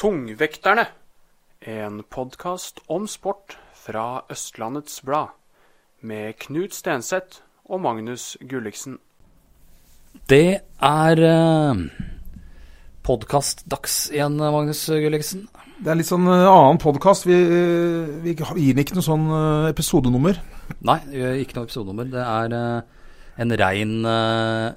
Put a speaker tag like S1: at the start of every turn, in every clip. S1: Tungvekterne, en podkast om sport fra Østlandets Blad, med Knut Stenseth og Magnus Gulliksen.
S2: Det er eh, podkastdags igjen, Magnus Gulliksen.
S3: Det er litt sånn eh, annen podkast. Vi, eh, vi gir den ikke noe sånn eh, episodenummer.
S2: Nei, eh, ikke noe episodenummer. Det er eh, en rein eh,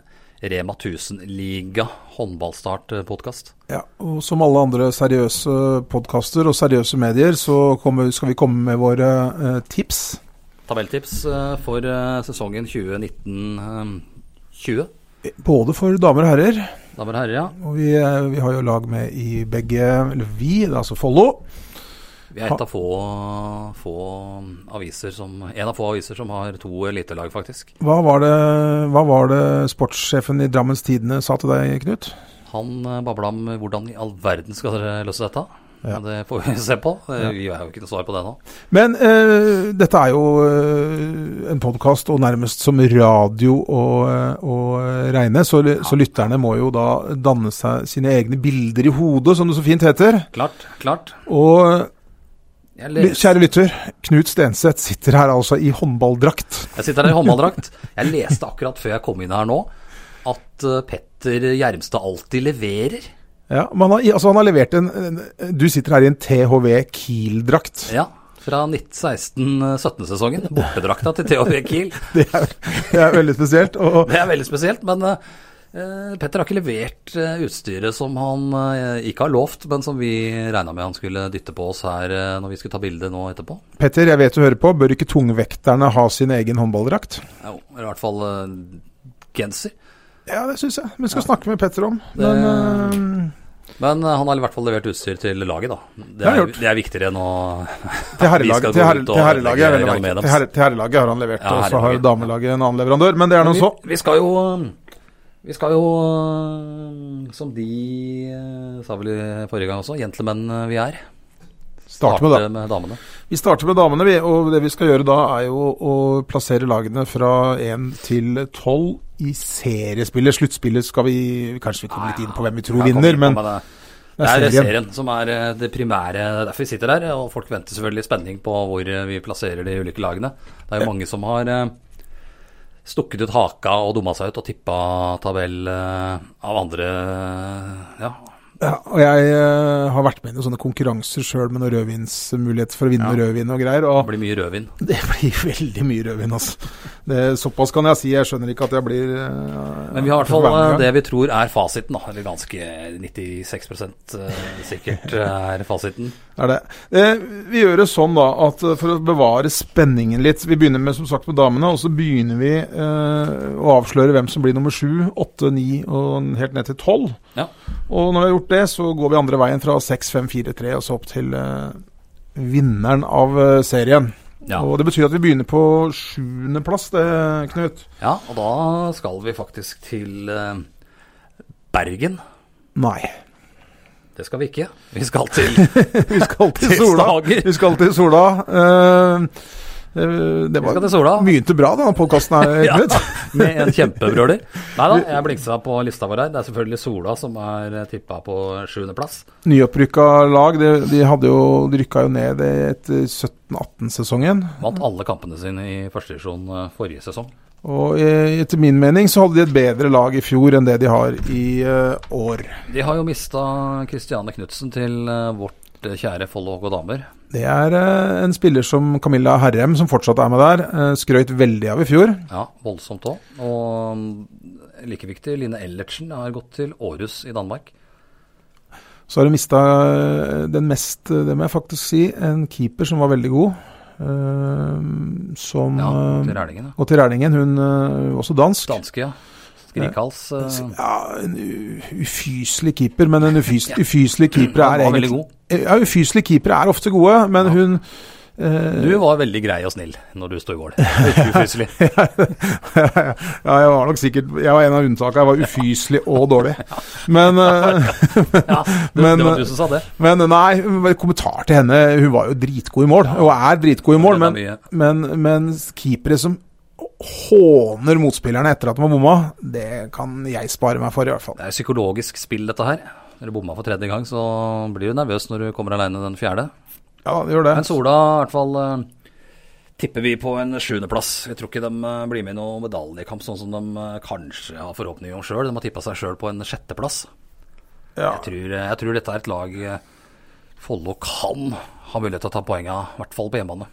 S2: Rema 1000-liga håndballstart-podkast.
S3: Ja, og Som alle andre seriøse podkaster og seriøse medier, så kommer, skal vi komme med våre eh, tips.
S2: Tabelltips eh, for eh, sesongen eh, 2019-20.
S3: Både for damer og herrer.
S2: Damer og herrer, ja.
S3: Og vi, eh, vi har jo lag med i begge Eller vi, det er altså Follo.
S2: Vi er et av få, få aviser som, en av få aviser som har to elitelag, faktisk.
S3: Hva var, det, hva var det sportssjefen i Drammens Tidende sa til deg, Knut?
S2: Han eh, babla om hvordan i all verden skal dere løse dette.
S3: Ja.
S2: Det får vi se på. Eh, Vi har jo ikke noe svar på det nå.
S3: Men eh, dette er jo eh, en podkast, og nærmest som radio å, eh, å regne. Så, så lytterne må jo da danne seg sine egne bilder i hodet, som det så fint heter.
S2: Klart, klart.
S3: Og eh,
S2: Jeg,
S3: ly-
S2: les,
S3: kjære lytter, Knut Stenseth sitter her altså i håndballdrakt.
S2: jeg sitter her i håndballdrakt. Jeg leste akkurat før jeg kom inn her nå at eh, Petter Gjermstad alltid leverer.
S3: Ja, men han har, altså han har levert en, en Du sitter her i en THV Kiel-drakt.
S2: Ja, fra 1916-17-sesongen. Bortedrakta til THV Kiel.
S3: Det, er- det er veldig spesielt. Og,
S2: Det er veldig spesielt, men eh, eh, Petter har ikke levert eh, utstyret som han eh, ikke har lovt, men som vi regna med han skulle dytte på oss her eh, når vi skulle ta bilde nå etterpå.
S3: Petter, jeg vet du hører på. Bør ikke tungvekterne ha sin egen håndballdrakt?
S2: Jo, eller i hvert fall eh, genser.
S3: Ja, det syns jeg. Vi skal snakke med Petter om.
S2: Det-
S3: Men eh,
S2: Men eh, han har i hvert fall levert utstyr til laget, da.
S3: Det
S2: Det
S3: har
S2: er,
S3: han gjort.
S2: det er viktigere enn å Vi
S3: Til
S2: skal
S3: herrelaget,
S2: gå
S3: til herre,
S2: ut og
S3: til herrelaget, er
S2: legge
S3: vel
S2: Real
S3: merke.
S2: Madrid.
S3: til herre, til herrelaget har han levert,
S2: Ja,
S3: og så har
S2: herrelaget.
S3: damelaget en annen leverandør. Men det er nå så.
S2: Vi, vi skal jo eh, Vi skal jo, øh, som de øh, sa vel i forrige gang også, gentlemen øh, vi er.
S3: Starte med da.
S2: med damene.
S3: Vi starter med damene, vi. Og det vi skal gjøre da, er jo å plassere lagene fra 1 til 12 i seriespillet. Sluttspillet skal vi kanskje vi kommer litt inn på hvem vi tror
S2: Her kommer vi
S3: vinner,
S2: på
S3: men
S2: med det.
S3: det er serien.
S2: serien som er øh, det primære. Det er derfor vi sitter her. Og folk venter selvfølgelig i spenning på hvor øh, vi plasserer de ulike lagene. Det er jo mange som har øh, stukket ut haka og dumma seg ut og tippa tabell øh, av andre øh, Ja,
S3: Ja, og jeg eh, har vært med i noen sånne konkurranser sjøl med noen rødvinsmuligheter for å vinne rødvin og greier.
S2: det
S3: Og
S2: blir mye rødvin.
S3: det blir veldig mye rødvin, altså. Det, såpass kan jeg si. Jeg skjønner ikke at jeg blir eh,
S2: Men vi har i hvert
S3: får
S2: fall
S3: være med
S2: eh,
S3: engang.
S2: det vi tror er fasiten, da. Eller ganske 96 eh, sikkert er fasiten.
S3: Det er det. Eh, vi gjør det sånn da, at eh, for å bevare spenningen litt Vi begynner med som sagt med damene, og så begynner vi eh, å avsløre hvem som blir nummer sju, åtte, ni og helt ned til tolv.
S2: Ja.
S3: Og når vi har gjort det, så går vi andre veien fra seks, fem, fire, tre og så opp til eh, vinneren av eh, serien.
S2: Ja.
S3: Og det betyr at vi begynner på sjuendeplass, det, Knut.
S2: ja, og da skal vi faktisk til eh, Bergen.
S3: Nei.
S2: Det skal vi ikke. Vi skal til
S3: Vi skal til
S2: Til
S3: Sola.
S2: Stavanger.
S3: Vi skal til Sola. Eh, eh, det
S2: Vi skal
S3: var
S2: til Sola.
S3: Begynte bra, denne podkasten her,
S2: Ja,
S3: Knut.
S2: med en kjempebrøler. Nei da, jeg blingsa på lista vår her. Det er selvfølgelig Sola som er tippa på sjuendeplass.
S3: Nyopprykka lag. De, de hadde jo de rykka jo ned etter 17-18-sesongen.
S2: Vant alle kampene sine i første divisjon eh, forrige sesong.
S3: Og eh, etter min mening så hadde de et bedre lag i fjor enn det de har i eh, år.
S2: De har jo mista Kristiane Knutsen til eh, vårt eh, kjære Follo HK Damer.
S3: Det er eh, en spiller som Camilla Herrem, som fortsatt er med der, eh, skrøyt veldig av i fjor.
S2: Ja, voldsomt òg. Og mm, like viktig, Line Ellertsen har gått til Århus i Danmark.
S3: Så har de mista den mest, eh, det må jeg faktisk si, en keeper som var veldig god. eh, som
S2: Ja,
S3: eh,
S2: til Rælingen. ja.
S3: Og til Rælingen, hun eh, også dansk.
S2: Danske, ja. Grikals eh,
S3: Ja, en u- ufyselig keeper, men en ufys
S2: Ja.
S3: ufyselig keeper
S2: var
S3: er
S2: veldig
S3: egentlig Eh,
S2: god.
S3: Ja, ufyselige keepere er ofte gode, men hun
S2: eh, Du var veldig grei og snill når du sto i mål. Ikke ufyselig.
S3: Ja, jeg var nok sikkert Jeg var en av unntakene. Jeg var ufyselig og dårlig. Men, eh,
S2: Ja, du,
S3: Men,
S2: det
S3: eh,
S2: var du som sa det.
S3: men nei, en kommentar til henne. Hun var jo dritgod i mål, og er dritgod i mål,
S2: Det var
S3: men,
S2: mye.
S3: men, men keepere som håner motspillerne etter at de har bomma, det kan jeg spare meg for, i hvert fall.
S2: Det er psykologisk spill, dette her. Når du bomma for tredje gang, så blir du nervøs når du kommer aleine den fjerde.
S3: Ja, det gjør det.
S2: Men Sola i hvert fall eh, tipper vi på en sjuendeplass. Jeg tror ikke de eh, blir med i noen medaljekamp, sånn som de eh, kanskje har forhåpninger om sjøl. De har tippa seg sjøl på en sjetteplass.
S3: Ja.
S2: Jeg tror, jeg tror dette er et lag eh, Follo kan ha mulighet til å ta poenga, i hvert fall på hjemmebane.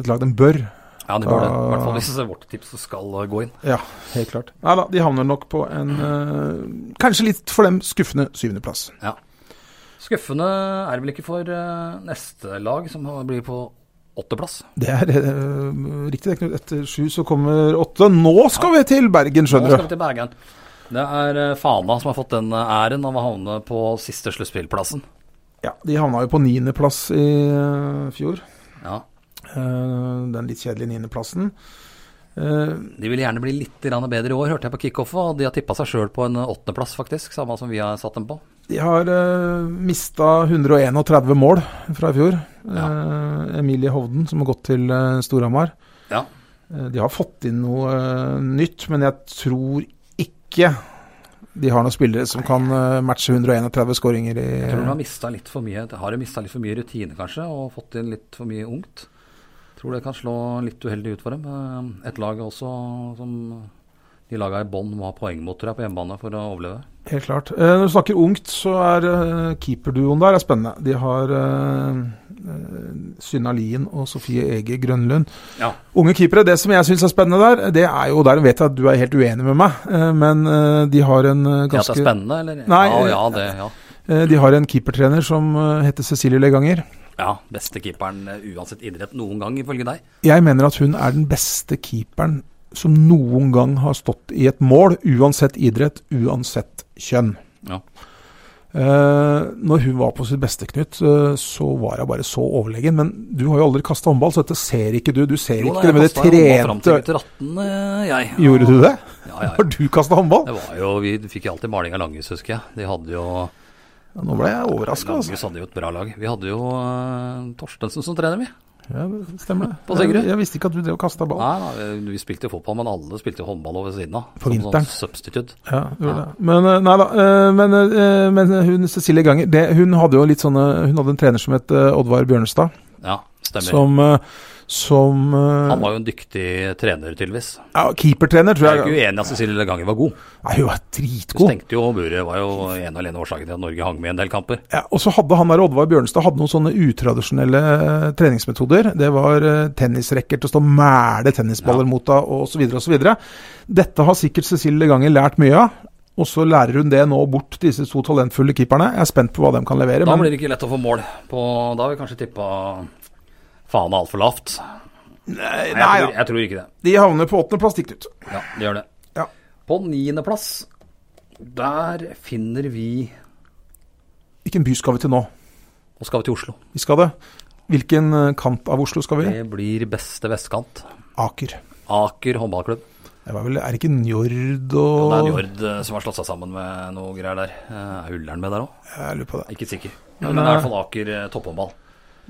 S3: Et lag de bør.
S2: Ja, det bør det. I hvert fall hvis vårt tips skal eh, gå inn.
S3: Ja, helt klart. Nei da, de havner nok på en eh, kanskje litt for dem skuffende syvendeplass.
S2: Ja. Skuffende er det vel ikke for eh, neste lag, som blir på åtteplass.
S3: Det er eh, riktig, det, Knut. Etter sju så kommer åtte. Nå skal vi til Bergen,
S2: Nå skal
S3: skjønner
S2: vi
S3: du.
S2: til Bergen. Det er eh, Fana som har fått den eh, æren av å havne på siste sluttspillplassen.
S3: Ja, De havna jo på niendeplass i eh, fjor.
S2: Ja.
S3: Eh, den litt kjedelige niendeplassen. Eh,
S2: De vil gjerne bli litt grann bedre i år, hørte jeg på kickoffet. Og de har tippa seg sjøl på en eh, åttendeplass, faktisk. Samme som vi har satt dem på.
S3: de har uh, mista 131 mål fra i fjor. Eh, Emilie Hovden, som har gått til eh, Storhamar.
S2: Ja.
S3: Eh, de har fått inn noe eh, nytt, men jeg tror ikke de har noen spillere som kan eh, matche 131 skåringer i
S2: Jeg tror de har mista litt for mye Har de mista litt for mye rutine, kanskje, og fått inn litt for mye ungt. Tror det kan slå litt uheldig ut for dem. Eh, Et lag også som de laga i bånn må ha poeng mot, tror jeg, på hjemmebane for å overleve.
S3: Helt klart. Eh, når du snakker ungt, så er eh, keeperduoen der er spennende. De har eh, eh, Synna Lien og Sofie Ege Grønlund.
S2: Ja.
S3: Unge keepere, det som jeg syns er spennende der, det er jo Der vet jeg at du er helt uenig med meg, eh, men eh, de har en eh,
S2: Ganske... At det er
S3: ganske
S2: spennende, eller?
S3: Nei,
S2: ja,
S3: eh,
S2: ja, det, ja.
S3: eh, De har en keepertrener som eh, heter Cecilie Leganger.
S2: ja. Beste keeperen eh, uansett idrett noen gang, ifølge deg.
S3: Jeg mener at hun er den beste keeperen som noen gang har stått i et mål, uansett idrett, uansett kjønn.
S2: Ja.
S3: Eh, når hun var på sitt beste, Knut, eh, så var hun bare så overlegen. Men du har jo aldri kasta håndball, så dette ser ikke du. Du ser
S2: Jo,
S3: ikke det med det
S2: kastet håndball fram til
S3: trente
S2: gutter 18, eh, jeg.
S3: Gjorde du det?
S2: Ja, ja, ja.
S3: Har du kasta håndball?
S2: Det var jo, Vi fikk jo alltid maling av Langhus, husker jeg. De hadde jo
S3: Ja, nå ble jeg overraska, altså.
S2: Langhus hadde jo et bra lag. Vi hadde jo eh, Torstensen som trener, vi.
S3: Ja, det stemmer det.
S2: På Sigrud?
S3: Jeg, jeg visste ikke at du drev og kasta ball.
S2: Nei, nei, vi spilte jo fotball, men alle spilte jo håndball over siden av.
S3: På
S2: som
S3: vinteren.
S2: Sånn substitute.
S3: Ja, du gjorde det. Men eh, nei da. eh, Men, eh, men hun Cecilie Ganger, det, hun hadde jo litt sånne Hun hadde en trener som het eh, Oddvar Bjørnestad,
S2: Ja, stemmer.
S3: som eh, som eh,
S2: han var jo en dyktig trener, tydeligvis.
S3: ja, keepertrener,
S2: Jeg er
S3: tror
S2: ikke
S3: jeg.
S2: uenig i at Cecilie Leganger var god.
S3: Nei, hun var
S2: Hun
S3: dritgod.
S2: stengte jo buret, var jo en og alene årsaken til at Norge hang med i en del kamper.
S3: Ja, og så hadde han der Oddvar Bjørnstad hadde noen sånne utradisjonelle eh, treningsmetoder. Det var eh, tennisrekker til å stå og mæle tennisballer
S2: Ja.
S3: mot deg, osv. osv. Dette har sikkert Cecilie Leganger lært mye av. Og så lærer hun det nå bort til disse to talentfulle keeperne. Jeg er spent på hva de kan levere.
S2: Da
S3: men-
S2: blir det ikke lett å få mål. På, da har vi kanskje tippa faen altfor lavt. Nei, jeg,
S3: nei,
S2: tror,
S3: ja.
S2: jeg tror ikke det.
S3: De havner på åttendeplass, de, Knut.
S2: Ja, det gjør det.
S3: Ja.
S2: På niendeplass, der finner vi
S3: Hvilken by skal vi til nå?
S2: Nå skal vi til Oslo.
S3: Vi skal det. Hvilken eh, kant av Oslo skal vi?
S2: Det blir beste vestkant.
S3: Aker.
S2: Aker håndballklubb.
S3: Det var vel, er det ikke Njord
S2: Og
S3: og
S2: det er Njord eh, som har slått seg sammen med noe greier der. Eh, Er Ullern med der òg?
S3: Jeg lurer på det.
S2: Ikke sikker. Men det er i hvert fall Aker eh, topphåndball.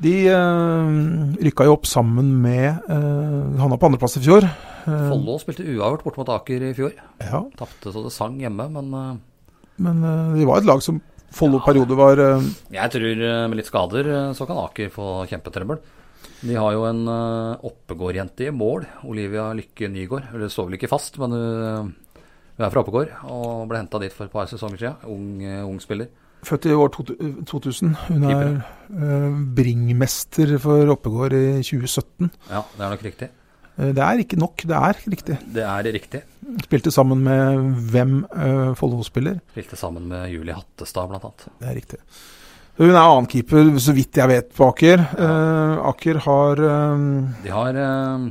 S3: De eh, rykka jo opp sammen med uh, Havna på andreplass i fjor. Eh,
S2: Follo spilte uavgjort bort mot Aker i fjor.
S3: ja,
S2: Tapte så det sang hjemme, men eh,
S3: men eh, de var et lag som Follo periode var eh,
S2: jeg tror eh, med litt skader eh, så kan Aker få kjempetrøbbel. De har jo en eh, oppegårdjente i mål, Olivia Lykke Nygård. Eller står vel ikke fast, men eh, hun, hun er fra Oppegård og ble henta dit for et par sesonger siden. Ung, eh, ung spiller.
S3: født i år to- 2000. Hun er
S2: Keeper,
S3: eh, bringmester for Oppegård i 2017.
S2: Ja, det er nok riktig.
S3: Eh, det er ikke nok, det er riktig.
S2: Det er riktig.
S3: Spilte sammen med hvem eh, Follo-spiller?
S2: Spilte sammen med Julie Hattestad, blant annet.
S3: Det er riktig. Hun er annenkeeper, så vidt jeg vet, på Aker. Eh, Aker har eh,
S2: De har eh,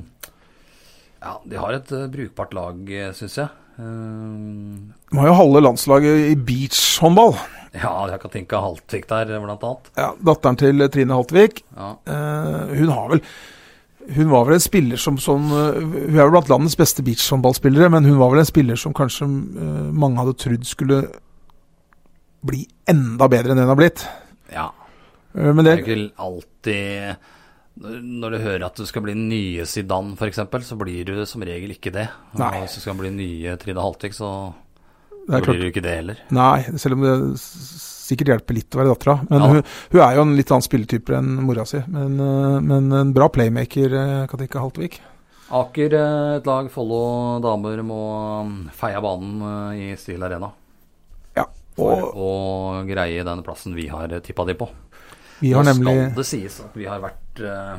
S2: Ja, de har et eh, brukbart lag, syns jeg. Ehm,
S3: De har jo halve landslaget i beachhåndball.
S2: ja, jeg kan tenke Haltvik der, blant annet.
S3: Ja, datteren til Trine Haltvik.
S2: Ja.
S3: Eh, hun har vel Hun var vel en spiller som sånn eh, Hun er jo blant landets beste beachhåndballspillere, men hun var vel en spiller som kanskje eh, mange hadde trodd skulle bli enda bedre enn det hun har blitt.
S2: ja.
S3: Eh,
S2: Det
S3: men det
S2: er jo ikke alltid når- Når du hører at du skal bli nye Zidane f.eks., så blir du som regel ikke det.
S3: Nei.
S2: Og hvis du skal bli nye Trine Haltvik, så
S3: Det er
S2: blir
S3: klart.
S2: du ikke det heller.
S3: Nei, selv om det s- sikkert hjelper litt å være dattera. Men
S2: Ja.
S3: hun, hun er jo en litt annen spilletype enn mora si. Men, eh, men en bra playmaker, eh, Katinka Haltvik.
S2: Aker eh, et lag, Follo damer må mm, feie av banen eh, i Steel Arena
S3: Ja.
S2: for
S3: Og
S2: å greie den plassen vi har tippa de på.
S3: vi har
S2: Nå
S3: nemlig
S2: skal det sies at vi har vært eh,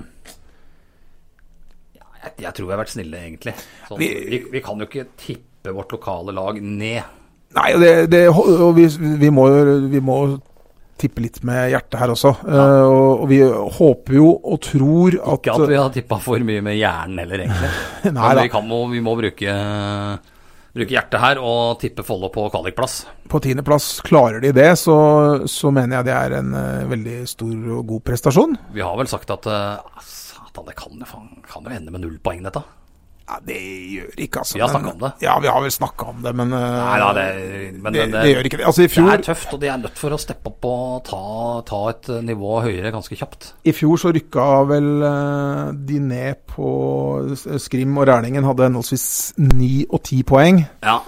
S2: ja, jeg, jeg tror vi har vært snille, egentlig. Sånn, vi,
S3: Vi-
S2: vi, kan jo ikke tippe vårt lokale lag ned.
S3: Nei, og, det, det, og vi, vi, må, vi må tippe litt med hjertet her også. Eh, og, og vi håper jo og tror at
S2: Ikke at vi har tippa for mye med hjernen heller, egentlig.
S3: Nei
S2: Men
S3: da,
S2: vi, kan, må, vi må bruke, bruke hjertet her og tippe Follo på kvalikplass.
S3: på tiendeplass klarer de det, så, så mener jeg det er en eh, veldig stor og god prestasjon.
S2: Vi har vel sagt at eh, satan, det kan, jo faen- kan jo ende med null poeng, dette.
S3: Ja, Det gjør ikke, altså.
S2: Vi har
S3: men-
S2: snakket om det.
S3: Ja, vi har vel snakka om det, men, eh,
S2: Nei da, det, men
S3: det,
S2: det,
S3: det gjør ikke det. Altså, i
S2: det er
S3: fjor,
S2: tøft, og de er nødt for å steppe opp og ta, ta et eh, nivå høyere ganske kjapt.
S3: i fjor så rykka vel eh, de ned på eh, Skrim og Rælingen hadde henholdsvis ni og ti poeng.
S2: Ja,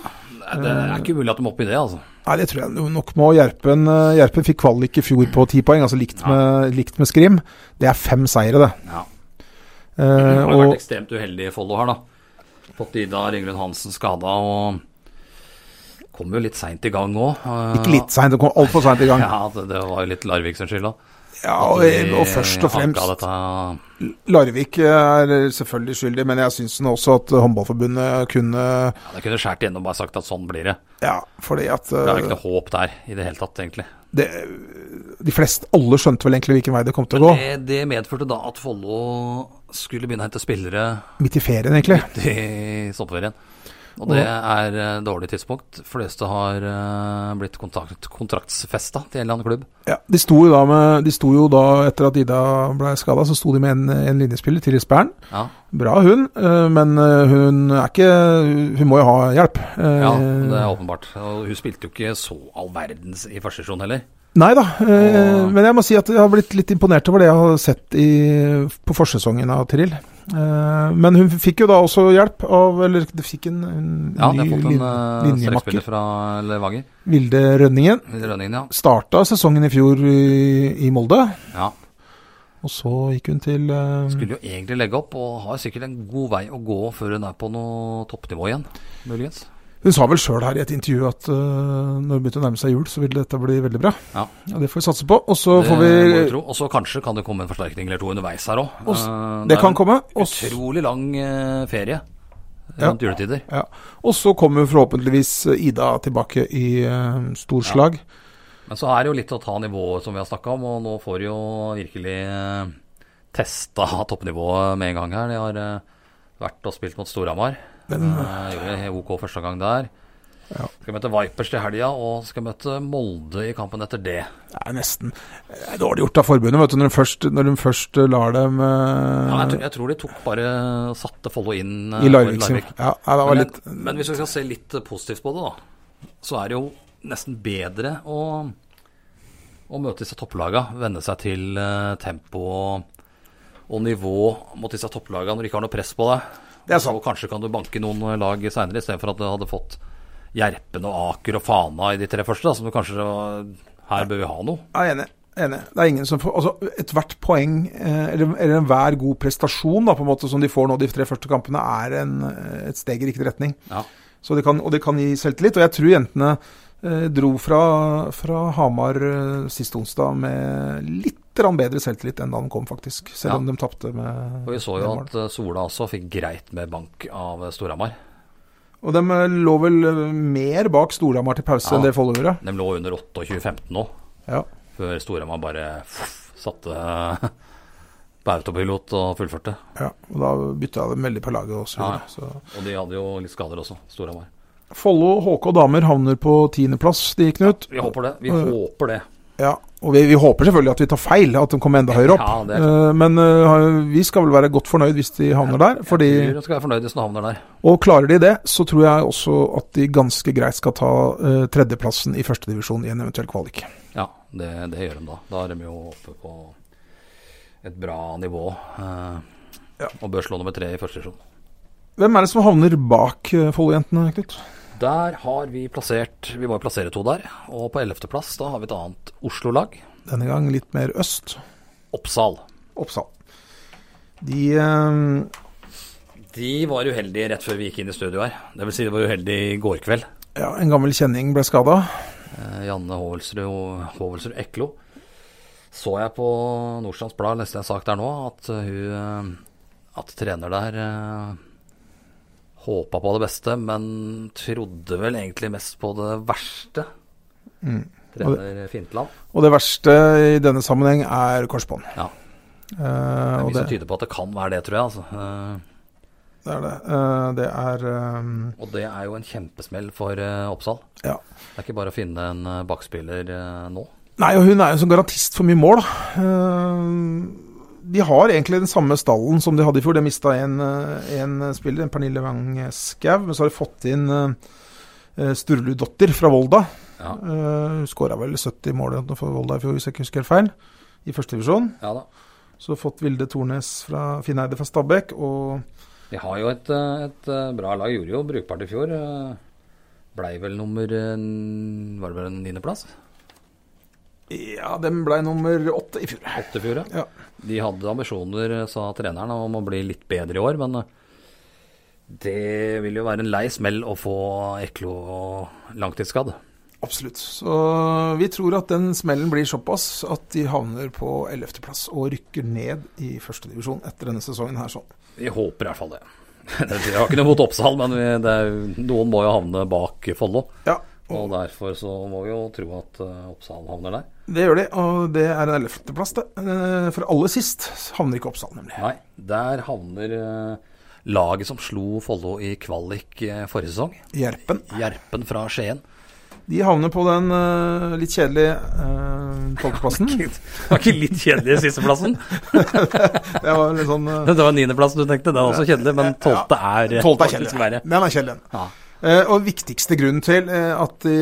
S2: det er ikke umulig at de må opp i det, altså.
S3: Nei, det tror jeg no- nok må. Gjerpen, eh, Gjerpen fikk kvalik i fjor på ti poeng, altså likt med, likt med Skrim. Det er fem seire, det.
S2: Ja.
S3: Eh,
S2: Har vært
S3: og
S2: ekstremt uheldig i Follo her, da. Fått Ida Ringlund Hansen skada og kom jo litt seint i gang eh, òg.
S3: ikke litt seint, det kom altfor seint i gang.
S2: Ja, det, det var jo litt Larvik sin skyld, da.
S3: Ja, og, eh, og først
S2: Hakka
S3: og fremst
S2: dette
S3: Larvik eh, er selvfølgelig skyldig, men jeg syns nå også at Håndballforbundet kunne
S2: Ja, det kunne skåret igjennom og bare sagt at sånn blir det.
S3: Ja, fordi at
S2: For Det er jo
S3: eh,
S2: ikke noe håp der i det hele tatt, egentlig.
S3: det, de fleste Alle skjønte vel egentlig hvilken vei det kom til å gå.
S2: Det, det medførte da at Follo skulle begynne å hente spillere
S3: Midt i ferien, egentlig.
S2: i sommerferien. Og det er eh, dårlig tidspunkt. Fleste har eh, blitt kontrakt, kontraktsfesta til en eller annen klubb.
S3: Ja, de sto jo da, med, de sto jo da etter at Ida ble skada, så sto de med en, en linjespiller, Tiris Bern.
S2: Ja,
S3: Bra hun, eh, men eh, hun er ikke Hun må jo ha hjelp. Eh,
S2: ja det er åpenbart. Og hun spilte jo ikke så all verdens i første sesjon heller.
S3: Nei da, eh,
S2: Og-
S3: men jeg må si at jeg har blitt litt imponert over det jeg har sett i, på forsesongen av Tiril. Eh, Men hun fikk jo da også hjelp av Eller det fikk en, en
S2: Ja, de
S3: ny
S2: har fått en
S3: lin-
S2: eh,
S3: linjemakker.
S2: strekspiller fra Levanger.
S3: Vilde Rønningen.
S2: Rønningen, ja.
S3: Starta sesongen i fjor i, i Molde,
S2: ja.
S3: og så gikk hun til eh,
S2: Skulle jo egentlig legge opp, og har sikkert en god vei å gå før hun er på noe toppnivå igjen, muligens.
S3: Hun sa vel sjøl her i et intervju at eh, når det begynte å nærme seg jul, så ville dette bli veldig bra.
S2: Ja.
S3: Og det får vi satse på. Og så
S2: Det
S3: får vi
S2: må vi tro. Og så kanskje kan det komme en forsterkning eller to underveis her Eh, òg.
S3: Og s- Det kan komme. Og s-
S2: Utrolig lang eh, ferie
S3: Ja.
S2: rundt juletider.
S3: Ja. Og så kommer forhåpentligvis eh, Ida tilbake i eh, storslag.
S2: Men så er det jo litt å ta nivået som vi har snakka om, og nå får de jo virkelig eh, testa toppnivået med en gang her. De har eh, vært og spilt mot Storhamar. Eh, Gjorde det OK første gang der.
S3: Ja.
S2: Skal møte Vipers til helga, og skal møte Molde i kampen etter det.
S3: Det er nesten det er dårlig gjort av forbundet, vet du, når de først, når de først lar dem eh,
S2: Ja, jeg, tror, jeg tror de tok bare og satte Follo inn eh,
S3: i
S2: for
S3: Larvik. sin- Ja, ja, det var
S2: Men,
S3: litt
S2: men hvis vi skal se litt eh, positivt på det, da, så er det jo nesten bedre å, å møte disse topplaga. Venne seg til eh, tempo og, og nivå mot disse topplaga når du ikke har noe press på deg.
S3: Det er sant.
S2: Og kanskje kan du banke noen eh, lag seinere, istedenfor at du hadde fått Gjerpen og Aker og Fana i de tre første, da, som du kanskje eh, Her bør vi ha noe.
S3: Jeg er enig. Enig. Det er ingen som får Altså, ethvert poeng, eh, eller, eller enhver god prestasjon da, på en måte, som de får nå de tre første kampene, er en, eh, et steg i riktig retning.
S2: Ja.
S3: Så det kan, og det kan gi selvtillit. Og jeg tror jentene eh, dro fra, fra Hamar eh, sist onsdag med litt grann bedre selvtillit enn da de kom, faktisk. Selv
S2: Ja.
S3: om de tapte med
S2: Og Vi så jo
S3: med mål.
S2: at eh, Sola også fikk greit med bank av eh, Storhamar.
S3: Og de eh, lå vel eh, mer bak Storhamar til pause
S2: Ja.
S3: enn det Follo gjorde.
S2: De lå under 28-15 nå.
S3: Ja.
S2: Før Storhamar bare pff, satte på autopilot og fullførte.
S3: ja. Og da bytta de veldig på laget også.
S2: Ja, ja.
S3: Så.
S2: Og de hadde jo litt skader også, Storhamar.
S3: Follo HK damer havner på tiendeplass, de, Knut.
S2: Vi håper det. Vi
S3: Og-
S2: håper det.
S3: Ja, og vi, vi håper selvfølgelig at vi tar feil, at de kommer enda høyere opp.
S2: Ja, det er
S3: Eh, Men eh, vi skal vel være godt fornøyd hvis de havner der. Fordi,
S2: Jeg tror jeg skal være fornøyd hvis den havner der.
S3: og klarer de det, så tror jeg også at de ganske greit skal ta eh, tredjeplassen i førstedivisjon i en eventuell kvalik.
S2: Ja, det, det gjør de da. Da er de jo oppe på et bra nivå. Eh,
S3: Ja.
S2: Og bør slå nummer tre i første divisjon.
S3: Hvem er det som havner bak eh, Follo-jentene, Knut?
S2: Der har vi plassert Vi må jo plassere to der. Og på ellevteplass da har vi et annet Oslo-lag.
S3: Denne gang litt mer øst.
S2: Oppsal.
S3: Oppsal. De eh,
S2: De var uheldige rett før vi gikk inn i studio her. Det vil si de var uheldige i går kveld.
S3: Ja, en gammel kjenning ble skada.
S2: Eh, Janne Hovelsrud og Hovelsrud Eklo. Så jeg på Nordstrands Blad, leste jeg en sak der nå, at eh, hun eh, At trener der eh, håpa på det beste, men trodde vel egentlig mest på det verste.
S3: Mm.
S2: Trener Fintland.
S3: Og det verste i denne sammenheng er korsbånd.
S2: Ja.
S3: Eh,
S2: Det er mye
S3: og
S2: som
S3: det,
S2: tyder på at det kan være det, tror jeg. Altså. Eh,
S3: det er det. Eh, det er eh,
S2: Og det er jo en kjempesmell for eh, Oppsal.
S3: Ja.
S2: Det er ikke bare å finne en eh, bakspiller eh, nå.
S3: Nei, og hun er jo som garantist for mye mål. da. Eh, De har egentlig den samme stallen som de hadde i fjor. De mista en, eh, en spiller, en Pernille Wang Skau, men så har de fått inn eh, Sturludotter fra Volda.
S2: Ja.
S3: Eh, Hun skåra vel 70 mål eller noe for Volda i fjor, hvis jeg ikke husker helt feil, i førstedivisjon.
S2: Ja da.
S3: Så har de fått Vilde Tornes fra Finneide fra Stabæk, og
S2: De har jo et, eh, et eh, bra lag. Gjorde jo brukbart i fjor. eh, Blei vel nummer eh, n- Var det vel en niendeplass?
S3: ja, dem blei nummer åtte i fjor.
S2: Åtte i fjor, ja.
S3: Ja.
S2: De hadde ambisjoner, eh, sa treneren, om å bli litt bedre i år, men eh, det vil jo være en lei smell å få Eklo langtidsskadd.
S3: Absolutt. Så vi tror at den smellen blir såpass at de havner på 11.-plass og rykker ned i førstedivisjon etter denne sesongen her sånn.
S2: Vi håper i hvert fall det. Jeg har ikke noe mot Oppsal, men vi, det er, jo- noen må jo havne bak Follo.
S3: Ja,
S2: Og derfor så må vi jo tro at eh, Oppsal havner der.
S3: det gjør de, og det er en 11.-plass, det. Eh, For aller sist havner ikke Oppsal, nemlig.
S2: Nei, der havner eh, laget som slo Follo i kvalik eh, forrige sesong.
S3: Gjerpen.
S2: Gjerpen fra Skien.
S3: De havner på den eh, litt kjedelige eh, tolvteplassen.
S2: Det var ikke litt kjedelig sisteplassen?
S3: Det var litt sånn eh,
S2: Det var niendeplassen du tenkte, det er også kjedelig, men tolvte er eh,
S3: Tolvte er
S2: faktisk
S3: kjedelig.
S2: verre.
S3: Den er kjedelig. den.
S2: Ja.
S3: Eh, Og viktigste grunnen til eh, at de,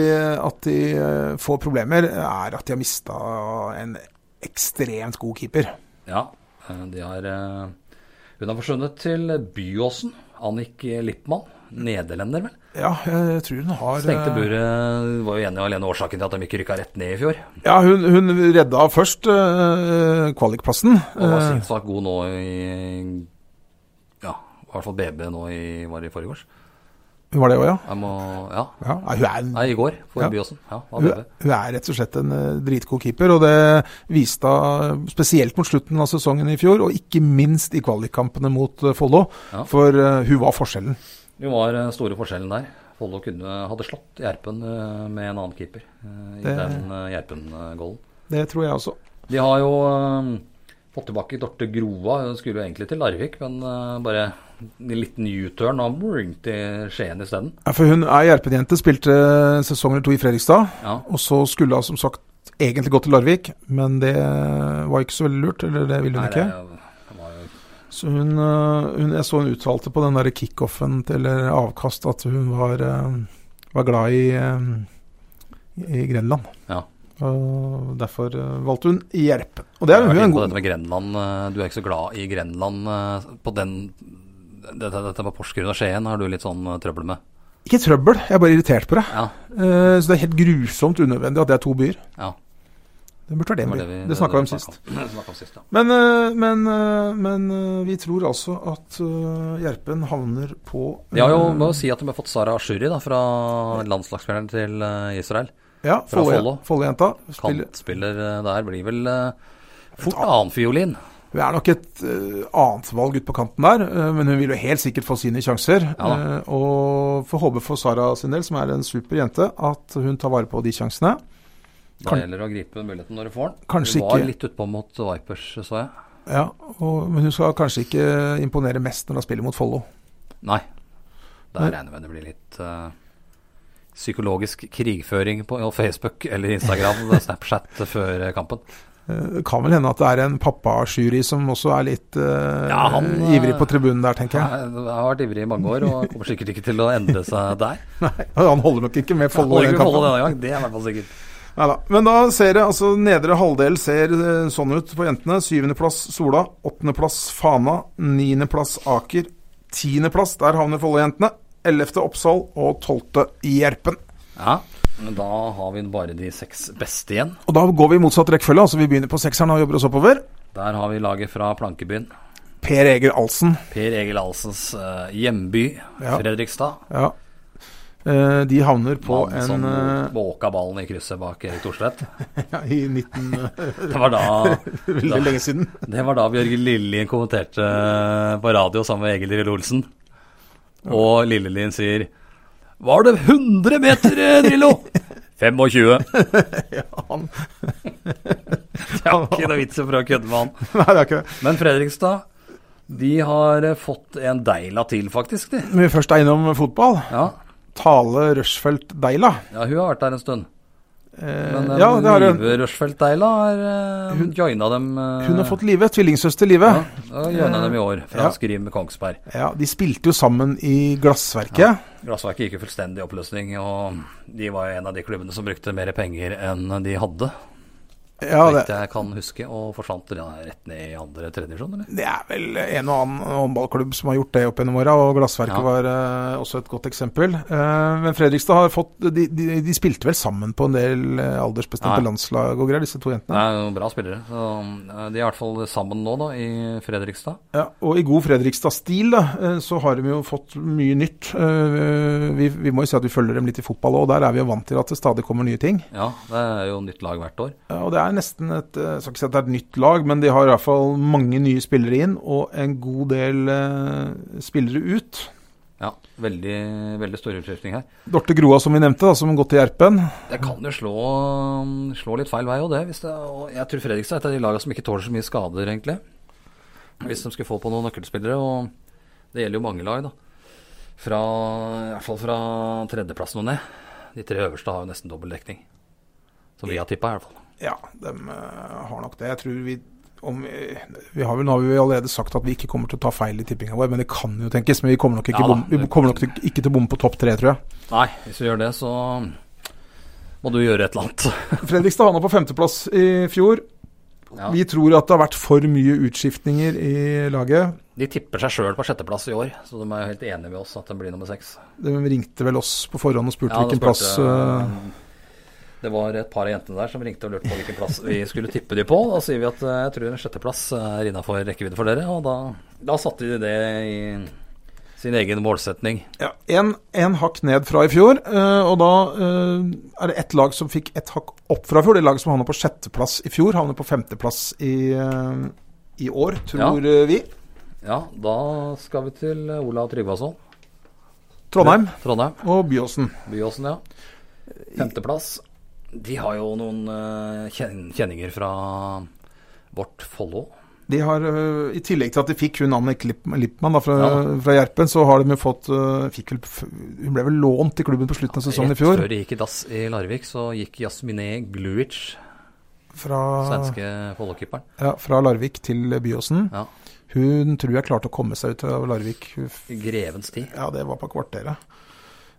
S3: at de eh, får problemer, er at de har mista en ekstremt god keeper.
S2: ja eh, de har, eh, hun har forsvunnet til Byåsen. Annik Lippmann, nederlender vel.
S3: Ja, jeg tror hun har
S2: Stengte
S3: eh,
S2: buret var jo enig alene årsaken til at de ikke rykka rett ned i fjor.
S3: Ja, hun, hun redda først eh, kvalikplassen.
S2: Og var
S3: Eh,
S2: sinnssvakt god nå i Ja, i hvert fall BB nå i, var det i forgårs.
S3: hun var det òg, ja.
S2: Jeg må Ja.
S3: ja. Nei, hun, er,
S2: Nei, i går, for
S3: Ja.
S2: Byåsen. Ja, da
S3: hun,
S2: ble det.
S3: hun er rett og slett en eh, dritgod keeper, og det viste hun spesielt mot slutten av sesongen i fjor, og ikke minst i kvalikkampene mot eh, Follo,
S2: Ja.
S3: for eh, hun var forskjellen.
S2: Det var eh, store forskjellen der. Follo kunne hadde slått Gjerpen eh, med en annen keeper eh, i
S3: Det-
S2: den eh, Gjerpen-golden.
S3: Det tror jeg også.
S2: De har jo eh, fått tilbake Dorte Grova. Hun skulle jo egentlig til Larvik, men eh, bare en liten U-turn og bring til Skien isteden.
S3: Ja, for hun er Gjerpen-jente, spilte en sesong eller to i Fredrikstad,
S2: Ja.
S3: og så skulle hun som sagt egentlig gå til Larvik, men det eh, var ikke så veldig lurt, eller det ville hun
S2: Nei,
S3: ikke.
S2: det var jo
S3: Så hun, øh, hun, jeg så hun uttalte på den der kickoffen til eller avkast at hun var, øh, var glad i, øh, i Grenland.
S2: Ja.
S3: Og derfor øh, valgte hun Gjerpen. Og det
S2: Jeg har
S3: er hun
S2: vært
S3: jo en
S2: inne på
S3: god
S2: dette med Grenland. eh, Du er ikke så glad i Grenland eh, på den Dette, dette med Porsgrunn og Skien har du litt sånn eh, trøbbel med.
S3: Ikke trøbbel, jeg er bare irritert på det.
S2: Ja,
S3: Eh, så det er helt grusomt unødvendig at det er to byer.
S2: ja.
S3: Det burde være
S2: var
S3: det, det,
S2: vi-
S3: det snakka vi om
S2: snakket
S3: sist.
S2: om. Det snakket om sist, ja.
S3: Men, øh, men, øh, men øh, vi tror altså at øh, Gjerpen havner på
S2: De har jo,
S3: øh,
S2: må jo si at de har fått Sara Ashuri da, fra landslagsspilleren til eh, Israel.
S3: ja,
S2: fra
S3: Follo-
S2: Follo.
S3: Follo-jenta. spiller-
S2: Kantspiller eh, der blir vel eh, fort annenfiolin.
S3: Hun er nok et eh, annet valg ute på kanten der, eh, men hun vil jo helt sikkert få sine sjanser.
S2: Ja
S3: eh, og får håpe for Sara sin del, som er en super jente, at hun tar vare på de sjansene.
S2: Da
S3: Kan-
S2: gjelder det å gripe muligheten når du får den.
S3: Kanskje
S2: du var
S3: ikke.
S2: litt utpå mot Vipers, så jeg.
S3: Ja, og, Men hun skal kanskje ikke imponere mest når hun spiller mot Follo.
S2: Nei. Der
S3: Nei.
S2: regner jeg med det blir litt eh, psykologisk krigføring på Facebook eller Instagram eller Snapchat før kampen.
S3: Det Eh, kan vel hende at det er en pappajury som også er litt eh,
S2: Ja, han, eh,
S3: ivrig på tribunen der, tenker jeg.
S2: Jeg har vært ivrig i mange år og kommer sikkert ikke til å endre seg der.
S3: Nei, Han holder nok ikke med Follo
S2: Holder
S3: i den
S2: ikke
S3: kampen.
S2: holde denne gang, det er i hvert fall sikkert.
S3: Neida. Men da ser det altså Nedre halvdel ser eh, sånn ut på jentene. Syvendeplass Sola, åttendeplass Fana, niendeplass Aker. Tiendeplass, der havner Follo-jentene. Ellevte Oppsal og tolvte Gjerpen.
S2: Ja, men da har vi bare de seks beste igjen.
S3: Og da går vi i motsatt rekkefølge. altså Vi begynner på sekseren og jobber oss oppover.
S2: Der har vi laget fra Plankebyen.
S3: Per Egil Alsen.
S2: Per Egil Alsens eh, hjemby,
S3: Ja.
S2: Fredrikstad.
S3: Ja. Eh, De havner på
S2: Han
S3: en
S2: som
S3: eh,
S2: våka ballen i krysset bak Erik Thorstvedt.
S3: ja, I 19...
S2: Det var da,
S3: Veldig
S2: da,
S3: lenge siden.
S2: det var da Bjørgen Lillelien kommenterte på radio sammen med Egil Drillo Olsen. Og Lillelien sier Var det 100 meter, eh, Drillo? 25. Det
S3: Han.
S2: er ikke noe vits i å prøve å kødde med han.
S3: Nei, det er ikke det.
S2: Men Fredrikstad, de har eh, fått en deila til, faktisk. de.
S3: Når vi først er innom fotball,
S2: Ja,
S3: Tale Rushfeldt Deila.
S2: ja hun har vært der en stund.
S3: Eh,
S2: Men
S3: ja, det har hun.
S2: Live Rushfeldt-Deila har eh,
S3: Hun-
S2: joina dem eh,
S3: Hun har fått Live, tvillingsøster Live.
S2: ja, ja, joina dem i år, fra
S3: Ja.
S2: Skrim Kongsberg.
S3: Ja, de spilte jo sammen i Glassverket.
S2: Glassverket gikk jo fullstendig i oppløsning, og de var jo en av de klubbene som brukte mer penger enn de hadde,
S3: Ja,
S2: så
S3: det,
S2: vidt jeg kan huske, og forsvant ja, rett ned i andre tredje divisjon, eller?
S3: det er vel en og annen håndballklubb som har gjort det opp gjennom åra, og Glassverket
S2: Ja.
S3: var eh, også et godt eksempel. Eh, men Fredrikstad har fått de, de, de spilte vel sammen på en del eh, aldersbestemte
S2: Nei.
S3: landslag og greier, disse to jentene.
S2: Det er jo bra spillere. Så eh, de er i hvert fall sammen nå, da, i Fredrikstad.
S3: Ja, og i god Fredrikstad-stil da, eh, så har de jo fått mye nytt. Eh, Vi, vi må jo si at vi følger dem litt i fotball òg, der er vi jo vant til at det stadig kommer nye ting.
S2: Ja, det er jo nytt lag hvert år.
S3: Ja, Eh, Og det er nesten et eh, Jeg skal ikke si at det er et nytt lag, men de har i hvert fall mange nye spillere inn, og en god del eh, spillere ut.
S2: Ja, veldig, veldig stor utskiftning her.
S3: Dorte Groa, som vi nevnte, da, som har gått til Gjerpen.
S2: Det kan jo slå, slå litt feil vei òg, det. Hvis det og jeg tror Fredrikstad er et av de lagene som ikke tåler så mye skader, egentlig. Hvis de skulle få på noen nøkkelspillere, og det gjelder jo mange lag, da. Fra, I hvert fall fra tredjeplassen og ned. De tre øverste har jo nesten dobbel dekning. Som vi har tippa, i hvert fall.
S3: Ja, de eh, har nok det. Jeg tror vi om, eh, vi har vel, Nå har vi jo allerede sagt at vi ikke kommer til å ta feil i tippinga vår, men det kan jo tenkes. Men vi kommer nok ikke,
S2: Ja da.
S3: bom, vi kommer nok til, ikke til å bomme på topp tre, tror jeg.
S2: Nei, hvis vi gjør det, så må du gjøre et eller annet.
S3: Fredrikstad havna på femteplass i fjor.
S2: Ja.
S3: Vi tror at det har vært for mye utskiftninger i laget.
S2: De tipper seg sjøl på sjetteplass i år, så de er jo helt enige med oss at de blir nummer seks.
S3: De ringte vel oss på forhånd og spurte
S2: Ja, da
S3: hvilken
S2: spurte
S3: plass
S2: jeg,
S3: eh,
S2: um, Det var et par av jentene der som ringte og lurte på hvilken plass vi skulle tippe de på. Da sier vi at eh, jeg tror en sjetteplass er innafor rekkevidde for dere, og da, da satte de det i sin egen målsetning.
S3: ja, en, en hakk ned fra i fjor. eh, og da eh, er det ett lag som fikk ett hakk opp fra i fjor. Det laget som havna på sjetteplass i fjor, havner på femteplass i, eh, i år, tror eh, vi.
S2: Ja, da skal vi til Olav Tryggvason.
S3: Trondheim
S2: Trondheim.
S3: og Byåsen.
S2: Byåsen, ja. Femteplass. De har jo noen eh, kjen kjenninger fra vårt Follo.
S3: De har, øh, I tillegg til at de fikk hun Annik Lipp- Lippmann da, fra,
S2: Ja.
S3: fra Gjerpen, så har de jo fått øh, fikk vel, f- Hun ble vel lånt til klubben på slutten av sesongen i
S2: Rett
S3: fjor.
S2: før de gikk i dass i Larvik, så gikk Jasmine Gluic,
S3: Fra,
S2: svenske Follo-keeperen.
S3: ja, fra Larvik til Byåsen.
S2: Ja.
S3: Hun tror jeg klarte å komme seg ut av Larvik. Hun f-
S2: Grevens tid.
S3: Ja, det var på kvarteret.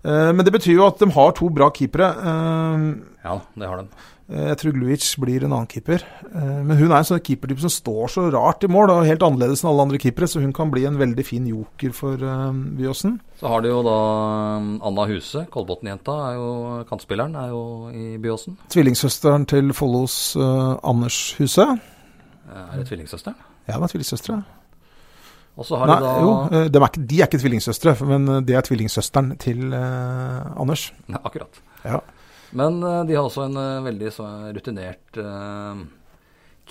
S3: Eh, Men det betyr jo at de har to bra keepere. Eh,
S2: Ja, det har de.
S3: eh, Jeg tror Gluic blir en annen keeper. Eh, Men hun er en sånn keepertype som står så rart i mål, og helt annerledes enn alle andre keepere, så hun kan bli en veldig fin joker for eh, Byåsen.
S2: Så har du jo da um, Anna Huse, Kolbotn-jenta, er jo kantspilleren, er jo i Byåsen.
S3: Tvillingsøsteren til Follos eh, Anders Huse.
S2: Er det tvillingsøsteren?
S3: Ja, de er tvillingsøstre.
S2: Og så har
S3: Nei,
S2: du da
S3: jo, eh, de er, ikke, de er ikke tvillingsøstre, men eh, det er tvillingsøsteren til eh, Anders.
S2: Nei, Akkurat.
S3: Ja.
S2: Men eh, de har også en eh, veldig så rutinert eh,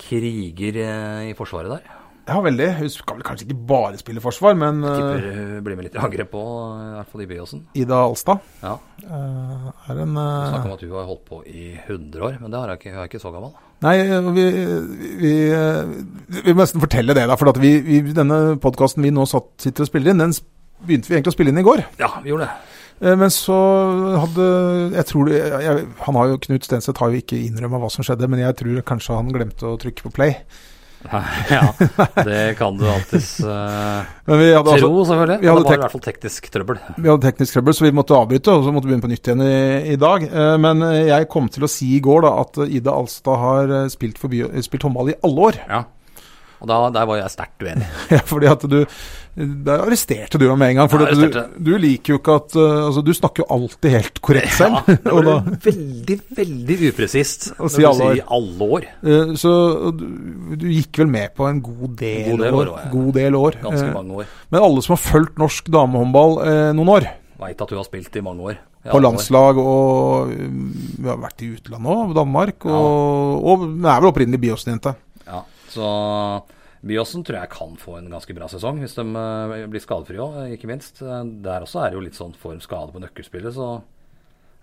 S2: kriger eh, i forsvaret der.
S3: ja, veldig. Hun skal vel kanskje ikke bare spille forsvar, men eh,
S2: Tipper hun blir med litt i angrep på, uh, i hvert fall i Byåsen.
S3: Ida Alstad
S2: Ja,
S3: eh, er en eh,
S2: Snakk om at hun har holdt på i 100 år, men det har jeg ikke, hun er ikke så gammel.
S3: Nei, eh, vi, vi, eh, vi må nesten fortelle det, da. For at vi, vi, denne podkasten vi nå satt, sitter og spiller inn, den s- begynte vi egentlig å spille inn i går.
S2: Ja, vi gjorde det.
S3: Eh, Men så hadde jeg tror, det- jeg, han har jo, Knut Stenseth har jo ikke innrømma hva som skjedde, men jeg tror kanskje han glemte å trykke på play.
S2: ja, det kan du alltids eh,
S3: Men vi hadde, altså,
S2: tro, selvfølgelig.
S3: vi
S2: Men
S3: hadde
S2: det var i
S3: tenkt-
S2: hvert fall teknisk trøbbel.
S3: vi hadde teknisk trøbbel, så vi måtte avbryte, og så måtte vi begynne på nytt igjen i, i dag. Eh, Men jeg kom til å si i går da, at Ida Alstad har eh, spilt, for by, spilt håndball i alle år.
S2: Ja. Og da, der var jeg sterkt uenig.
S3: Ja, fordi at du Der arresterte du meg med en gang. For
S2: Jeg
S3: at du,
S2: arresterte.
S3: du liker jo ikke at eh, Altså, du snakker jo alltid helt korrekt selv.
S2: Ja, det
S3: og da,
S2: var veldig, veldig upresist
S3: Å
S2: når
S3: si
S2: du
S3: alle år.
S2: sier i alle år.
S3: eh, så og du, du gikk vel med på en god del,
S2: En god del
S3: år.
S2: år, ja.
S3: God del år.
S2: Ganske
S3: Eh,
S2: mange år.
S3: Men alle som har fulgt norsk damehåndball eh, noen år,
S2: Veit at du har spilt i mange år. I
S3: på
S2: alle år.
S3: landslag og mm, Vi har vært i utlandet òg, Danmark, og, og hun er vel opprinnelig Byåsen-jente.
S2: Ja, så Byåsen tror jeg kan få en ganske bra sesong, hvis de eh, blir skadefrie òg, ikke minst. Eh, Der også er det jo litt sånn form skade på nøkkelspillet, så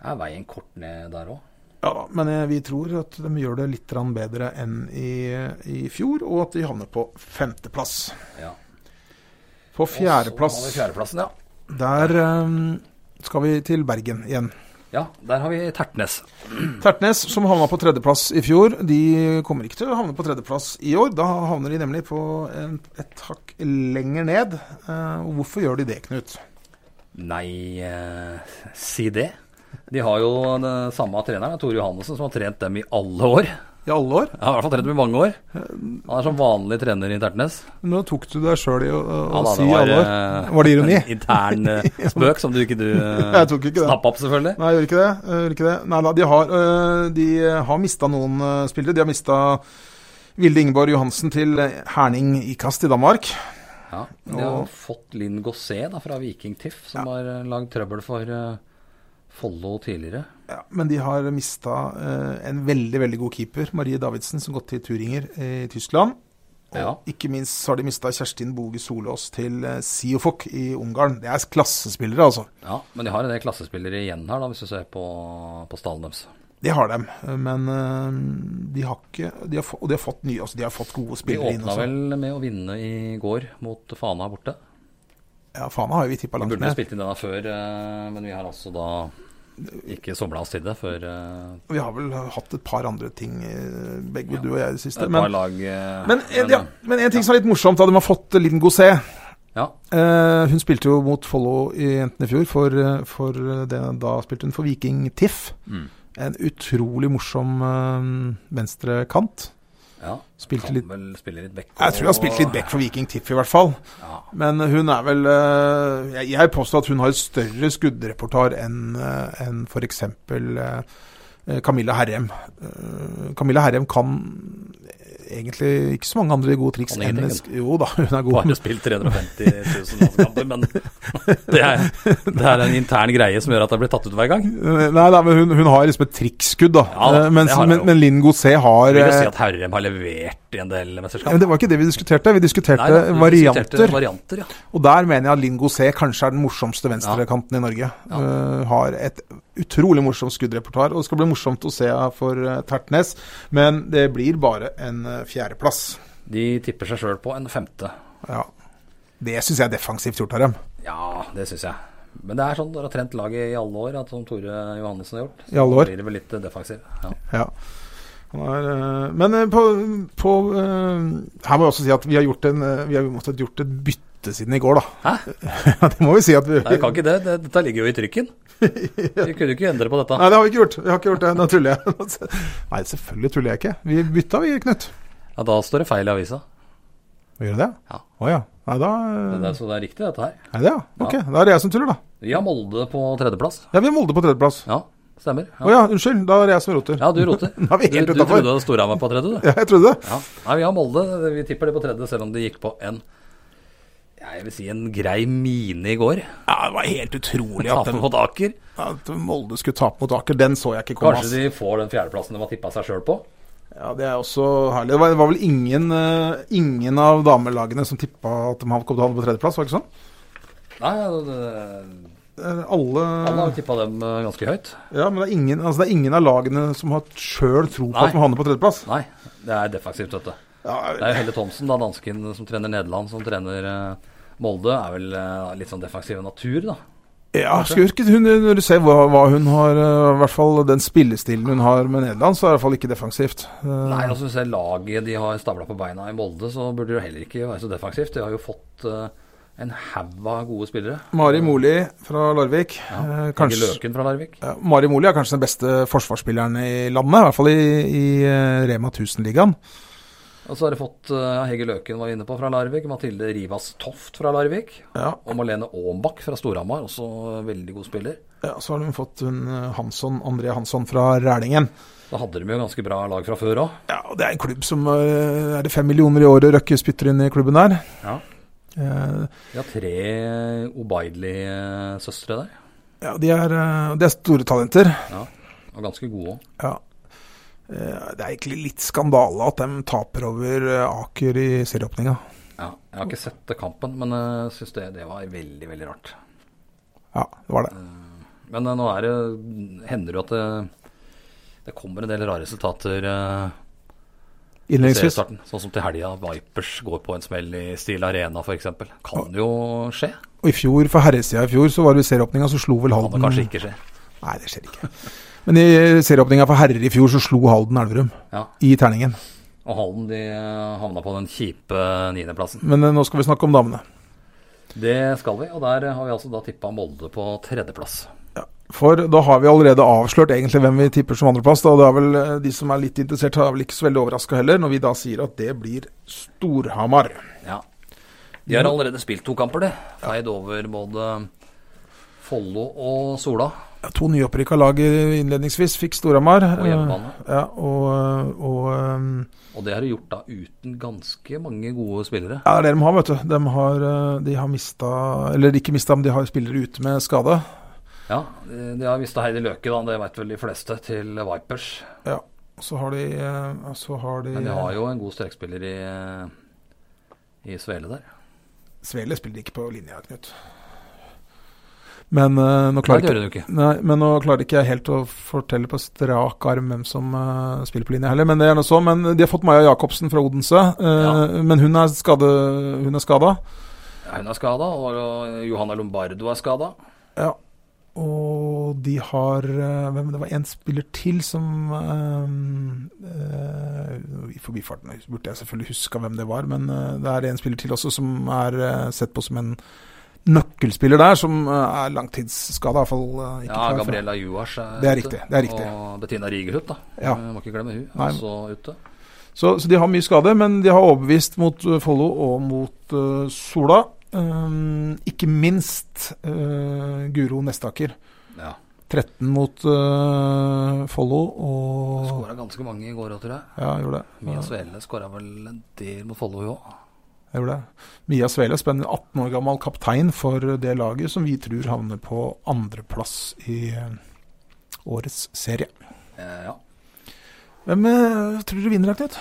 S2: er veien kort ned der òg.
S3: Ja, da, men eh, vi tror at de gjør det litt grann bedre enn i, eh, i fjor, og at de havner på femteplass.
S2: Ja. Og
S3: På
S2: så har
S3: fjerdeplass.
S2: vi Fjerdeplassen, ja.
S3: Der eh, skal vi til Bergen igjen.
S2: ja. Der har vi Tertnes.
S3: Tertnes, som havna på tredjeplass i fjor, de kommer ikke til å havne på tredjeplass i år. Da havner de nemlig på en, et hakk lenger ned. Eh, og hvorfor gjør de det, Knut?
S2: Nei, eh, si det. De har jo den samme treneren, Tore Johannessen, som har trent dem i alle år.
S3: I alle år?
S2: Ja, I hvert fall trent dem i mange år. Han er som vanlig trener i Tertnes.
S3: Nå tok du deg sjøl i å, å
S2: Ja, da,
S3: si i alle år.
S2: eh,
S3: Var det ironi?
S2: En intern eh, spøk som du ikke du
S3: Jeg tok ikke det.
S2: snappa opp, selvfølgelig.
S3: Nei, jeg gjør ikke det. Jeg gjør ikke det. Nei da, de har, øh, de har mista noen øh, spillere. De har mista Vilde Ingeborg Johansen til øh, Herning Ikast i Danmark.
S2: Ja, men de har
S3: Og-
S2: jo fått Linn Gossé da, fra Viking Tiff, som har eh, lagd trøbbel for eh, Follo tidligere.
S3: Ja, men de har mista øh, en veldig, veldig god keeper, Marie Davidsen, som gått til Turinger i Tyskland. Og
S2: Ja.
S3: ikke minst så har de mista Kjerstin Boge Solås til øh, Siofok i Ungarn. Det er klassespillere, altså.
S2: ja, Men de har en del klassespillere igjen her, da, hvis du ser på, på stallen deres.
S3: Det har de, men øh, de har ikke de har, få- Og de har fått nye, altså de har fått gode
S2: De
S3: spillere inn.
S2: åpna
S3: Også.
S2: vel med å vinne i går mot Fana borte.
S3: Ja, Fana har jo vi tippa
S2: Vi
S3: langt
S2: burde jo
S3: ned.
S2: spilt inn denne før, eh, men vi har altså da ikke somla oss til det før eh,
S3: Og Vi har vel hatt et par andre ting, eh, begge du og jeg, i det
S2: et par
S3: siste. Men,
S2: lag eh,
S3: men, eh,
S2: men,
S3: ja, men en ting som er litt morsomt, da de har fått Linn Gosset.
S2: ja,
S3: Eh, hun spilte jo mot Follo i jentene i fjor, for, eh, for eh, det, da spilte hun for Viking TIFF.
S2: Mm.
S3: En utrolig morsom eh, venstrekant.
S2: ja.
S3: Spilte
S2: Kan
S3: litt
S2: vel spille litt back.
S3: Jeg tror hun har spilt litt back for Viking TIFF, i hvert fall.
S2: Ja.
S3: Men hun er vel eh, Jeg, jeg påstår at hun har et større skuddrepertoar enn eh, enn f.eks. eh, Camilla Herrem. Eh, Camilla Herrem kan eh, egentlig ikke så mange andre gode triks
S2: Kan
S3: enn
S2: ingenting,
S3: sk- Jo da, hun er god.
S2: Bare spilt 350 000 landskamper, men det er, det er en intern greie som gjør at det blir tatt ut hver gang.
S3: Eh, Nei, nei, men hun, hun har liksom et triksskudd, da.
S2: Ja da,
S3: Eh, mens,
S2: det har hun
S3: men,
S2: jo.
S3: men Linn Gosset har
S2: Jeg vil jo
S3: eh,
S2: si at Herrem har levert i en del
S3: ja, men
S2: mesterskap.
S3: Det var ikke det vi diskuterte, vi diskuterte
S2: Nei, da, vi
S3: varianter.
S2: diskuterte varianter ja.
S3: Og der mener jeg at Linn Gosset kanskje er den morsomste venstrekanten i Norge. Eh, har et utrolig morsomt skuddrepertoar, og det skal bli morsomt å se her for eh, Tertnes. Men det blir bare en eh, fjerdeplass.
S2: De tipper seg sjøl på en femte.
S3: Ja. Det syns jeg er defensivt gjort av dem.
S2: Ja, det syns jeg. Men det er sånn når du har trent laget i alle år, at som Tore Johannessen har gjort. så
S3: I alle år.
S2: Blir det vel litt defensiv. Ja.
S3: Ja. Han er, eh, men eh, på, på eh, Her må jeg også si at vi har gjort, en, eh, vi har jo måttet gjort et bytte siden i går, da.
S2: Hæ?
S3: Ja, det må vi si at vi
S2: Nei, jeg kan ikke det. det. Dette ligger jo i trykken. Vi kunne ikke endre på dette.
S3: Nei, det har vi ikke gjort. Vi har ikke gjort det. Nå tuller jeg. Altså, Nei, selvfølgelig tuller jeg ikke. Vi bytta, vi, Knut.
S2: Ja, da står det feil i avisa.
S3: Gjør det det?
S2: Ja.
S3: Å ja. Nei, da
S2: Det er, så det er riktig, dette her.
S3: Er det, ja? Ok, da er det jeg som tuller, da.
S2: Vi har Molde på tredjeplass.
S3: Ja, vi har Molde på tredjeplass. Å
S2: Ja, stemmer.
S3: ja. unnskyld. Da er det jeg som roter.
S2: Ja, du roter.
S3: Da er vi helt
S2: du, du
S3: utenfor.
S2: trodde Storhamar på tredje, du.
S3: Ja, jeg trodde det.
S2: Ja. Nei, vi har Molde. Vi tipper det på tredje, selv om det gikk på en jeg vil si en grei mine i går.
S3: Ja, det var helt utrolig at,
S2: Tape mot Aker.
S3: de- at Molde skulle tape mot Aker. Den så jeg ikke komme.
S2: Kanskje
S3: ass.
S2: de får den fjerdeplassen de har tippa seg sjøl på.
S3: Ja, det er også herlig. Det var, det var vel ingen, eh, ingen av damelagene som tippa at de hadde kommet til å havne på tredjeplass, var det ikke sånn?
S2: Nei, det-
S3: Eh,
S2: alle har
S3: Alle
S2: tippa dem eh, ganske høyt.
S3: Ja, men det er ingen, altså det er ingen av lagene som har sjøl tro på
S2: Nei.
S3: at de havner på tredjeplass.
S2: Nei, det er defensivt, vet du. Det
S3: Ja,
S2: er jo Helle Thomsen, da, dansken som trener Nederland, som trener eh, Molde, er vel eh, litt sånn defensiv av natur, da.
S3: Ja, skurken. Hun, når du ser hva, hva hun har eh, I hvert fall den spillestilen hun har med Nederland, så er det i hvert fall ikke defensivt. Eh,
S2: Nei, altså hvis jeg laget de har stabla på beina i Molde, så burde det jo heller ikke være så defensivt. De har jo fått eh, en haug av gode spillere.
S3: Mari Moli fra Larvik.
S2: Kanskje
S3: eh, kanskje,
S2: Løken fra Larvik.
S3: ja, Mari Moli er kanskje den beste forsvarsspilleren i landet, i hvert fall i, i eh, Rema 1000-ligaen.
S2: Og så har de fått eh, Hege Løken var inne på fra Larvik, Mathilde Rivas Toft fra Larvik.
S3: Ja.
S2: Og Malene Aanbakk fra Storhamar, også eh, veldig god spiller.
S3: ja, så har hun fått hun eh, Hansson, André Hansson fra Rælingen.
S2: Da hadde de jo ganske bra lag fra før òg.
S3: Ja, og Det er en klubb som eh, er det fem millioner i året Røkke spytter inn i klubben der.
S2: Ja.
S3: Eh,
S2: De har tre Obaidli-søstre der,
S3: Ja, de er, eh, de er store talenter.
S2: og ganske gode òg.
S3: Ja. Eh, Det er egentlig litt skandale at de taper over eh, Aker i serieåpninga.
S2: Ja, jeg har ikke sett kampen, men jeg syns det, det var veldig, veldig rart.
S3: Ja, det var det.
S2: Men eh, nå er det, hender det jo at det, det kommer en del rare resultater eh, i
S3: Innledningsvis.
S2: seriestarten. Sånn som til helga, Vipers går på en smell i Steel Arena f.eks. Kan jo skje.
S3: Og i fjor, for herresida i fjor, så var det i serieåpninga, så slo vel
S2: Kan det
S3: Halden
S2: kanskje ikke skje.
S3: Nei, det skjer ikke. Men i serieåpninga for herrer i fjor, så slo Halden Elverum
S2: Ja.
S3: i terningen.
S2: Og Halden de eh, havna på den kjipe niendeplassen.
S3: Men eh, nå skal vi snakke om damene.
S2: Det skal vi, og der har vi altså da tippa Molde på tredjeplass.
S3: For da har vi allerede avslørt egentlig hvem vi tipper som andreplass. Da. Det er vel eh, De som er litt interessert, er vel ikke så veldig overraska heller, når vi da sier at det blir Storhamar.
S2: Ja. De har allerede spilt to kamper, de. Feid over både Follo og Sola.
S3: Ja, To nyopprykka lag i- innledningsvis fikk Storhamar.
S2: På hjemmebane.
S3: Eh, Ja, og, og eh,
S2: Og det har de gjort da uten ganske mange gode spillere.
S3: Ja, det er det de har, vet du. De har, eh, de har mista Eller ikke mista, men de har spillere ute med skade.
S2: Ja, de de har mista Heidi Løke, da. Det veit vel de fleste, til Vipers.
S3: Ja. Og så har de, eh, så har de,
S2: Men de har jo en god strekspiller i, i Svele der.
S3: Svele spiller ikke på linja, Knut. Men eh, nå
S2: Nei,
S3: klarer
S2: det
S3: ikke
S2: gjør de jo ikke.
S3: Nei, men nå klarer ikke jeg helt å fortelle på strak arm hvem som eh, spiller på linja heller. Men det er noe så, men de har fått Maja Jacobsen fra Odense, eh,
S2: Ja.
S3: men hun er, skade, hun er skada.
S2: Ja, Hun er skada, og Johanna Lombardo er skada.
S3: Ja. Og de har eh, hvem, Det var en spiller til som eh, eh, I forbifarten burde jeg selvfølgelig huska hvem det var, men eh, det er en spiller til også som er eh, sett på som en nøkkelspiller der, som eh, er langtidsskada. Iallfall uh, ikke
S2: Ja,
S3: klar for-
S2: Gabriella Juars er,
S3: Det er
S2: ute.
S3: riktig, det er riktig.
S2: Og Bettina Rigerhut, da.
S3: Ja.
S2: Eh, Må ikke glemme hun,
S3: Nei.
S2: også ute.
S3: Så, så de har mye skade, men de har overbevist mot eh, Follo og mot eh, Sola. Eh, ikke minst eh, Guro Nestaker.
S2: Ja.
S3: 13 mot eh, Follo og
S2: Skåra ganske mange i går òg, tror jeg.
S3: Ja, jeg gjorde det.
S2: Mia Svele skåra vel en del mot Follo, hun òg.
S3: Jeg gjorde det. Mia Svele, spennende 18 år gammel kaptein for det laget som vi tror havner på andreplass i eh, årets serie.
S2: Eh, ja.
S3: Hvem eh, tror du vinner, Knut?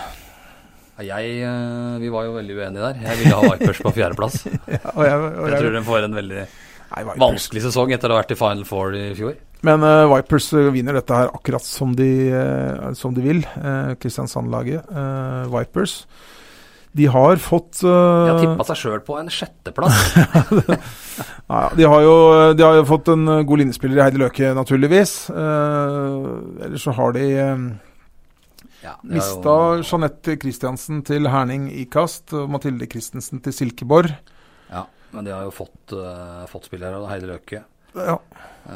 S2: Jeg, eh, vi var jo veldig uenige der. Jeg ville ha Vipers på fjerdeplass. Jeg
S3: Ja, og jeg, og
S2: tror de får en veldig
S3: Nei, Vipers.
S2: vanskelig sesong etter å ha vært i Final Four i fjor.
S3: Men eh, Vipers eh, vinner dette her akkurat som de, eh, som de vil. eh, Kristiansand-laget, eh, Vipers. De har fått
S2: De har
S3: eh,
S2: tippa seg sjøl på en sjetteplass.
S3: Ja, ja, de, har jo, de har jo fått en eh, god linjespiller i Heidi Løke, naturligvis. Eh, ellers så har de eh,
S2: Ja, det er
S3: mista
S2: jo-
S3: Jeanette Christiansen til Herning Ikast og Mathilde Christensen til Silkeborg.
S2: Ja, men de har jo fått, eh, fått spillere, og Heidi Løke.
S3: Ja,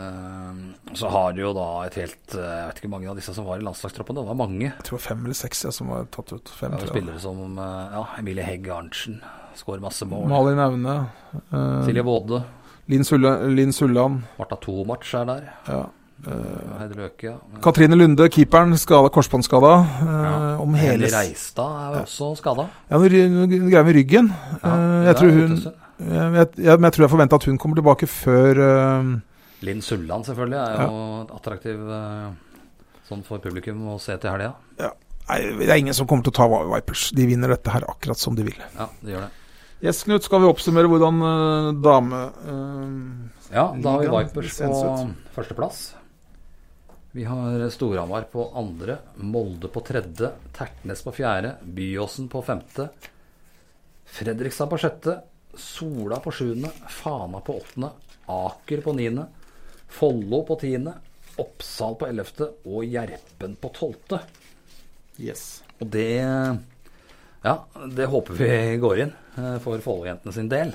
S2: Eh, så har de jo da et helt eh, Jeg vet ikke hvor mange av disse som var i landslagstroppen. Det var mange.
S3: jeg tror fem eller seks ja, som var tatt ut. Fem,
S2: Det var jo
S3: tror jeg.
S2: spillere som eh, ja, Emilie Hegg Arntzen skårer masse mål.
S3: Malin Aune. eh,
S2: Silje Både.
S3: Linn Sulla- Linn Sulland.
S2: Marta Tomatch er der. Eh,
S3: Ja.
S2: Heidi Løke, ja.
S3: Katrine Lunde, keeperen, skada, korsbåndskada. eh,
S2: Ja.
S3: Om hele
S2: Henny
S3: s-
S2: Reistad er jo også skada.
S3: Ja, noe, ry- noe greier med ryggen. Eh, jeg, tror hun, jeg, jeg, jeg, men jeg tror jeg forventa at hun kommer tilbake før eh,
S2: Linn Sulland selvfølgelig er jo attraktiv eh, sånn for publikum å se til helga.
S3: Nei, det er ingen som kommer til å ta Vipers. De vinner dette her akkurat som de vil.
S2: Ja, det gjør det.
S3: Yes, Knut, skal vi oppsummere hvordan eh, dame... eh,
S2: Ja, da har vi
S3: Ligaen
S2: Vipers
S3: ser
S2: på
S3: sånn
S2: førsteplass. Vi har Storhamar på andre, Molde på tredje, Tertnes på fjerde, Byåsen på femte, Fredrikstad på sjette, Sola på sjuende, Fana på åttende, Aker på niende, Follo på tiende, Oppsal på ellevte og Gjerpen på tolvte.
S4: Yes.
S2: Og det Ja, det håper vi går inn eh, for Follo-jentene sin del.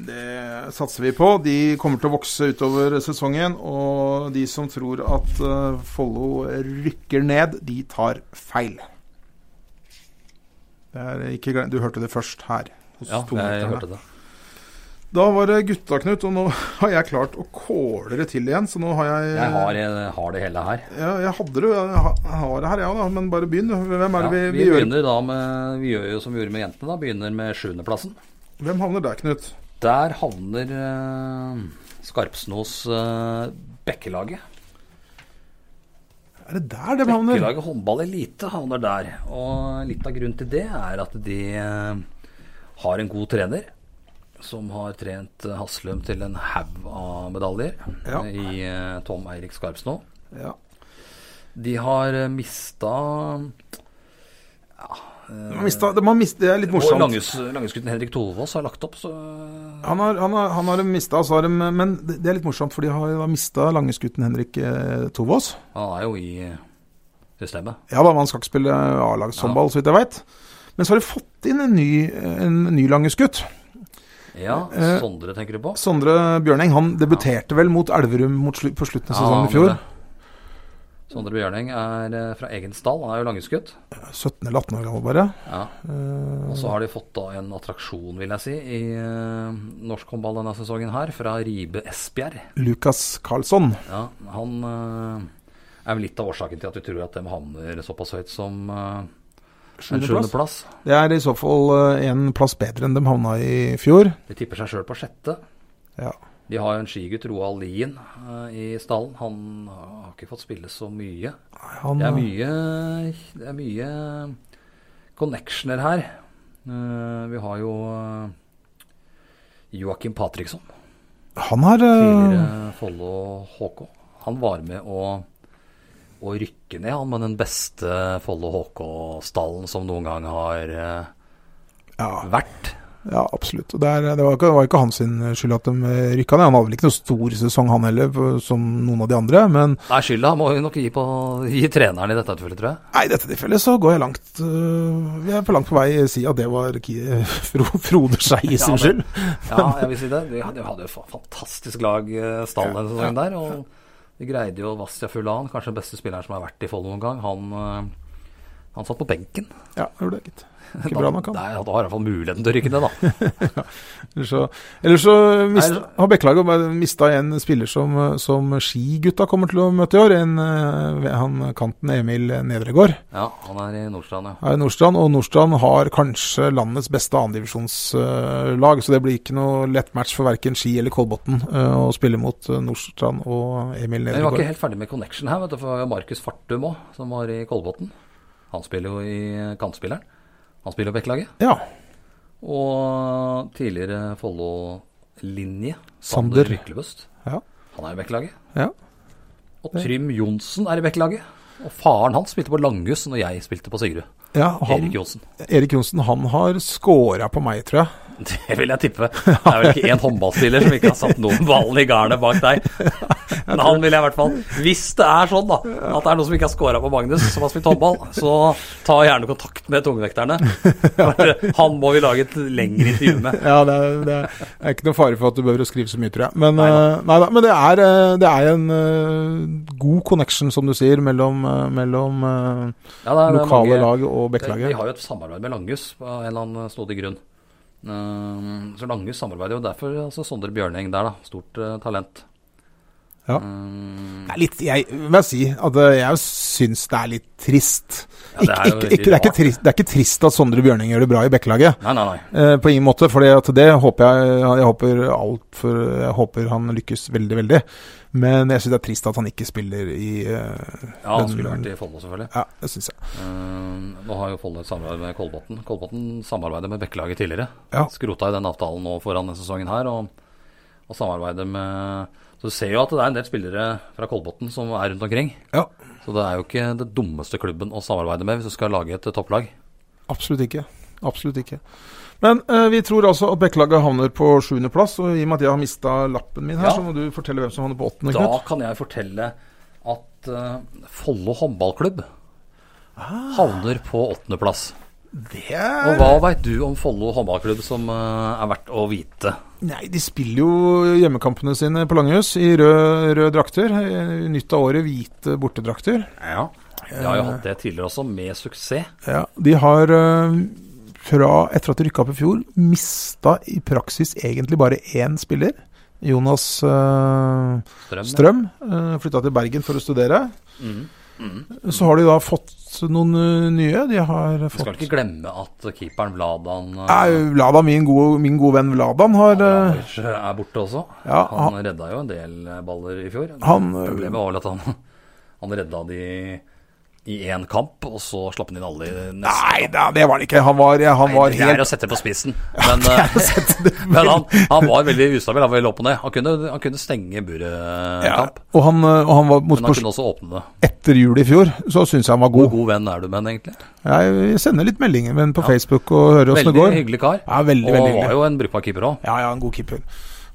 S3: Det eh, satser vi på. De kommer til å vokse utover sesongen. Og de som tror at eh, Follo rykker ned, de tar feil. Det er ikke, glem- du hørte det først her. Hos
S2: Ja, jeg
S3: tungvekterne.
S2: hørte det.
S3: Da var det gutta, Knut, og nå har jeg klart å kåle det til igjen. Så nå har jeg
S2: Jeg har, jeg har det hele her.
S3: ja, jeg hadde det, jeg har- jeg har det her, ja da. Men bare begynn, du. Hvem er
S2: Ja,
S3: det vi, vi,
S2: vi
S3: gjør?
S2: begynner da med Vi gjør jo som vi gjorde med jentene, da. Begynner med sjuendeplassen.
S3: Hvem havner der, Knut?
S2: Der havner eh, Skarpsnos eh, Bekkelaget.
S3: Er det der de havner?
S2: Bekkelaget håndball elite havner der. Og litt av grunnen til det er at de eh, har en god trener. Som har trent eh, Haslum til en haug av medaljer
S3: Ja.
S2: i eh, Tom Eirik Skarpsno.
S3: Ja.
S2: De har eh, mista
S3: De har mista, de har mist, det er litt morsomt.
S2: Og langhus- Langhussgutten Henrik Tovås har lagt opp, så
S3: Han har, han har, han har dem mista, og så har de, men det det er litt morsomt, for de har mista langeskutten Henrik eh, Tovås.
S2: han er jo i eh, systemet.
S3: Ja da, man skal ikke spille A-lagshåndball, så vidt jeg veit. Men så har de fått inn en ny, en ny langeskutt.
S2: Ja,
S3: Eh,
S2: Sondre tenker du på?
S3: Sondre Bjørneng han debuterte vel mot Elverum mot slu, på slutten av
S2: Ja,
S3: sesongen
S2: han
S3: i fjor.
S2: gjorde det. Sondre Bjørning er eh, fra egen stall, han er jo langhussgutt.
S3: 17 eller 18 år gammel, bare.
S2: Ja.
S3: Eh.
S2: Og så har de fått da en attraksjon, vil jeg si, i eh, norsk håndball denne sesongen her, fra Ribe Esbjerg.
S3: Lukas Karlsson.
S2: Ja, han eh, er vel litt av årsaken til at vi tror at de havner såpass høyt som eh, en
S3: Sjuendeplass.
S2: sjuendeplass.
S3: Det er i så fall eh, en plass bedre enn de havna i fjor.
S2: De tipper seg sjøl på sjette.
S3: Ja.
S2: De har jo en skigutt, Roald Lien, eh, i stallen. Han har ikke fått spille så mye.
S3: Han,
S2: Det er mye, det er mye connectioner her. Eh, Vi har jo eh, Joakim Patriksson,
S3: han har eh,
S2: tidligere Follo HK. Han var med å, å rykke ned, han med den beste Follo HK-stallen som noen gang har eh,
S3: ja,
S2: vært.
S3: Ja, absolutt. Og Det, er, det var, ikke, det var ikke hans sin eh, skyld at de rykka ned. Han hadde vel ikke noe stor sesong, han heller, på- som noen av de andre. Men
S2: Nei, skylda må vi nok gi, på, gi treneren i dette tilfellet, tror jeg.
S3: nei, i dette tilfellet så går jeg langt øh, Jeg er på langt på vei si at det var Ki- eh, Fro, Frode Skei sin
S2: Ja,
S3: skyld.
S2: Ja, jeg vil si det. De hadde de hadde jo fa- fantastisk lag, eh, stall den sesongen der. Og de greide jo Vastia Fulan, kanskje den beste spilleren som har vært i Follo noen gang. Han, eh, han satt på benken.
S3: Ja, gjorde det, gitt. Ikke bra nok, han.
S2: Nei, han har i hvert fall muligheten til å rykke ned, da.
S3: Ellers så, ellers så mist,
S2: Nei,
S3: har Bekkelaget bare mista en spiller som, eh, som skigutta kommer til å møte i år. En, øh, han kanten Emil Nedregård.
S2: Ja, han er i Nordstrand, ja.
S3: er Nordstrand, og Nordstrand har kanskje landets beste andredivisjonslag, så det blir ikke noe lett match for verken Ski eller Kolbotn eh, å spille mot eh, Nordstrand og
S2: Men vi
S3: Emil
S2: var ikke
S3: Nedregård.
S2: helt ferdig med connection her, vet du. For Markus Fartum òg, som var i Kolbotn. Han spiller jo i Kantspilleren. Han spiller i Bekkelaget.
S3: Ja,
S2: Og tidligere Follo-linje,
S3: Sander.
S2: Sander Myklebust.
S3: ja,
S2: Han er i Bekkelaget.
S3: ja.
S2: Og Trym Johnsen er i Bekkelaget. Og faren hans spilte på Langhus når jeg spilte på Sigrud.
S3: ja han,
S2: Erik Johnsen.
S3: Erik Johnsen, han har scora på meg, tror jeg.
S2: Det vil jeg tippe. Det er vel ikke én håndballspiller som ikke har satt noen ballen i garnet bak deg. Men han vil jeg i hvert fall Hvis det er sånn, da, at det er noen som ikke har scora på Magnus, som har spilt håndball, så ta gjerne kontakt med tungvekterne. For han må vi lage et lengre intervju med.
S3: Ja, det er, det er- det er ikke noe fare for at du behøver å skrive så mye, tror jeg. Men, eh, neida, men det, er, eh, det er en eh, god connection, som du sier, mellom, eh, mellom eh,
S2: Ja, det er- det er
S3: lokale
S2: mange-
S3: lag og
S2: Vi
S3: Bekkelaget.
S2: har jo et samarbeid med Langhus på en eller annen snodig grunn. Ehm, Så Langhus samarbeider jo derfor. Altså Sondre Bjørneng der, da. Stort eh, talent.
S3: Ja.
S2: Ehm,
S3: Det er litt, jeg vil jeg si at eh, jeg syns det er litt trist.
S2: Ja, det
S3: Ikke-
S2: er jo
S3: ikke-
S2: veldig
S3: ikke- det, er ikke
S2: rart.
S3: trist, det er ikke trist at Sondre Bjørning gjør det bra i Bekkelaget,
S2: Nei, nei, nei.
S3: eh, på ingen måte. For det håper jeg, jeg håper alt for Jeg håper han lykkes veldig, veldig. Men jeg syns det er trist at han ikke spiller i eh,
S2: Ja, han
S3: den-
S2: skulle vært i Follo, selvfølgelig.
S3: Ja, det syns jeg.
S2: Ehm, Nå har jo Follo et samarbeid med Kolbotn. Kolbotn samarbeider med Bekkelaget tidligere.
S3: Ja.
S2: Skrota jo den avtalen nå foran denne sesongen her, og, og samarbeider med Så du ser jo at det er en del spillere fra Kolbotn som er rundt omkring.
S3: Ja,
S2: Så det er jo ikke det dummeste klubben å samarbeide med hvis du skal lage et topplag.
S3: absolutt ikke. Absolutt ikke. Men eh, vi tror altså at Bekkelaget havner på sjuendeplass, og i og med at jeg har mista lappen min her,
S2: Ja.
S3: så må du fortelle hvem som havner på åttende,
S2: Da
S3: Knut.
S2: kan jeg fortelle at eh, Follo håndballklubb havner på åttendeplass.
S3: Det er
S2: Og hva veit du om Follo håndballklubb som eh, er verdt å vite?
S3: Nei, de spiller jo hjemmekampene sine på Langhus i rød, rød drakter. I Nytt av året hvite bortedrakter.
S2: Ja. Jeg har jo hatt det tidligere også, med suksess.
S3: Ja, de har eh, fra etter at de rykka opp i fjor, mista i praksis egentlig bare én spiller. Jonas eh,
S2: Strøm.
S3: Strøm uh, flytta til Bergen for å studere.
S2: Mm.
S3: Så har de da fått noen eh, nye. De har
S2: Vi skal
S3: fått
S2: ikke glemme at keeperen Vladan eh,
S3: Nei, Vladan, min gode, min gode venn Vladan, har eh,
S2: Abramovic er borte også.
S3: Ja,
S2: han, redda jo en del eh, baller i fjor.
S3: Han, eh,
S2: Problemet var vel at han, han redda de i én kamp, og så slapp han inn alle i neste.
S3: Nei da, det var han ikke. Han var, ja, han var
S2: det er
S3: helt
S2: å sette på spissen, men, eh, men han, han var veldig ustabil. Han var veldig opp og ned. Han kunne, han kunne stenge buret en
S3: ja.
S2: kamp,
S3: Og han, eh, og han var mot
S2: men han kunne også åpne det.
S3: etter jul i fjor, så syns jeg han var
S2: Hvor
S3: god.
S2: god venn er du med han egentlig?
S3: Jeg sender litt meldinger men på Facebook og hører åssen det
S2: Veldig
S3: går.
S2: hyggelig kar.
S3: Ja, veldig,
S2: og
S3: veldig
S2: var
S3: hyggelig.
S2: jo en brukbar keeper òg.
S3: Ja, ja, en god keeper.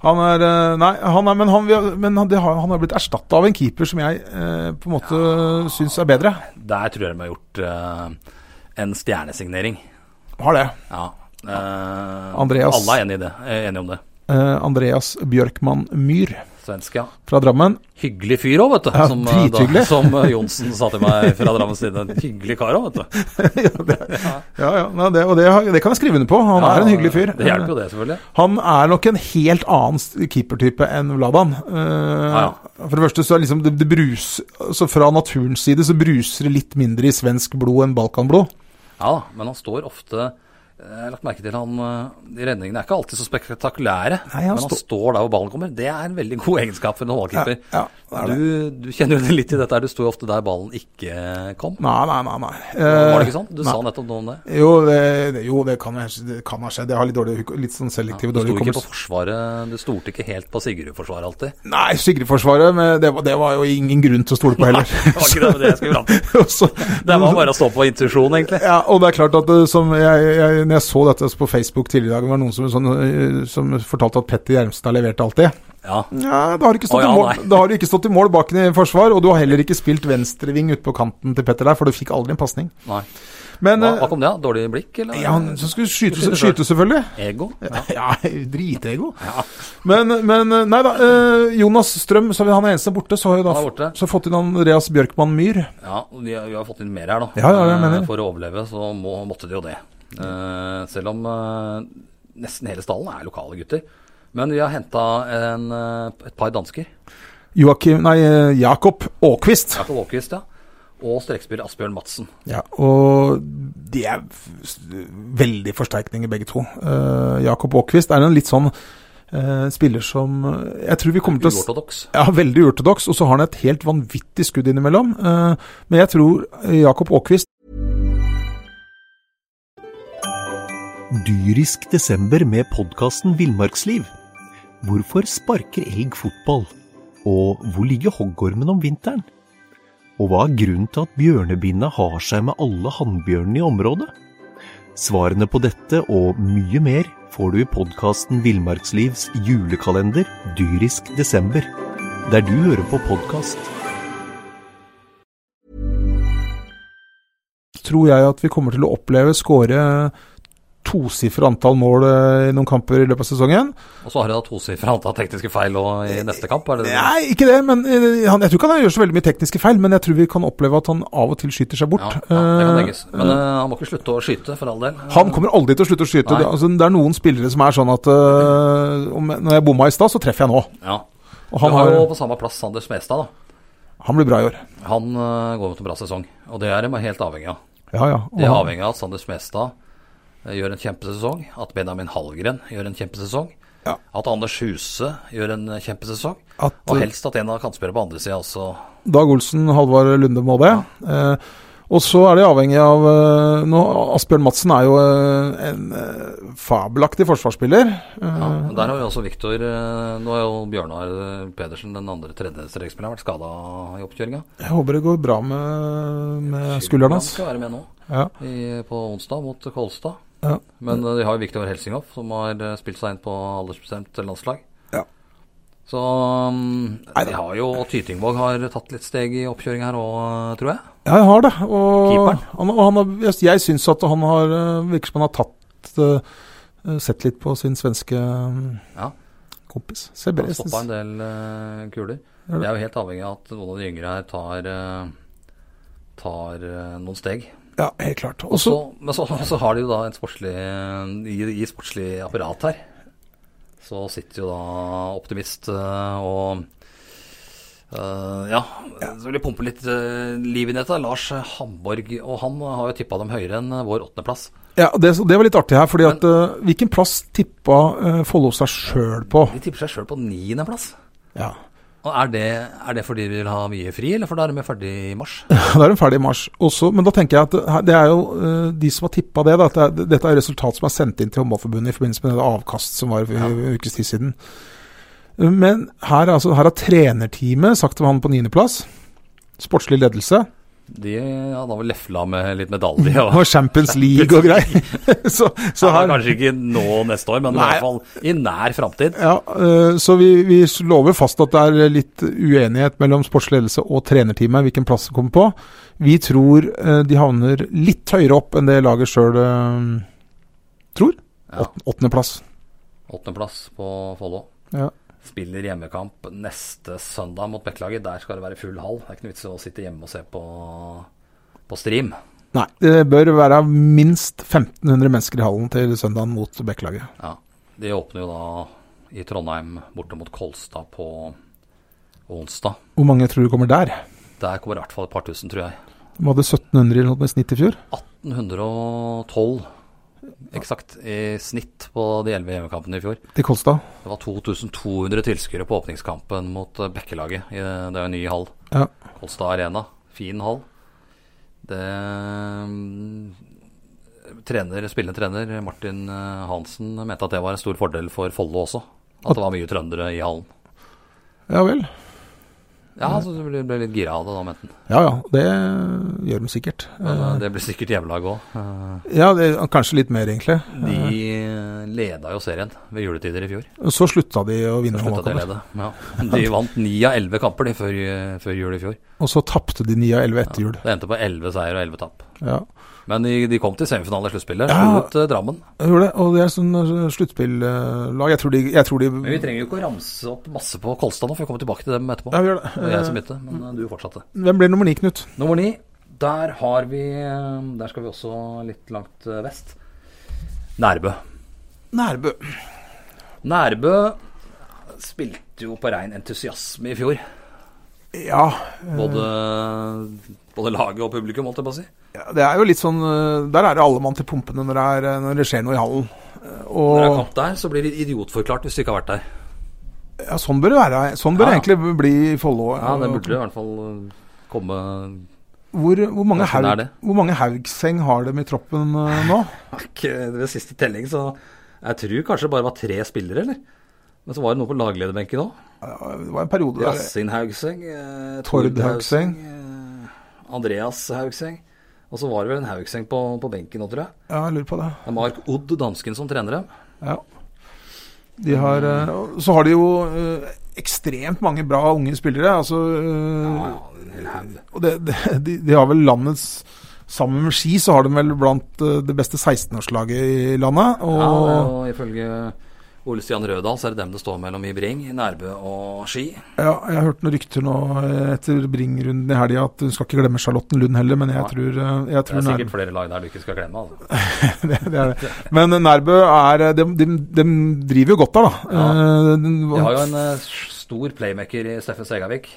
S3: Han er eh, Nei, han er, men, han, vil- men han, det har, han har blitt erstatta av en keeper som jeg eh, på en måte syns er bedre.
S2: Der tror jeg de har gjort eh, en stjernesignering.
S3: Har det.
S2: Ja. eh,
S3: Andreas.
S2: Alle er enige, i det, er enige om det.
S3: Eh, Andreas Bjørkman Myhr
S2: Svensk, ja.
S3: fra Drammen.
S2: Hyggelig fyr òg, vet du.
S3: Ja,
S2: eh,
S3: drithyggelig.
S2: som eh, Johnsen sa til meg fra Drammens side. En Hyggelig kar òg, vet du.
S3: Ja, ja, nei, det, og det, har- det kan jeg skrive under på. Han
S2: Ja,
S3: er en hyggelig fyr.
S2: Det hjelper jo det, selvfølgelig.
S3: Han er nok en helt annen s- keepertype enn Vladan. Eh,
S2: ja.
S3: For det første så er liksom det, det brus, altså Fra naturens side så bruser det litt mindre i svensk blod enn balkanblod.
S2: Ja da, men han står ofte eh, Jeg har lagt merke til han eh, De redningene er ikke alltid så spektakulære,
S3: Nei, han
S2: men han
S3: står-
S2: står der hvor ballen kommer. Det er en veldig god egenskap for en håndballkeeper.
S3: Ja, ja, det er
S2: du, du kjenner jo det litt i dette, her, du sto jo ofte der ballen ikke kom.
S3: Nei, nei, nei. nei. Eh,
S2: Var det ikke sånn? Du
S3: nei.
S2: sa nettopp noe om det.
S3: Jo, det, det- jo, det kan, jeg- det kan ha skjedd. Jeg har litt, dårlig, huk- litt sånn selektiv
S2: Du
S3: dårlig
S2: sto ikke på
S3: hukommelse.
S2: forsvaret, du stolte ikke helt på Sigurd-forsvaret alltid.
S3: Nei, Sigrid-forsvaret, men det, var- det var jo ingen grunn til å stole på heller.
S2: Det var ikke det, det jeg skulle fram til.
S3: Og så-
S2: Det var bare å stå på intuisjon, egentlig.
S3: Ja, og det er klart at eh, som jeg, jeg, når jeg så dette på Facebook tidligere i dag, var det noen som, sånn, eh, som fortalte at Petter Gjermstad leverte alltid.
S2: Ja,
S3: Ja, da har du ikke stått,
S2: Å, ja,
S3: i, mål,
S2: nei.
S3: da har du ikke stått i mål bak i forsvar, og du har heller ikke spilt venstreving ute på kanten til Petter der, for du fikk aldri en pasning.
S2: nei.
S3: Men
S2: Hva,
S3: eh,
S2: hva kom det av? Dårlig blikk, eller?
S3: ja, han som skulle skyte,
S2: Skyte
S3: skyte selvfølgelig.
S2: Ego? Ja.
S3: Ja, dritego. Men, men eh, nei da. eh, Jonas Strøm, så han er eneste borte, så har jo da
S2: Han er borte.
S3: så fått inn Andreas Bjørkman Myhr.
S2: ja vi, har, vi har fått inn mer her, da.
S3: Ja, ja, jeg mener.
S2: Eh, For å overleve så må, måtte de jo det. Eh, selv om eh, nesten hele stallen er lokale gutter. Men vi har henta et par dansker.
S3: Joakim Nei, eh, Jakob Aakvist.
S2: Jakob Aakvist, ja. Og strekspiller Asbjørn Madsen.
S3: Ja, og de er f- veldig forsterkninger, begge to. Eh, Jakob Aakvist er en litt sånn eh, spiller som eh, Jeg tror vi kommer til å s-
S2: Uortodoks.
S3: ja, Veldig uortodoks, og så har han et helt vanvittig skudd innimellom. Eh, men jeg tror eh, Jakob Aakvist
S5: Dyrisk desember med podkasten Villmarksliv. Hvorfor sparker elg fotball? Og hvor ligger hoggormen om vinteren? Og hva er grunnen til at bjørnebinna har seg med alle hannbjørnene i området? Svarene på dette og mye mer får du i podkasten Villmarkslivs julekalender Dyrisk desember, der du hører på podkast.
S3: tror jeg at vi kommer til å oppleve skåre tosifra antall mål eh, i noen kamper i løpet av sesongen.
S2: Og så har de da tosifra antall tekniske feil og i neste kamp. Er det det?
S3: Nei, ikke det, men eh, han, jeg tror ikke han gjør så veldig mye tekniske feil, men jeg tror vi kan oppleve at han av og til skyter seg
S2: Ja,
S3: bort.
S2: ja, det kan
S3: Eh,
S2: legges. Men eh, han må ikke slutte å skyte, for all del.
S3: Han kommer aldri til å slutte å skyte.
S2: Nei.
S3: Det, altså, det er noen spillere som er sånn at øh, om, Når jeg bomma i stad, så treffer jeg nå.
S2: Ja.
S3: Og
S2: Du
S3: han,
S2: har
S3: har,
S2: jo på samme plass Sander Smestad, da.
S3: han blir bra i år.
S2: Han eh, går mot en bra sesong, og det er de helt avhengig av.
S3: Ja, ja. Og
S2: De er
S3: han,
S2: avhengig av at Sander Smestad eh, gjør en kjempesesong, at Benjamin Hallgren gjør en kjempesesong,
S3: Ja.
S2: at Anders Huse gjør en eh, kjempesesong,
S3: At,
S2: og
S3: eh,
S2: helst at en av kantspillerne på andre sida også
S3: Dag Olsen, Halvard Lunde må det. Eh, og så er de avhengig av øh, nå, Asbjørn Madsen er jo øh, en øh, fabelaktig forsvarsspiller. Eh,
S2: ja, men Der har jo også Viktor eh, Nå har jo Bjørnar eh, Pedersen, den andre tredjestrekspilleren, vært skada i oppkjøringa.
S3: Jeg håper det går bra med, med skulderen
S2: Han
S3: hans.
S2: skal være med nå
S3: Ja.
S2: i, på onsdag mot Kolstad.
S3: Ja.
S2: Men eh, de har jo Viktor Helsinghoff, som har eh, spilt seg inn på aldersbestemt landslag.
S3: Ja.
S2: Så um,
S3: Neida.
S2: de har jo Og Tytingvåg har tatt litt steg i oppkjøring her òg, tror jeg.
S3: Ja, jeg har det. Og,
S2: Keeperen.
S3: han, og han har, jeg, jeg syns at han har eh, Virker som han har tatt eh, Sett litt på sin svenske eh,
S2: Ja.
S3: kompis. Ser
S2: Han
S3: bedre ut.
S2: stoppa en del eh, kuler.
S3: Ja.
S2: Jeg er jo helt avhengig av at noen av de yngre her tar, eh, tar eh, noen steg.
S3: Ja, helt klart. Og
S2: Så,
S3: så
S2: men så, så har de jo da en sportslig i, I sportslig apparat her så sitter jo da optimist eh, og eh, ja, så vil jeg pumpe litt eh, liv inn i dette. Lars Hamborg, og han har jo tippa dem høyere enn vår åttendeplass.
S3: Ja, det, så det var litt artig her, fordi
S2: Men-
S3: at eh, Hvilken plass tippa eh, Follo seg sjøl på?
S2: De tipper seg sjøl på niendeplass.
S3: Ja.
S2: Og er det, er det fordi de vil ha mye fri, eller for da er de ferdig i mars?
S3: Da er de ferdig i mars. Også, men da tenker jeg at det her- det er jo eh, de som har tippa det. Da, at det er, dette er resultat som er sendt inn til Håndballforbundet i forbindelse med det avkast som var for en ukes tid siden. Men her, altså, her har trenerteamet sagt til han på niendeplass. Sportslig ledelse.
S2: De hadde vel lefla med litt medalje. Og,
S3: Og Champions League og greier. så, så
S2: så
S3: her
S2: Kanskje ikke nå neste år, men i
S3: Nei.
S2: hvert fall i nær framtid.
S3: Ja, eh, så vi, vi lover fast at det er litt uenighet mellom sportsledelse og trenerteamet hvilken plass det kommer på. Vi tror eh, de havner litt høyere opp enn det laget sjøl eh, tror.
S2: Ja.
S3: Åt- Åttendeplass.
S2: Åttendeplass på Follo.
S3: Ja.
S2: Spiller hjemmekamp neste søndag mot Bekkelaget. Der skal det være full hall. Det er ikke noe vits i å sitte hjemme og se på, på stream.
S3: Nei, det bør være minst 1500 mennesker i hallen til søndagen mot Bekkelaget.
S2: Ja. De åpner jo da i Trondheim borte mot Kolstad på onsdag.
S3: Hvor mange tror du kommer der?
S2: Der kommer i hvert fall et par tusen, tror jeg.
S3: De hadde 1700 eller noe i snitt i fjor.
S2: 1812 eksakt i snitt på de elleve hjemmekampene i fjor.
S3: Til Kolstad.
S2: Det var 2200 tilskuere på åpningskampen mot eh, Bekkelaget. i- Det er jo en ny hall.
S3: Ja.
S2: Kolstad Arena. Fin hall. Det mm, trener, Spillende trener Martin eh, Hansen mente at det var en stor fordel for Follo også. At det var mye trøndere i hallen.
S3: ja vel.
S2: Ja, så du ble, ble litt gira av det da, mente han.
S3: Ja ja, det gjør de sikkert. Eh,
S2: Men, eh, Det blir sikkert hjemmelag òg.
S3: Ja, det, kanskje litt mer, egentlig.
S2: De eh, leda jo serien ved juletider i fjor.
S3: Så slutta de å vinne.
S2: Da
S3: når man
S2: slutta de å
S3: kommer.
S2: lede. Ja. De vant ni av elleve kamper de før, eh, før jul i fjor.
S3: Og så tapte de 9 av 11 etter jul.
S2: Det endte på elleve seier og elleve tap.
S3: Ja.
S2: Men de, de kom til semifinale i sluttspillet.
S3: Ja.
S2: Slo ut eh, Drammen.
S3: Jeg gjorde det, og det er sånn eh, sluttspillag. Jeg tror de, jeg tror de
S2: Men vi trenger jo ikke å ramse opp masse på Kolstad nå, for vi kommer tilbake til dem etterpå.
S3: Ja, vi gjør det.
S2: Det var jeg som begynte, men eh, du fortsatte.
S3: Hvem blir nummer ni, Knut?
S2: Nummer ni, der har vi eh, Der skal vi også litt langt eh, vest. Nærbø.
S3: Nærbø.
S2: Nærbø spilte jo på rein entusiasme i fjor.
S3: Ja.
S2: Både, både laget og publikum, holdt jeg på å si.
S3: Det er jo litt sånn eh, Der er det alle mann til pumpene når det, er, eh, når det skjer noe i hallen. Eh,
S2: Når det er
S3: Og
S2: kamp der, så blir det idiotforklart hvis du ikke har vært der.
S3: ja, sånn bør det være. Sånn
S2: Ja.
S3: bør det egentlig bli i Follo.
S2: Ja, det burde i hvert fall eh, komme
S3: Hvor, hvor, mange
S2: Ja, sånn er
S3: haug,
S2: det.
S3: hvor mange Haugseng har dem i troppen eh, nå?
S2: Ikke Ved siste telling, så Jeg tror kanskje det bare var tre spillere, eller? Men så var det noe på laglederbenken òg.
S3: Ja, Det var en periode der.
S2: Yasin Haugseng. eh,
S3: Tord
S2: Tord Haugseng. eh, Andreas Haugseng. Og så var det vel en Haugseng på, på benken nå, tror jeg.
S3: Ja, jeg lurer på det.
S2: Det er Mark Odd, dansken, som trener dem.
S3: Ja. De har, eh, og så har de jo eh, ekstremt mange bra unge spillere. Altså, eh,
S2: Ja, ja, en hel haug.
S3: og det, det, de, de har vel landets Sammen med Ski så har de vel blant eh, det beste 16-årslaget i landet. Og,
S2: Ja, og ifølge Ole Stian Rødahl så er det dem det står mellom i Bring, Nærbø og Ski.
S3: ja, jeg har hørt noen rykter nå eh, etter Bring-runden i helga at du skal ikke glemme Charlotten Lund heller, men jeg
S2: Nei.
S3: tror, eh, jeg
S2: Det er
S3: tror
S2: sikkert flere lag der du ikke skal glemme. Altså.
S3: det, det er det. Men Nærbø er eh, De, de, de driver jo godt der, da. Eh, den-
S2: De har jo en eh, stor playmaker i Steffen Segavik.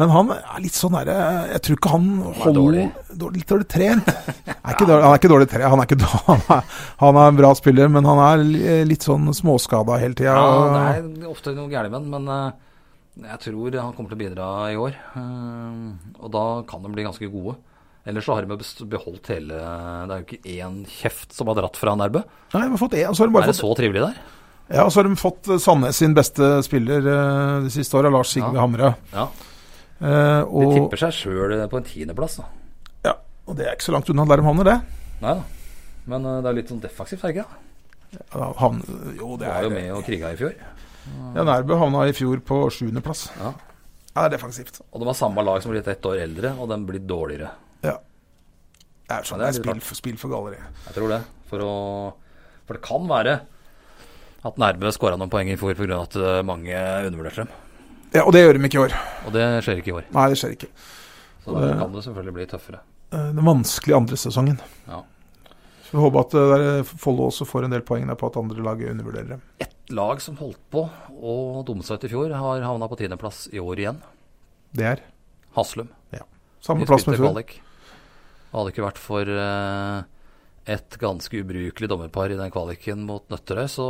S3: Men han er litt sånn derre Jeg tror ikke han holder
S2: dårlig.
S3: dårlig- Litt dårlig trent. Er ikke dårlig, han er ikke dårlig trent. Han er, ikke, dår- han, er, han er en bra spiller, men han er li- litt sånn småskada hele tida.
S2: Ja, det er ofte noe gærent med den, men eh, jeg tror han kommer til å bidra i år. Eh, og da kan de bli ganske gode. Ellers så har de best- beholdt hele Det er jo ikke én kjeft som har dratt fra Nærbø.
S3: Nei, vi har fått en, og så har de
S2: Er
S3: bare
S2: det
S3: fått,
S2: så trivelig der?
S3: ja, og så har de fått eh, Sandnes sin beste spiller eh, det siste året, Lars Sigve
S2: Ja.
S3: Hamre.
S2: Ja.
S3: Eh,
S2: De
S3: og,
S2: tipper seg sjøl på en eh, tiendeplass, da.
S3: ja, og det er ikke så langt unna der de havner, det.
S2: Nei da. Men eh, det er litt sånn defensivt, er det ikke det?
S3: Ja, Han, jo, det
S2: Du var
S3: er
S2: jo med og kriga i fjor.
S3: Ja, Nærbø havna i fjor på sjuendeplass.
S2: Ja.
S3: Ja, det er defensivt.
S2: Og de har samme lag som har blitt ett år eldre, og de blir dårligere.
S3: Ja. Det er sånn
S2: Ja, det er
S3: det er
S2: litt
S3: spill, for- spill for galleri.
S2: Jeg tror det. For, å, for det kan være at Nærbø skåra noen poeng i fjor pga. at eh, mange undervurderte dem.
S3: Ja, Og det gjør de ikke i år.
S2: Og det skjer ikke i år.
S3: Nei, det skjer ikke.
S2: Så da kan det selvfølgelig bli tøffere.
S3: Eh, Den vanskelige andre sesongen.
S2: Ja.
S3: Så Vi håper at eh, der Follo også får en del poeng der på at andre lag undervurderer dem.
S2: Et lag som holdt på å dumme seg ut i fjor, har havna på tiendeplass i år igjen.
S3: Det er
S2: Haslum.
S3: samme
S2: Vi
S3: plass som
S2: spilte
S3: i fjor.
S2: kvalik. Hadde det ikke vært for eh, et ganske ubrukelig dommerpar i den kvaliken mot Nøtterøy, så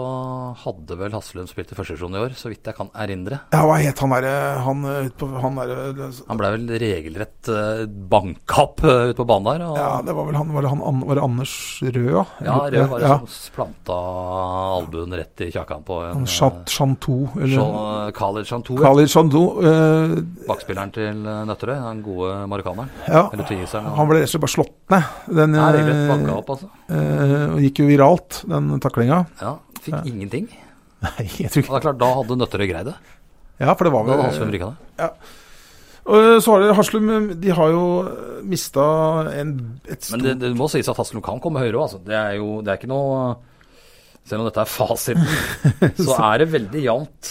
S2: hadde vel Haslum spilt i første divisjon i år, så vidt jeg kan erindre.
S3: Ja, hva het han derre Han, eh, ut på- han derre det-
S2: Han ble vel regelrett eh, banka opp eh, ute på banen der. Og,
S3: Ja, det var vel han Var det, han, An- var det Anders Røa?
S2: Ja, Rød var det
S3: ja.
S2: som planta albuen rett i kjakan på en
S3: Han Chat- Chantou, eller
S2: Jean- Khaled Chantou,
S3: Khalid Chantou. eh,
S2: bakspilleren til eh, Nøtterøy. Den gode marokkaneren.
S3: Ja,
S2: Eller tuniseren.
S3: han ble rett og slett bare slått ned. Den,
S2: Ja, regelrett
S3: eh,
S2: banka opp, altså.
S3: Eh, og gikk jo viralt, den taklinga.
S2: Ja, fikk ingenting.
S3: Nei, jeg tror
S2: Og det er klart, da hadde Nøtterøy greid det.
S3: Ja, for det var
S2: Da
S3: vel
S2: hadde Haslum rykka det.
S3: Og eh, så har dere Haslum. De har jo mista en et
S2: Men
S3: stort
S2: det, det må sies at Haslum kan komme høyere òg, altså. Det er jo det er ikke noe Selv om dette er fasiten, så er det veldig jevnt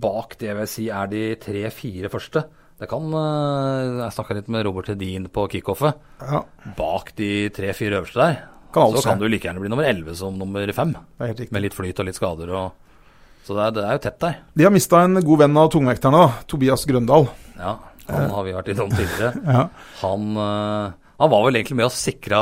S2: bak det jeg vil si er de tre-fire første. Det kan eh, Jeg snakka litt med Robert Hedin på kickoffet.
S3: Ja,
S2: Bak de tre-fire øverste der,
S3: Kan alt
S2: så kan
S3: skje.
S2: du like gjerne bli nummer elleve som nummer fem.
S3: det er helt riktig.
S2: Med litt flyt og litt skader og Så det er, det er jo tett der.
S3: De har mista en god venn av tungvekterne, da. Tobias Grøndal.
S2: Ja, han har vi vært innom tidligere.
S3: Ja.
S2: Han, eh, han var vel egentlig med og sikra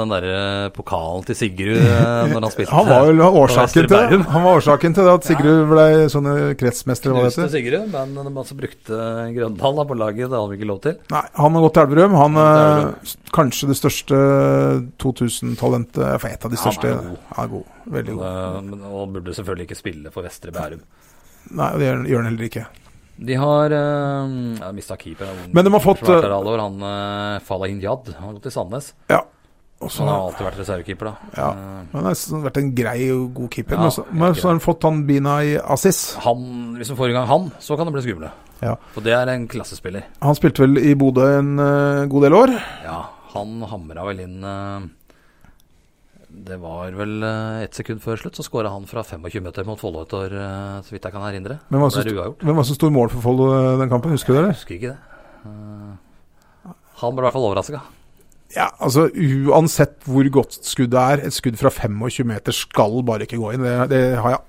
S2: den der eh, pokalen til Sigrud eh, når han spilte
S3: Han var vel årsaken
S2: på
S3: til,
S2: Vesterbærum.
S3: han var årsaken til at Sigrud ble sånn kretsmester, eller hva det
S2: Knuste
S3: heter.
S2: Sigrud, men de altså brukte Grøndal da på laget. Det hadde vi ikke lov til.
S3: Nei, han har gått til Elverum. Han
S2: Han har gått til
S3: eh, s- kanskje det største 2000-talentet For et av de
S2: Han er
S3: største.
S2: god.
S3: Han er god. Veldig god.
S2: Eh, men- Og burde selvfølgelig ikke spille for Vestre Bærum.
S3: Nei, det gjør gjør han heller ikke.
S2: De har uh, mista keeper. en ung
S3: Men de har fått,
S2: som har vært
S3: eh,
S2: der alle år. Han uh, Falah Injad han har gått til Sandnes.
S3: Ja. Og så-
S2: Så han har alltid vært reservekeeper, da.
S3: Ja.
S2: Eh,
S3: Han har nesten vært en grei og god keeper.
S2: Ja,
S3: men så, men
S2: helt
S3: så har han fått han Binay Aziz.
S2: han, hvis de får i gang han, så kan de bli skumle.
S3: Ja.
S2: For det er en klassespiller.
S3: Han spilte vel i Bodø en eh, god del år.
S2: Ja, han hamra vel inn eh, Det var vel eh, ett sekund før slutt, så skåra han fra 25 meter mot Follo et år, eh, så vidt jeg kan erindre.
S3: Men hva
S2: Det
S3: syns
S2: er
S3: du-
S2: uavgjort.
S3: Hvem var det som sto i mål for Follo eh, den kampen, husker dere?
S2: Jeg husker ikke det. Eh, han ble i hvert fall overraska.
S3: Ja, altså Uansett hvor godt skuddet er, et skudd fra 25 meter skal bare ikke gå inn. Det, det har jeg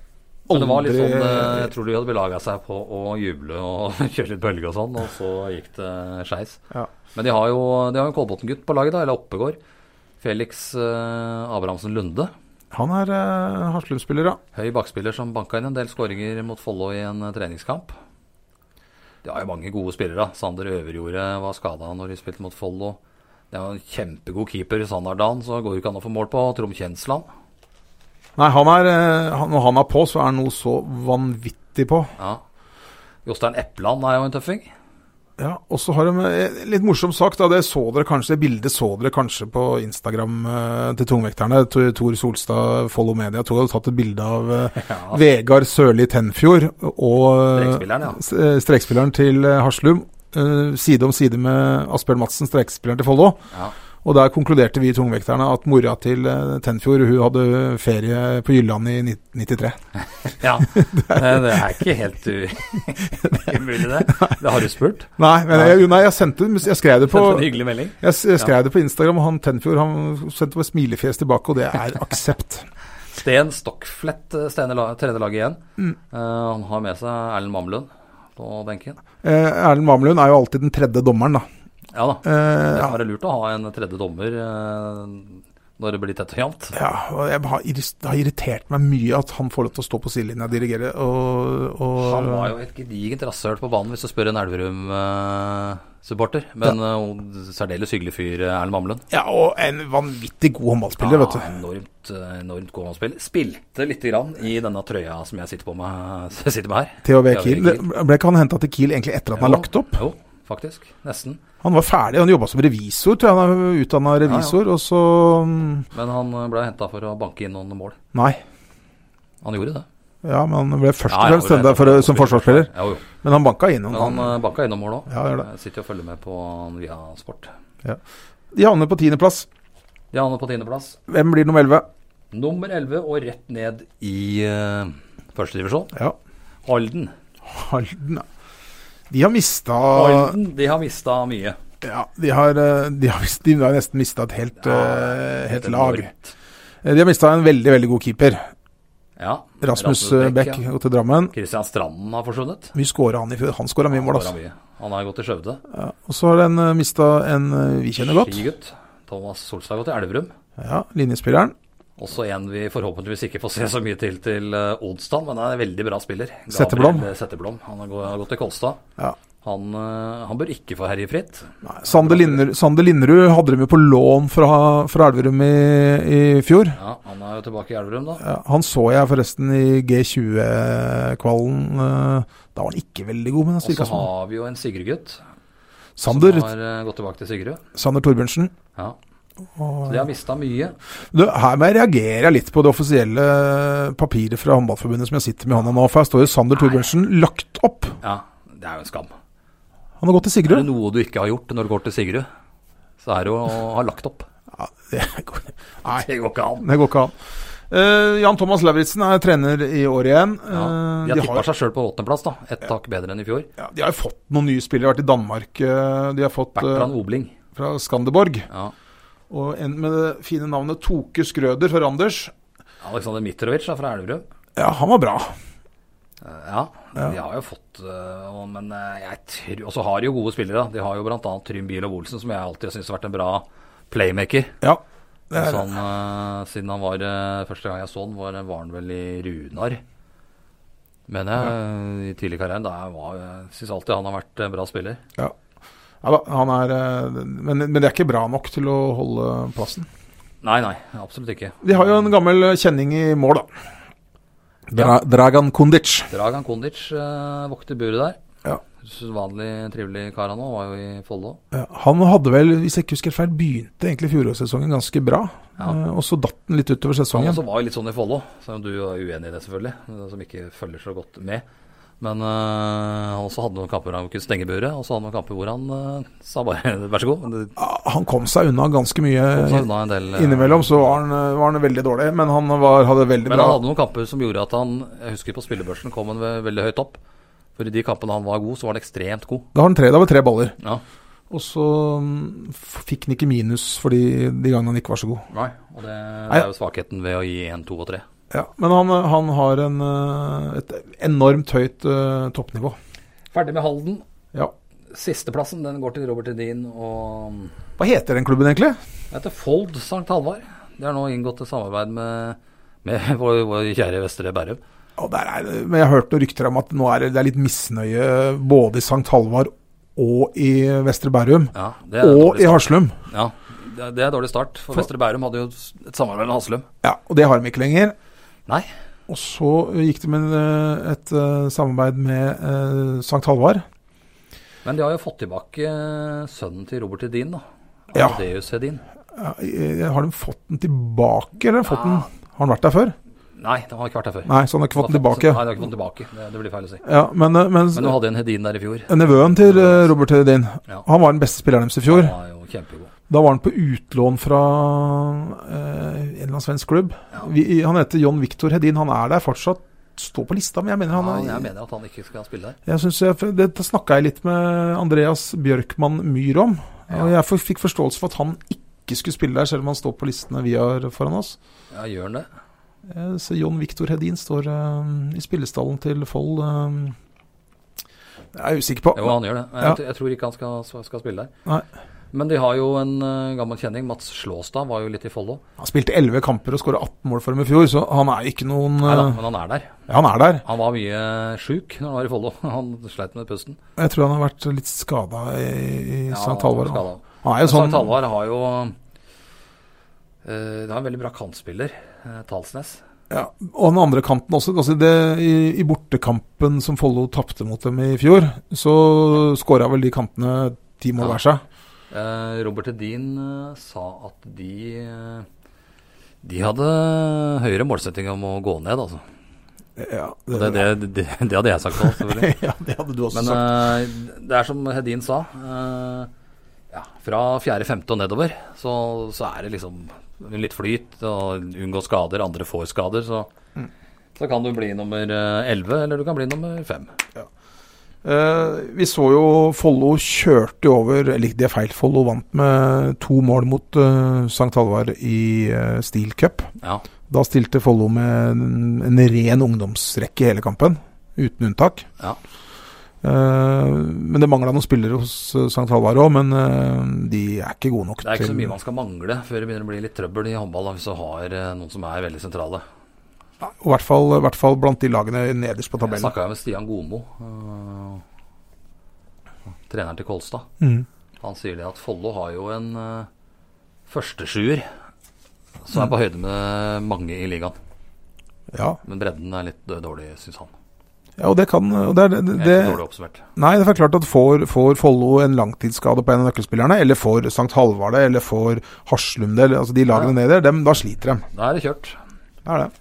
S2: Men det var
S3: aldri
S2: litt sånn eh, Jeg tror de hadde belaga seg på å juble og kjøre litt bølge og sånn, og så gikk det skeis.
S3: Ja.
S2: Men de har jo De har jo en Kolbotn-gutt på laget, da, eller Oppegård. Felix eh, Abrahamsen Lunde.
S3: Han er uh, Haslum-spiller, ja.
S2: Høy bakspiller som banka inn en del skåringer mot Follo i en eh, treningskamp. De har jo mange gode spillere. da. Sander Øverjordet var skada når de spilte mot Follo. Det er jo en kjempegod keeper i Sandardalen, så går det ikke an å få mål på. Trond Kjensland.
S3: Nei, han er, eh, han, når han er på, så er han noe så vanvittig på.
S2: Ja. Jostein Epland er jo en tøffing.
S3: Ja, og så har de eh, litt morsom sak, da. Det så dere kanskje, det bildet så dere kanskje på Instagram eh, til tungvekterne. Tor- Tor Solstad, Follo Media, tror jeg hadde tatt et bilde av eh,
S2: Ja.
S3: Vegard Sørli Tenfjord og eh,
S2: Strekspilleren, ja.
S3: s- eh, strekspilleren til eh, Haslum. eh, Side om side med Asbjørn Madsen, strekspilleren til Follo.
S2: Ja.
S3: Og der konkluderte vi tungvekterne at mora til eh, Tenfjord hun hadde ferie på Jylland i 1993.
S2: Ja, eh, det er ikke helt u- umulig, det. Det har du spurt.
S3: Nei, men jeg, jo, nei, jeg sendte jeg skrev det
S2: På,
S3: på
S2: en hyggelig melding.
S3: Jeg, s- jeg skrev det på Instagram, og han Tenfjord han sendte meg smilefjes tilbake, og det er aksept.
S2: Sten Stokkflett eh, stener la- trener laget igjen.
S3: Mm.
S2: Eh, han har med seg Erlend Mamlund på benken.
S3: Eh, Erlend Mamelund er jo alltid den tredje dommeren, da.
S2: Ja da.
S3: Eh,
S2: Det
S3: ja,
S2: kan være lurt å ha en tredje dommer eh, når det blir tett og jevnt.
S3: ja, og jeg har, irris- det har irritert meg mye at han får lov til å stå på sidelinja og dirigere, og, og
S2: Han var jo et gedigent rasshøl på banen, hvis du spør en Elverum-supporter. Men eh, særdeles hyggelig fyr, eh, Erlend Mamlund.
S3: Ja, og en vanvittig god håndballspiller, vet du.
S2: enormt, eh, enormt god håndspill. Spilte lite grann i denne trøya som jeg sitter, på med, som jeg sitter med her.
S3: THV
S2: THV
S3: Kiel.
S2: Kiel.
S3: Det- Ble ikke han henta til Kiel egentlig etter at han er
S2: Jo,
S3: lagt opp?
S2: Jo, faktisk. Nesten.
S3: Han var ferdig, han jobba som revisor, tror jeg. Han er utdanna revisor, og så mm,
S2: Men han eh, ble henta for å banke inn noen mål.
S3: Nei.
S2: Han gjorde det.
S3: Ja, men han ble først
S2: Ja,
S3: og
S2: ja,
S3: fremst henta for- som forsvarsspiller.
S2: Ja, jo.
S3: Men han banka inn
S2: Men
S3: noen.
S2: han eh, banka innom mål òg.
S3: Ja, gjør det.
S2: Sitter og følger med på han via sport.
S3: De havner på tiendeplass.
S2: De havner på tiendeplass.
S3: Hvem blir nummer elleve?
S2: Nummer 11 og rett ned i uh, førstedivisjon.
S3: Ja,
S2: Halden.
S3: Halden, ja. De har mista
S2: Halden de har mista mye.
S3: Ja, de har, eh, de har, mist- de har nesten mista et helt, eh, helt lag.
S2: Enormt.
S3: Eh, De har mista en veldig, veldig god keeper.
S2: Ja.
S3: Rasmus eh, Beck
S2: ja.
S3: går til Drammen.
S2: Christian Stranden har forsvunnet.
S3: Vi skåra han i fjor. Han skåra mye mål,
S2: Han
S3: altså.
S2: har mye. Han har gått til Skjøvde.
S3: Ja, og så har den eh, mista en eh, vi kjenner godt.
S2: Skigutt. Thomas Solstad har gått til Elverum.
S3: Ja, linjespilleren.
S2: Også en vi forhåpentligvis ikke får se så mye til til eh, Odstad, men er en veldig bra spiller. Gabriel
S3: Setteblom.
S2: Setteblom. Han har gå- har gått til Kolstad.
S3: Ja.
S2: Han, eh, han bør ikke få herje fritt.
S3: Nei, Sander, Linder, Sander Linderud hadde dem jo på lån fra, fra Elverum i, i fjor.
S2: Ja, han er jo tilbake i Elverum, da.
S3: Ja, han så jeg forresten i G20-kvalen. eh, Da var han ikke veldig god, men han
S2: Og så
S3: styrka som
S2: har vi jo en Sigurd-gutt
S3: Sander,
S2: som har eh, gått tilbake til Sigrud.
S3: Sander Torbjørnsen.
S2: Ja.
S3: Og-
S2: Så de har mista mye.
S3: Du, her må jeg reagere litt på det offisielle papiret fra Håndballforbundet som jeg sitter med i hånda nå. For her står jo Sander Torbjørnsen lagt opp.
S2: Ja, det er jo en skam.
S3: Han har gått til
S2: Er det
S3: Sigrud.
S2: noe du ikke har gjort når du går til Sigrud, så er det jo å ha lagt opp.
S3: Ja, det går,
S2: Det går ikke an.
S3: det går ikke an. Eh, Jan Thomas Lauritzen er trener i år igjen. Eh,
S2: Ja, de har
S3: de,
S2: tippa
S3: har,
S2: seg sjøl på åttendeplass, da. Ett tak bedre enn i fjor.
S3: ja, de har jo fått noen nye spillere. Vært i Danmark. eh, De har fått eh,
S2: Bertrand Obling.
S3: fra Skanderborg.
S2: Ja.
S3: Og en med det fine navnet Toke Skrøder fra Randers.
S2: Aleksander Mitrovic er fra Elverum.
S3: Ja, han var bra.
S2: Eh, Ja, de har jo fått eh, og- Men eh, jeg tror Og så har de jo gode spillere. da. De har jo bl.a. Trym Biel og Olsen, som jeg alltid syns har vært en bra playmaker.
S3: Ja, det er,
S2: Så han, eh, siden han var eh, Første gang jeg så han, var, var han vel i Runar. Men jeg, eh, i tidlig karriere da var- jeg syns alltid han har vært en bra spiller.
S3: ja. Ja da, han er, eh, men, men det er ikke bra nok til å holde plassen.
S2: Nei, nei, absolutt ikke.
S3: De har jo en gammel kjenning i mål, da. Dra Dragan Kundic.
S2: Dragan Kondic eh, vokter buret der.
S3: Ja.
S2: Vanlig trivelig kar han òg, var jo i Follo.
S3: Ja, Han hadde vel, hvis jeg ikke husker helt feil, begynte egentlig fjorårssesongen ganske bra.
S2: Ja.
S3: Eh, Og så datt den litt utover
S2: Han
S3: sesongen.
S2: også var jo litt sånn i Follo, selv om du er uenig i det, selvfølgelig. eh, Som ikke følger så godt med. Men øh, han også hadde noen kamper hvor han kunne stenge buret, og så hadde han noen kamper hvor han øh, sa bare vær så god. Det
S3: Ja, Han kom seg unna ganske mye.
S2: kom seg unna en del. øh.
S3: Innimellom så var han, eh, var han veldig dårlig, men han var, hadde veldig
S2: Men
S3: bra
S2: han hadde noen kamper som gjorde at han Jeg husker på spillebørsen kom han ve- veldig høyt opp. For i de kampene han var god, så var han ekstremt god.
S3: Da, var han tre, da var det tre baller.
S2: Ja,
S3: Og så mm, f- fikk han ikke minus fordi de gangene han ikke var så god.
S2: nei, Og det, det er jo svakheten ved å gi 1, 2 og 3.
S3: Ja, men han, eh, han har en, eh, et enormt høyt eh, toppnivå.
S2: Ferdig med Halden.
S3: Ja.
S2: Sisteplassen den går til Robert Edin og
S3: Hva heter den klubben egentlig?
S2: Det heter Fold Sankt Halvard. De har nå inngått et samarbeid med, med vår, vår kjære Vestre Bærum.
S3: Og der er, det- men jeg har hørt noen rykter om at nå er det, det er litt misnøye både i St. Halvard og i Vestre Bærum.
S2: Ja, det er,
S3: Og
S2: dårlig,
S3: i Haslum.
S2: start. ja, det, er- det er dårlig start, for, Vestre Bærum hadde jo et samarbeid med Haslum.
S3: Ja, og det har de ikke lenger.
S2: Nei,
S3: Og så gikk de med eh, et eh, samarbeid med eh, St. Halvard.
S2: men de har jo fått tilbake eh, sønnen til Robert Hedin, da.
S3: Ja.
S2: Amadeus Hedin.
S3: Ja, eh, har de fått den tilbake, eller har de fått den? Har den vært der før?
S2: Nei, han har ikke vært der før.
S3: Nei, så han har ikke fått den
S2: Nei,
S3: tilbake.
S2: de har ikke fått den tilbake. Det, det blir feil å si.
S3: Ja, men, eh, men
S2: Men du hadde en Hedin der i fjor.
S3: nevøen til eh, Robert Hedin,
S2: Ja.
S3: han var den beste spilleren deres i fjor.
S2: Han var jo kjempegod.
S3: Da var han på utlån fra eh, en eller annen svensk klubb. Vi, han heter John Victor Hedin. Han er der fortsatt. Står på lista, men jeg mener han
S2: Ja,
S3: er
S2: jeg mener at han ikke skal spille der.
S3: jeg synes jeg, Det snakka jeg litt med Andreas Bjørkmann Myhr om. Og jeg for, fikk forståelse for at han ikke skulle spille der, selv om han står på listene vi har foran oss.
S2: Ja, gjør han det?
S3: Eh, Så John Victor Hedin står eh, i spillestallen til Fold. eh, jeg er usikker på.
S2: Jo, han gjør det. Jeg,
S3: Ja.
S2: t- jeg tror ikke han skal, skal spille der.
S3: Nei.
S2: Men de har jo en eh, gammel kjenning. Mats Slåstad var jo litt i Follo.
S3: Han spilte 11 kamper og skåra 18 mål for dem i fjor, så han er ikke noen
S2: Nei da,
S3: eh,
S2: men han er der.
S3: ja, Han er der.
S2: Han var mye sjuk når han var i Follo. Han sleit med pusten.
S3: Jeg tror han har vært litt skada i, i
S2: Ja,
S3: St. Halvard.
S2: han var skadet.
S3: Han er
S2: Men
S3: jo sånn
S2: Sankt Halvard har jo eh, Det er en veldig bra kantspiller, eh, Talsnes.
S3: Ja, og den andre kanten også. Altså det, i, I bortekampen som Follo tapte mot dem i fjor, så skåra vel de kantene ti mål
S2: Ja.
S3: hver seg.
S2: Eh, Robert Hedin eh, sa at de eh, De hadde høyere målsetting om å gå ned, altså.
S3: Ja,
S2: Og Det, det, det, det hadde jeg sagt òg, selvfølgelig.
S3: ja, det hadde du også
S2: Men
S3: sagt.
S2: eh, det er som Hedin sa. eh, ja, fra fjerde, femte og nedover så, så er det liksom litt flyt. og Unngå skader, andre får skader. Så, så kan du bli nummer eh, elleve, eller du kan bli nummer fem.
S3: Eh, vi så jo Follo kjørte jo over Eller det er feil, Follo vant med to mål mot eh, St. Halvard i eh, Steel Cup.
S2: Ja.
S3: Da stilte Follo med en, en ren ungdomsrekke i hele kampen, uten unntak.
S2: Ja.
S3: Eh, men det mangla noen spillere hos eh, St. Halvard òg, men eh, de er ikke gode nok
S2: Det er ikke så mye man skal mangle før det begynner å bli litt trøbbel i håndball da, hvis du har eh, noen som er veldig sentrale.
S3: Nei, og I hvert fall, i hvert fall blant de lagene nederst på
S2: Jeg
S3: tabellen.
S2: snakka med Stian Gomo, eh, treneren til Kolstad.
S3: Mm.
S2: Han sier det at Follo har jo en uh, førstesjuer som er på høyde med mange i ligaen.
S3: Ja.
S2: Men bredden er litt eh, dårlig, syns han.
S3: ja, og det kan og det, er- det,
S2: Helt
S3: det,
S2: dårlig oppsummert.
S3: Nei, det er klart at får, får Follo en langtidsskade på en av nøkkelspillerne, eller får St. Halvard det, eller får Haslum det, eller- altså de lagene nede, dem, da sliter de.
S2: Da er det kjørt.
S3: Det er det.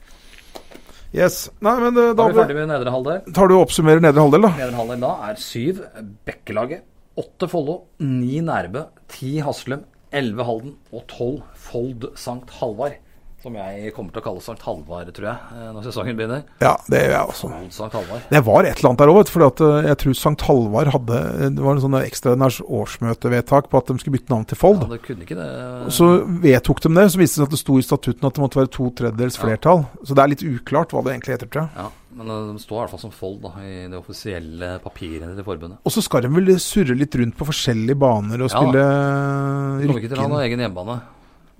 S3: Yes. Nei, men eh,
S2: Da er vi
S3: da
S2: ferdig med nedre halvdel.
S3: tar du og oppsummerer nedre halvdel, da.
S2: Nedre halvdel da er syv Bekkelaget, åtte Follo, ni Nærbø, ti Haslum, elleve Halden og tolv Fold Sankt Halvard. Som jeg kommer til å kalle Sankt Halvard, tror jeg, eh, når sesongen begynner.
S3: Ja, det gjør jeg også.
S2: Fold Sankt Halvard.
S3: Det var et eller annet der òg, for eh, jeg tror St. Halvard hadde Det var en sånn ekstraordinært årsmøtevedtak på at de skulle bytte navn til Fold.
S2: Ja, det kunne ikke det
S3: Og Så vedtok de det, så viste det seg at det sto i statutten at det måtte være to tredjedels
S2: Ja. flertall.
S3: flertall. Så det er litt uklart hva det egentlig heter, tror jeg.
S2: Ja, men eh, de står i hvert fall som fold da, i de offisielle papirene til forbundet.
S3: Og så skal de vel surre litt rundt på forskjellige baner og
S2: Ja,
S3: spille
S2: Kommer ikke til å ha
S3: Rykken.
S2: noen egen hjemmebane.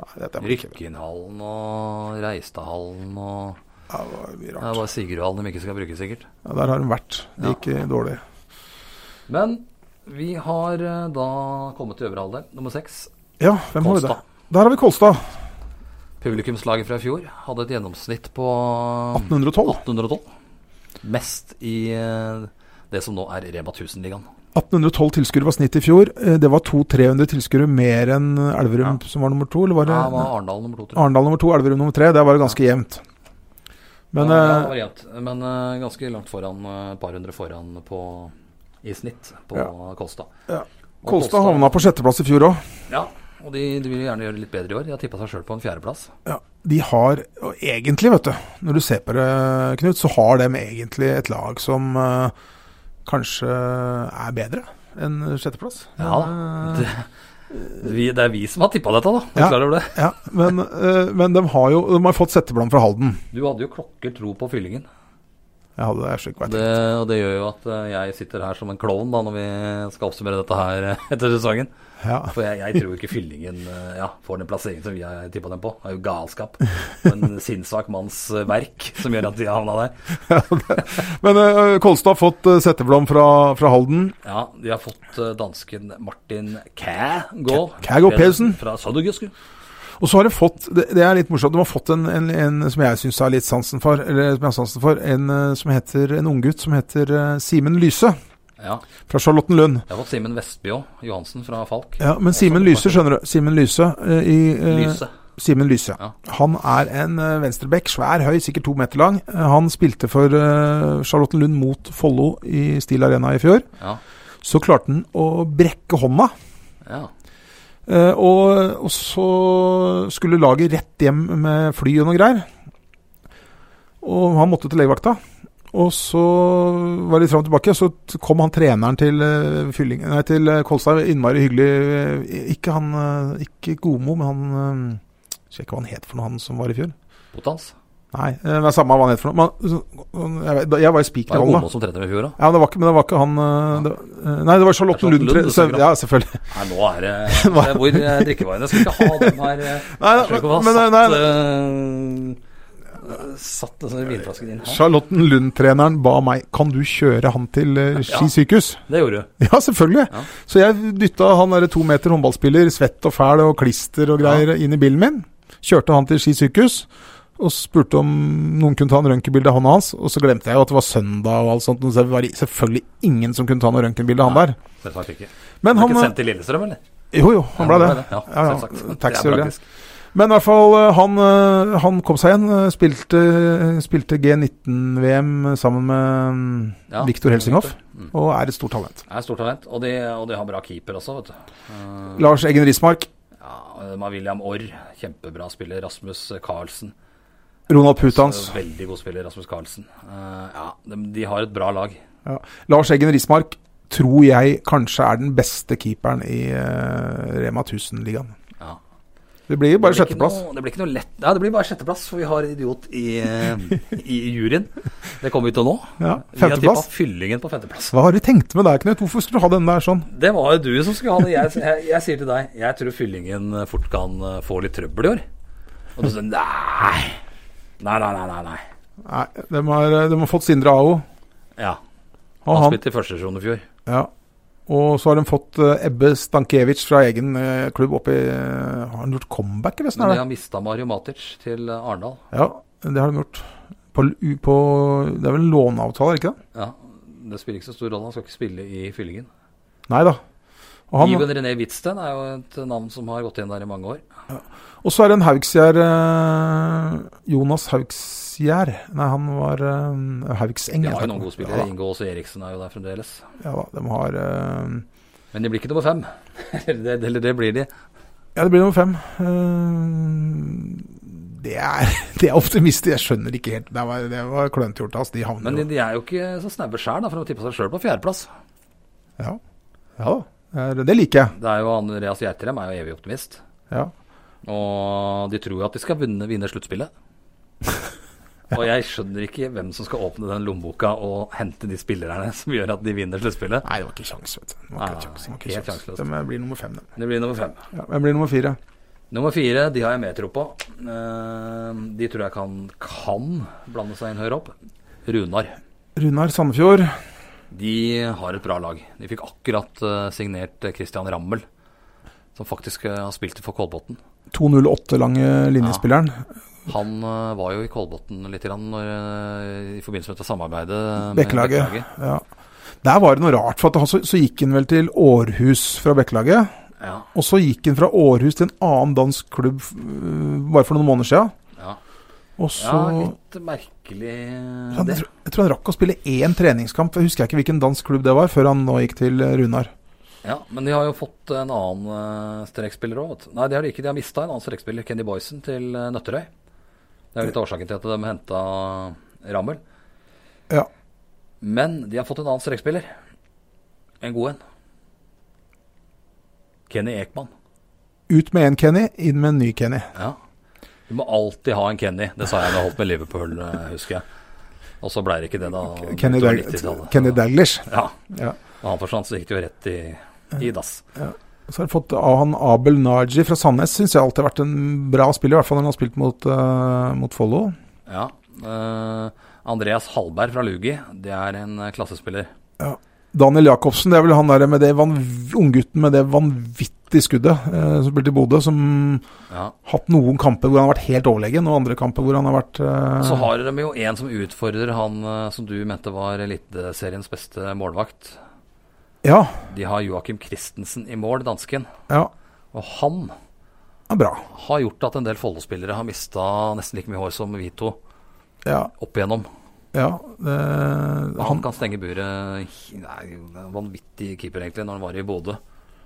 S3: Nei, dette er ikke-
S2: Rykkinhallen og Reistadhallen og
S3: Ja, det var mye
S2: Det er
S3: rart.
S2: bare Sigurdhallen de ikke skal bruke, sikkert.
S3: Ja, der har de vært. Det gikk eh, dårlig.
S2: Men vi har eh, da kommet til øvre halvdel, nummer seks.
S3: Ja, hvem har vi der?
S2: Kolstad.
S3: Der har vi Kolstad.
S2: Publikumslaget fra i fjor hadde et gjennomsnitt på Mm.
S3: 1812.
S2: 1812. Mest i eh, det som nå er Rema 1000-ligaen.
S3: 1812 tilskuere var snittet i fjor. Eh, Det var 200-300 tilskuere mer enn Elverum, som var nummer to. Eller var det
S2: Ja, det var Arendal nummer to, tror jeg.
S3: Arendal nummer to, Elverum nummer tre. Der var det ganske jevnt. Men
S2: ja, ja, det
S3: eh,
S2: var jevnt. Men eh, ganske langt foran, eh, et par hundre foran på, i snitt på Kolstad.
S3: Ja.
S2: Og
S3: Kolstad havna på sjetteplass i fjor òg.
S2: Ja, og de, de vil gjerne gjøre det litt bedre i år. De har tippa seg sjøl på en fjerdeplass.
S3: Ja, de har og egentlig, vet du, når du ser på det, Knut, så har de egentlig et lag som eh, kanskje er bedre enn sjetteplass. Eh,
S2: Ja, det, vi, det er vi som har tippa dette, da. Er du
S3: Ja.
S2: klar over det?
S3: Ja, men, eh, men de har jo de har fått settebland fra Halden.
S2: Du hadde jo klokker tro på fyllingen.
S3: Jeg hadde jeg slik vært.
S2: Det, og det gjør jo at eh, jeg sitter her som en klovn da, når vi skal oppsummere dette her eh, etter sesongen.
S3: Ja.
S2: For jeg, jeg tror ikke fyllingen eh, ja, får den plasseringen som vi har tippa dem på. Det er jo galskap. Og En sinnssvak manns eh, verk som gjør at de havna der.
S3: Men eh, Kolstad har fått uh, settebland fra, fra Halden.
S2: Ja, de har fått eh, dansken Martin Kæ gå.
S3: Kæ gå Pedersen.
S2: Fra Søndergusku.
S3: Og så har de fått, det, det er litt morsomt, de har fått en, en, en som jeg syns er litt sansen for, eller som jeg har sansen for, en, eh, som heter, en unggutt som heter eh, Simen Lyse
S2: Ja.
S3: fra Charlottenlund.
S2: Jeg har fått Simen Vestby òg. Johansen fra Falk.
S3: Ja, men Simen Lyse, skjønner du. Simen Lyse eh, i eh,
S2: Lyse.
S3: Simen Lyse.
S2: Ja.
S3: Han er en eh, venstrebekk, svær, høy, sikkert to meter lang. Eh, Han spilte for eh, Charlottenlund mot Follo i Steel Arena i fjor.
S2: Ja.
S3: Så klarte han å brekke hånda.
S2: ja.
S3: eh, Og, og så skulle laget rett hjem med fly og noe greier. Og han måtte til legevakta. Og så var det litt fram og tilbake, så t- kom han treneren til, eh, Fylling, nei, til eh, Kolstad. Innmari hyggelig. eh, Ikke han eh, Ikke Gomo, men han eh, Husker jeg ikke hva han het for noe, han som var i fjor.
S2: Potans.
S3: Nei, eh, det er samme hva han het for noe. Men, så- jeg, vet- da- jeg var i
S2: Det
S3: spiker i
S2: var jo
S3: hånda.
S2: Gomo som trente dem i fjor, da.
S3: Ja, men det var ikke, men det var ikke han eh, det, var- eh, Nei, det var Charlotte
S2: Charlotte
S3: Lund.
S2: Lund,
S3: tre-
S2: det
S3: så-
S2: snakker
S3: Ja, selvfølgelig.
S2: Nei, nå er det det er Hvor eh, drikkevarene skal ikke ha dem her. eh.
S3: Nei,
S2: Jeg skjønner ikke hva
S3: men-
S2: satt
S3: nei,
S2: eh, Satt den sånne vinflasken din her.
S3: Charlotte Lund-treneren ba meg Kan du kjøre han til eh, Ski
S2: Ja.
S3: sykehus.
S2: Det gjorde du.
S3: Ja, selvfølgelig.
S2: Ja.
S3: Så jeg dytta han derre to meter håndballspiller, svett og fæl og klister og greier, inn i bilen min. Kjørte han til Ski sykehus. og spurte om noen kunne ta en røntgenbilde av hånda hans. Og så glemte jeg jo at det var søndag og alt sånt, og så var det selvfølgelig ingen som kunne ta noe røntgenbilde av han
S2: Nei.
S3: der.
S2: Selvsagt ikke.
S3: Men
S2: Han
S3: han eh,
S2: ikke sendt til Lillestrøm, eller?
S3: Jo, jo, han ble det.
S2: Ja,
S3: Ja, ja.
S2: selvsagt.
S3: Taxi,
S2: Det er
S3: gjorde
S2: praktisk.
S3: Men i hvert fall, eh, han, eh, han kom seg igjen. eh, Spilte, spilte G19-VM sammen med mm,
S2: Ja,
S3: Viktor Helsinghoff,
S2: Mm.
S3: og er et stort talent.
S2: Det er stort talent, og de, og de har bra keeper også, vet du. Eh,
S3: Lars Eggen Rismark,
S2: ja, man William Orr, kjempebra spiller. Rasmus Carlsen.
S3: Ronald Putans.
S2: Veldig god spiller, Rasmus Carlsen. Eh, ja, de, de har et bra lag.
S3: Lars Eggen Rismark tror jeg kanskje er den beste keeperen i eh, Rema 1000-ligaen.
S2: Ja.
S3: Det blir jo bare
S2: Det blir ikke
S3: sjetteplass.
S2: noe- Det blir ikke noe lett Ja, det blir bare sjetteplass, for vi har en idiot i, eh, i juryen. Det kommer vi til nå.
S3: Ja,
S2: Vi har tippa
S3: Femteplass.
S2: fyllingen på femteplass.
S3: Hva har du tenkt med deg, Knut? Hvorfor skulle du ha den der sånn?
S2: Det var jo du som skulle ha det. Jeg, jeg, jeg sier til deg, jeg tror fyllingen eh, fort kan eh, få litt trøbbel i år. Og du sier nei. Nei, nei, nei, nei. nei.
S3: Nei, de har, de har fått Sindre Ao.
S2: Ja.
S3: Og,
S2: Han
S3: han,
S2: spilte i første divisjon i fjor.
S3: ja. og så har de fått eh, Ebbe Stankiewicz fra egen eh, klubb oppi eh, Har han gjort comeback, eller
S2: Men
S3: sånn
S2: de
S3: er det?
S2: har mista Mario Matic til eh, Arendal.
S3: Ja, det har de gjort. På, l- u- på, det er vel en låneavtale, er det ikke det?
S2: Ja, det spiller ikke så stor rolle. Han skal ikke spille i fyllingen.
S3: Nei da. Og, han,
S2: Iben René Hvitsten er jo et navn som har gått igjen der i mange år.
S3: og så er det en Haugsgjær eh, Jonas Haugsgjær Nei, han var eh, Haugseng.
S2: De har jo noen
S3: jeg snakker om.
S2: gode spillere.
S3: Ja da,
S2: Inge Aase Eriksen er jo der fremdeles.
S3: ja da, de har eh,
S2: Men de blir ikke nummer fem. Eller det, eller det blir de.
S3: Ja, det blir nummer fem. Eh, Det er, det er optimist. Jeg skjønner ikke helt. Det var, det var klønete gjort av oss. De havner
S2: Men de,
S3: jo
S2: de er jo ikke så snaue sjæl, for de tippa seg sjøl på fjerdeplass.
S3: Ja, ja da. Det er- Det liker jeg.
S2: Det er jo Andreas Gjertrem er jo evig optimist.
S3: Ja.
S2: Og de tror jo at de skal vinne, vinne sluttspillet. Og jeg skjønner ikke hvem som skal åpne den lommeboka og hente de spillerne som gjør at de vinner sluttspillet.
S3: Nei, det var ikke kjangs, vet du. Det var ikke
S2: Nei,
S3: kjangs, det var ikke
S2: Ah, helt
S3: kjangs.
S2: sjanseløst.
S3: De blir nummer fem, de.
S2: Men Det blir nummer fem.
S3: Ja, de blir nummer fire.
S2: Nummer fire, de har jeg mer tro på. Eh, De tror jeg kan, kan blande seg inn høyere opp. Runar.
S3: Runar Sandefjord.
S2: De har et bra lag. De fikk akkurat eh, signert eh, Christian Rammel, som faktisk eh, har spilt for Kolbotn.
S3: 2,08 lange linjespilleren.
S2: Han eh, var jo i Kolbotn litt grann når, eh, i forbindelse med dette samarbeidet. med
S3: Bekkelaget. Eh, Ja. Der var det noe rart. For at han, så, så gikk han vel til Århus fra Bekkelaget.
S2: Ja,
S3: Og så gikk han fra Århus til en annen dansk klubb øh, bare for noen måneder siden.
S2: ja.
S3: Og så
S2: ja, litt merkelig eh,
S3: Han,
S2: det.
S3: jeg, tror, jeg tror han rakk å spille én treningskamp, jeg husker ikke hvilken dansk klubb det var, før han nå gikk til eh, Runar.
S2: Ja, men de har jo fått en annen eh, strekspiller òg. Nei, det har de ikke. De har mista en annen strekspiller, Kenny Boysen, til eh, Nøtterøy. Det er jo litt av årsaken til at de henta Rammel.
S3: Ja.
S2: Men de har fått en annen strekspiller. En god en. Kenny Ekman.
S3: Ut med én Kenny, inn med en ny Kenny.
S2: Ja. Du må alltid ha en Kenny. Det sa jeg da jeg holdt med Liverpool, eh, husker jeg. Og så blei det ikke det, da.
S3: Kenny,
S2: utover
S3: Dag-
S2: 90-tallet.
S3: Kenny Daglish.
S2: Ja.
S3: Ja.
S2: Da han forsvant, så gikk det jo rett i, i dass.
S3: Så har han fått av han Abel Naji fra Sandnes, syns jeg alltid har vært en bra spiller, i hvert fall når han har spilt mot, eh, mot Follo.
S2: Ja. eh, Andreas Hallberg fra Lugi, det er en eh, klassespiller.
S3: Daniel Jacobsen, det er vel han der med det vanv- unggutten med det vanvittige skuddet eh, som spilte i Bodø, som
S2: Ja.
S3: hatt noen kamper hvor han har vært helt overlegen, og andre kamper hvor han har vært eh,
S2: Så har de jo en som utfordrer han eh, som du mente var Eliteseriens beste målvakt.
S3: Ja,
S2: De har Joakim Christensen i mål, dansken.
S3: ja.
S2: Og han
S3: ja, bra.
S2: har gjort at en del Follo-spillere har mista nesten like mye hår som vi to
S3: Ja,
S2: opp igjennom.
S3: ja. eh,
S2: Han
S3: han,
S2: kan stenge buret hi- Nei, det er en vanvittig keeper, egentlig, når han var i Bodø.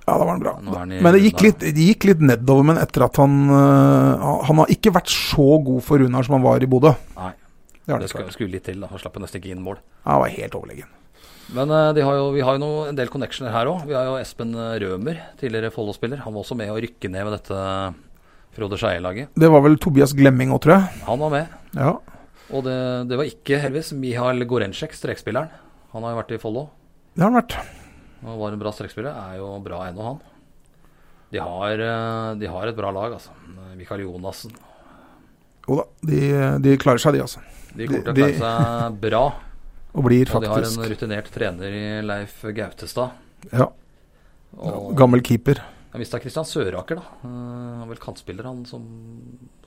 S3: Ja, da var han bra.
S2: Nå er han i
S3: men det gikk,
S2: Runar.
S3: litt, det gikk litt nedover, men etter at han øh, han- Han har ikke vært så god for Runar som han var i Bodø.
S2: Nei,
S3: Det har han
S2: det
S3: ikke
S2: skulle,
S3: vært.
S2: skulle litt til. da. Han slapp jo nesten ikke inn mål.
S3: Han var helt overlegen.
S2: Men eh, de har jo, vi har jo noe, en del connectioner her òg. Vi har jo Espen eh, Rømer, tidligere Follo-spiller. Han var også med å rykke ned med dette Frode Skeie-laget.
S3: Det var vel Tobias Glemming òg, tror jeg.
S2: Han var med.
S3: Ja.
S2: Og det, det var ikke heldigvis Mihail Gorencek, strekspilleren. Han har jo vært i Follo
S3: Det har han vært.
S2: og var en bra strekspiller. Er jo bra ennå, han. De har, eh, de har et bra lag, altså. Mikael Jonassen.
S3: Jo da, de, de klarer seg, de altså.
S2: De kommer til å
S3: De- de-
S2: klare seg bra.
S3: Og blir
S2: Og de har en
S3: faktisk
S2: rutinert trener i Leif Gautestad.
S3: ja,
S2: Og
S3: gammel keeper.
S2: ja, Jeg mista Kristian Søraker, da. Eh, vel kantspiller, han som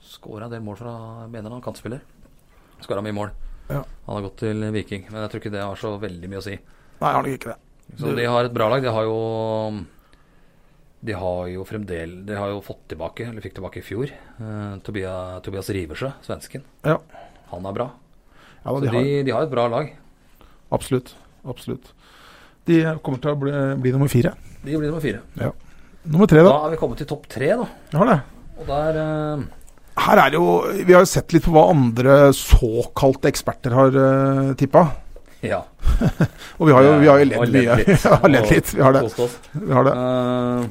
S2: skåra en del mål fra Jeg mener han kantspiller. Skåra mye mål.
S3: Ja.
S2: Han har gått til Viking, men jeg tror ikke det har så veldig mye å si.
S3: Nei, jeg har nok ikke det.
S2: Så de har et bra lag. De har jo De har jo fremdeles De har jo fått tilbake, eller fikk tilbake i fjor, eh, Tobias, Tobias Riversø, svensken.
S3: Ja,
S2: Han er bra.
S3: ja da,
S2: Så
S3: de har,
S2: de, de har et bra lag.
S3: absolutt. Absolutt. De kommer til å bli, bli nummer fire.
S2: De blir nummer fire.
S3: Nummer tre,
S2: Da
S3: da.
S2: er vi kommet til topp tre, da.
S3: Jeg har det.
S2: Og der eh,
S3: Her er det jo, Vi har jo sett litt på hva andre såkalte eksperter har uh, tippa.
S2: Ja.
S3: Og vi har jo, vi har jo
S2: Og
S3: ledd mye.
S2: litt.
S3: Vi har ledd litt. Vi har det.
S2: Og kost oss.
S3: Vi har det.
S2: Eh,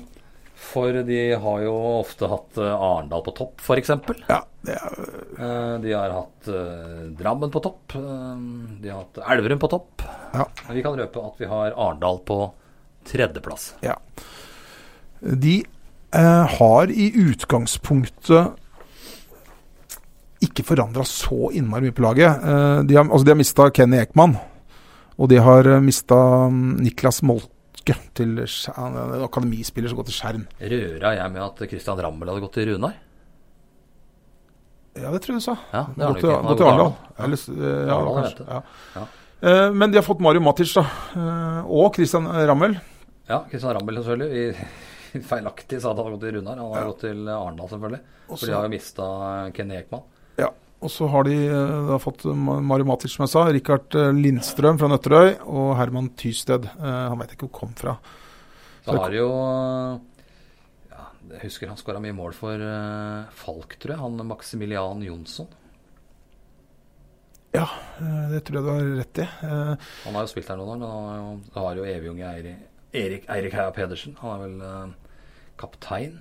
S2: For de har jo ofte hatt eh, Arendal på topp, f.eks.
S3: Ja, det er,
S2: Eh, De har hatt eh, Drammen på topp. eh, De har hatt Elverum på topp.
S3: Ja.
S2: Men Vi kan røpe at vi har Arendal på tredjeplass.
S3: ja. De eh, har i utgangspunktet ikke forandra så innmari mye på laget. Eh, de har, altså de har mista Kenny Ekman, og de har mista Niklas Moltke, til, Skjær- han er en akademispiller som går til Skjern.
S2: Røra jeg med at Christian Rammel hadde gått til Runar?
S3: Ja, det tror jeg du sa.
S2: Ja, det har
S3: Gå
S2: han jo
S3: til
S2: ikke. Han har
S3: gå
S2: gått
S3: til Arendal.
S2: Arendal.
S3: Eller s- eh, Ja,
S2: Arendal,
S3: kanskje.
S2: vet
S3: Ja. Eh, Men de har fått Mario Matic da, eh, og Christian Rammel.
S2: Ja, Christian Rammel selvfølgelig. Vi feilaktig sa at han hadde gått til Runar. Han har gått til Arendal, selvfølgelig.
S3: Også-
S2: For de har jo mista Kenny Ekman.
S3: Ja. Og så har de eh, da fått Ma- Mario Matic, som jeg sa, Rikard eh, Lindstrøm fra Nøtterøy og Herman Tysted. Eh, Han veit ikke hvor han kom fra.
S2: Så har jo eh, ja, Jeg husker han skåra mye mål for eh, Falk, tror jeg. Han Maximilian Jonsson.
S3: Ja, eh, det tror jeg du har rett i. Eh,
S2: Han har jo spilt her noen år, men han har jo, da har jo evig unge Eirik, Erik, Eirik Heia Pedersen. Han er vel eh, kaptein.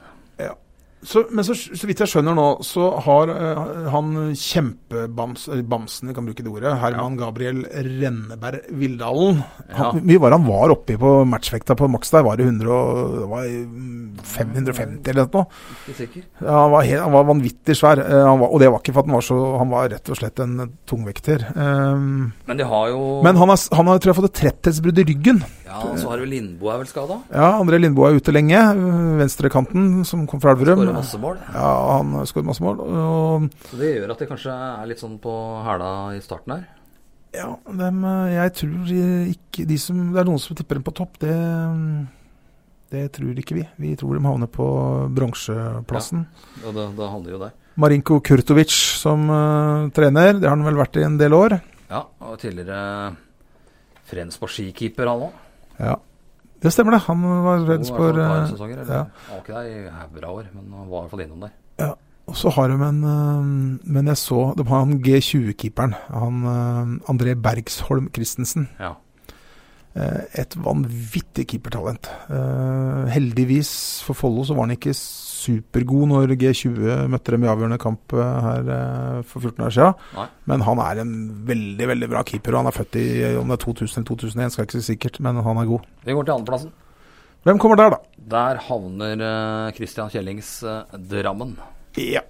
S3: Så, men så, så vidt jeg skjønner nå, så har eh, han kjempebamsen Bamsen, vi kan bruke det ordet, Herman Gabriel Renneberg Vildalen
S2: Ja.
S3: Han- Hvor mye var det han var oppi på matchvekta på maks der? Var det 100 og, det var mm, 550 eller noe?
S2: Ikke sikker.
S3: Ja, han, var helt, han var vanvittig svær, eh, han var, og det var ikke for at han var så Han var rett og slett en tungvekter. Eh,
S2: Men de har jo
S3: men han har, han har tror jeg fått et tretthetsbrudd i ryggen.
S2: Ja, så har jo Lindboe er vel skada.
S3: Ja, André Lindboe er ute lenge. eh, Venstrekanten som kom fra Elverum.
S2: Skårer masse mål.
S3: Ja, han har skåret masse mål. Og
S2: Så det gjør at de kanskje er litt sånn på hæla i starten her.
S3: Ja, dem, eh, jeg tror eh, ikke de som, Det er noen som tipper dem på topp. Det, det tror ikke vi. Vi tror de havner på bronseplassen.
S2: Og det, det handler jo der.
S3: Marinko Kurtovic som eh, trener, det har han vel vært i en del år.
S2: Ja, og tidligere Frensborg skikeeper, han òg.
S3: Ja, Det stemmer, det. Han var Redsborg eh,
S2: sesonger,
S3: ja.
S2: eller? Han var ikke der i haugera år, men han var i hvert fall innom der.
S3: Og så har de en eh, Men jeg så de har han G20-keeperen. Han eh, André Bergsholm Christensen.
S2: Ja.
S3: Eh, Et vanvittig keepertalent. Eh, Heldigvis for Follo så var han ikke supergod når G20 møtte dem i avgjørende kamp eh, her eh, for 14 år siden.
S2: Nei.
S3: Men han er en veldig veldig bra keeper. Og han er født i eh, om det er 2000 eller 2001, skal jeg ikke si sikkert, men han er god.
S2: Vi går til andreplassen.
S3: Hvem kommer der, da?
S2: Der havner eh, Christian Kjellings eh, Drammen.
S3: Ja.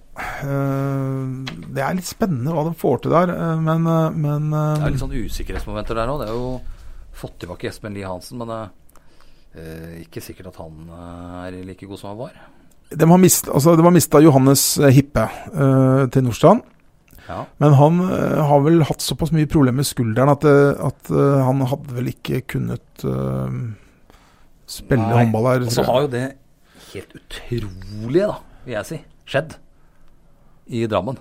S3: Eh, Det er litt spennende hva de får til der, eh, men, eh, men
S2: Det
S3: eh,
S2: er litt sånn usikkerhetsmomenter der òg. Det er jo fått tilbake Espen Lie Hansen, men det er ikke sikkert at han eh, er like god som han var.
S3: de har mist, altså, de har mista Johannes eh, Hippe eh, til Nordstrand.
S2: Ja.
S3: Men han eh, har vel hatt såpass mye problemer med skulderen at, eh, at eh, han hadde vel ikke kunnet eh, spille
S2: Nei.
S3: håndball her.
S2: Og så
S3: tror jeg.
S2: har jo det helt utrolige, da, vil jeg si, skjedd i Drammen.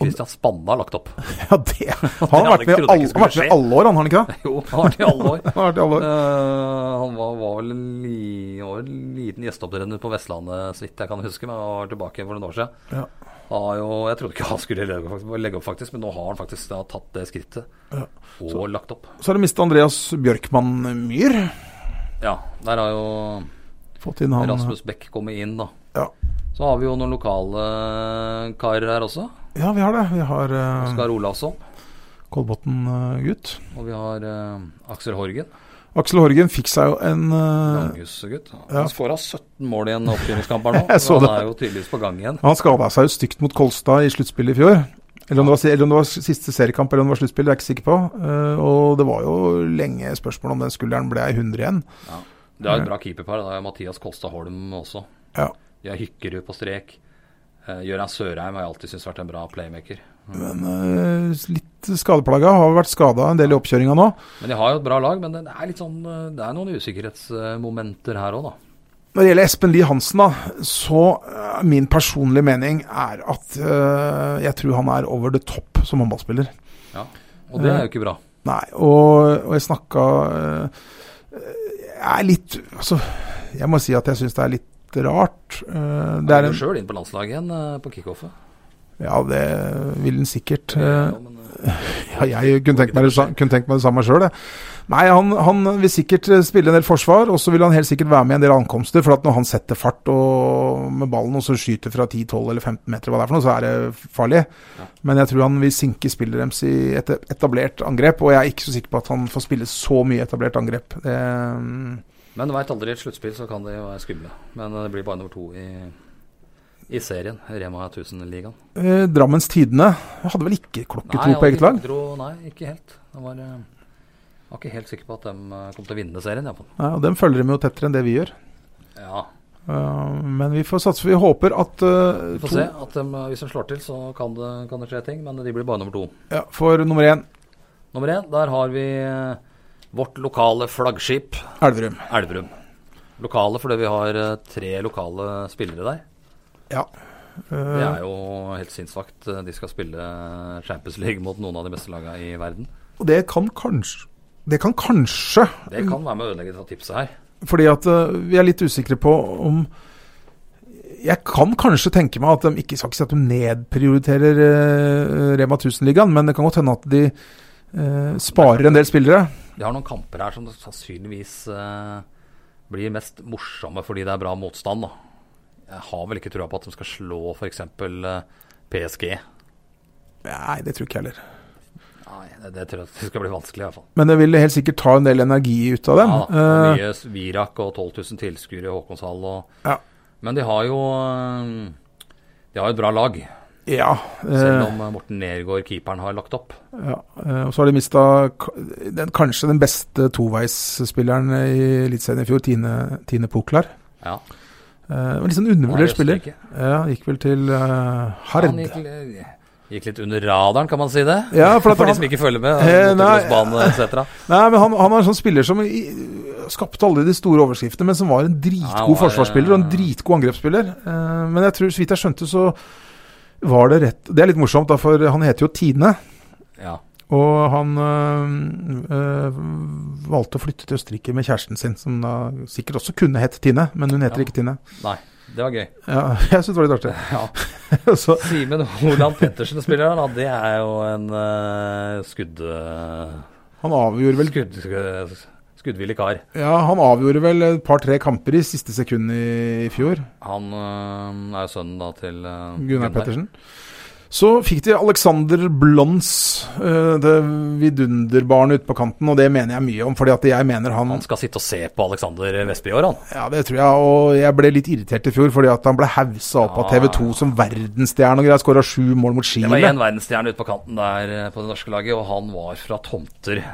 S2: Christian Spanne har lagt opp.
S3: Ja, det. Han
S2: hadde
S3: har vært
S2: jeg
S3: med
S2: trodd
S3: i alle,
S2: ikke
S3: han har vært
S2: skulle
S3: med i alle år, han har han ikke det?
S2: Jo, han har vært i alle år.
S3: Han har vært i alle
S2: Eh,
S3: år.
S2: han var, var vel en li, han var en liten gjesteopptredener på Vestlandet, så vidt jeg kan huske, men han var tilbake for noen år siden.
S3: Ja.
S2: Han har jo, jeg trodde ikke han skulle legge opp, legge opp faktisk, men nå har han faktisk da, tatt det skrittet og lagt opp.
S3: Så har de mista Andreas Bjørkmann Myhr.
S2: Ja, der har jo
S3: Fått inn han eh,
S2: Rasmus Beck kommet inn, da.
S3: Ja.
S2: Så har vi jo noen lokale eh, karer her også.
S3: ja, vi har det. Vi har eh, uh,
S2: Oskar Olavsson,
S3: Kolbotn-gutt.
S2: og vi har eh, Aksel Horgen,
S3: Aksel Horgen fikk seg jo en eh,
S2: Langhus-gutt.
S3: ja.
S2: Han får av 17 mål i en oppkjøringskamp her nå.
S3: Jeg så
S2: så
S3: det.
S2: Han er jo tydeligvis på gang igjen.
S3: Han skada seg jo stygt mot Kolstad i sluttspillet i fjor. Eller om, det var, eller om det var siste seriekamp eller om det var sluttspill, det er jeg ikke sikker på. Eh, og det var jo lenge spørsmål om den skulderen ble ei 100 igjen.
S2: Ja. Det er et bra keeperpar. Det er Mathias Kosta Holm også.
S3: Ja.
S2: De har Hykkerud på strek. Eh, Gøran Sørheim har jeg alltid syntes vært en bra playmaker.
S3: Men eh, litt skadeplaga. Har vært skada en del i oppkjøringa nå.
S2: Men de har jo et bra lag, men det er litt sånn eh, Det er noen usikkerhetsmomenter her òg, da.
S3: Når det gjelder Espen Lie Hansen, da, så eh, min personlige mening er at eh, jeg tror han er over the top som håndballspiller.
S2: Og det er jo ikke bra.
S3: Nei, og, og jeg snakka eh, Jeg er litt Altså, jeg må si at jeg syns det er litt rart. Eh,
S2: Det
S3: det er en,
S2: sjøl inn på landslaget igjen eh, på kickoffet.
S3: ja, det vil den sikkert. eh,
S2: Ja, men, eh,
S3: Ja, jeg kunne tenkt meg det, sa- kunne tenkt meg det samme sjøl, jeg. Nei, han, han vil sikkert eh, spille en del forsvar, og så vil han helt sikkert være med i en del ankomster. For at når han setter fart og, med ballen og så skyter fra 10-12 eller 15 meter, hva det er for noe, så er det farlig.
S2: Ja.
S3: Men jeg tror han vil sinke spillet deres i et etablert angrep, og jeg er ikke så sikker på at han får spille så mye etablert angrep. Eh, Det,
S2: Men du veit aldri, i et sluttspill så kan de jo være skumle. Men eh, det blir bare nummer to i, i serien, Rema 1000-ligaen.
S3: eh, Drammens Tidende hadde vel ikke klokketro på eget lag?
S2: Nei, ikke helt. Jeg var, eh, var ikke helt sikker på at de eh, kom til å vinne serien. jeg, på den.
S3: Nei, og Dem følger dem jo tettere enn det vi gjør.
S2: Ja,
S3: Eh, men vi får satse. Vi håper at eh,
S2: Vi får
S3: to-
S2: se. at dem, eh, Hvis de slår til, så kan det, kan det skje ting. Men de blir bare nummer to.
S3: ja, for nummer én,
S2: Nummer én, der har vi eh, vårt lokale flaggskip,
S3: Elverum.
S2: Elverum. Lokale fordi vi har eh, tre lokale spillere der. Det
S3: Eh,
S2: er jo helt sinnssvakt. Eh, De skal spille Champions League mot noen av de beste lagene i verden.
S3: og det kan kanskje Det kan kanskje
S2: Det kan være med å ødelegge dette tipset her.
S3: Fordi at eh, vi er litt usikre på om Jeg kan kanskje tenke meg at de ikke skal ikke si at de nedprioriterer eh, Rema 1000-ligaen, men det kan godt hende at de eh, sparer en del spillere.
S2: De har noen kamper her som sannsynligvis eh, blir mest morsomme fordi det er bra motstand. Da. Jeg har vel ikke trua på at de skal slå f.eks. Eh, PSG.
S3: Nei, det tror ikke jeg heller.
S2: Nei, Ah, det, det tror jeg skal bli vanskelig i hvert fall.
S3: Men det vil helt sikkert ta en del energi ut av dem.
S2: Ja, da, og
S3: Eh,
S2: mye s- Virak og 12 000 tilskuere i Håkonshall. Og,
S3: Ja.
S2: Men de har jo eh, De har jo et bra lag,
S3: ja.
S2: selv
S3: eh,
S2: om eh, Morten Nergård, keeperen, har lagt opp.
S3: ja. eh, Og så har de mista den, kanskje den beste toveisspilleren i Eliteserien i fjor, Tine, Tine Puklar.
S2: Ja,
S3: Eh, det var litt sånn
S2: han er i
S3: undervurdert spiller.
S2: Østerrike.
S3: Ja, gikk vel til eh, Hard.
S2: Han gikk, li- gikk litt under radaren, kan man si det?
S3: Ja,
S2: for
S3: for at
S2: de
S3: han-
S2: som ikke følger med.
S3: Eh, nei.
S2: Motocrossbane etc.
S3: Nei, men han, han er en sånn spiller som i- skapte alle de store overskriftene, men som var en
S2: Ja,
S3: dritgod
S2: han var,
S3: forsvarsspiller og en
S2: eh,
S3: dritgod angrepsspiller. Eh, men jeg tror, så vidt jeg skjønte, så var det rett Det er litt morsomt, da, for han heter jo Tine.
S2: Ja.
S3: Og han eh, eh, valgte å flytte til Østerrike med kjæresten sin, som da sikkert også kunne hett Tine, men hun heter
S2: Ja.
S3: ikke Tine.
S2: Nei, det var gøy.
S3: Ja, jeg syns det var litt artig.
S2: Ja.
S3: så,
S2: Simen Holand Pettersen spiller her, da. Det er jo en eh, skudd... eh,
S3: han avgjorde vel
S2: skudd sk- skuddvillig kar.
S3: Ja, han avgjorde vel et par-tre kamper i siste sekund i, i fjor.
S2: Han eh, er jo sønnen da til eh,
S3: Gunnar Pettersen. Så fikk de Alexander Blons, eh, det vidunderbarnet ute på kanten, og det mener jeg mye om. fordi at jeg mener han
S2: Han skal sitte og se på Alexander Vestby i år, han.
S3: Ja, det tror jeg, og jeg ble litt irritert i fjor fordi at han ble haussa opp av
S2: Ja.
S3: TV 2 som verdensstjerne og greier. Skåra sju mål mot
S2: Det var
S3: Chile.
S2: én verdensstjerne ute på kanten der eh, på det norske laget, og han var fra Tomter.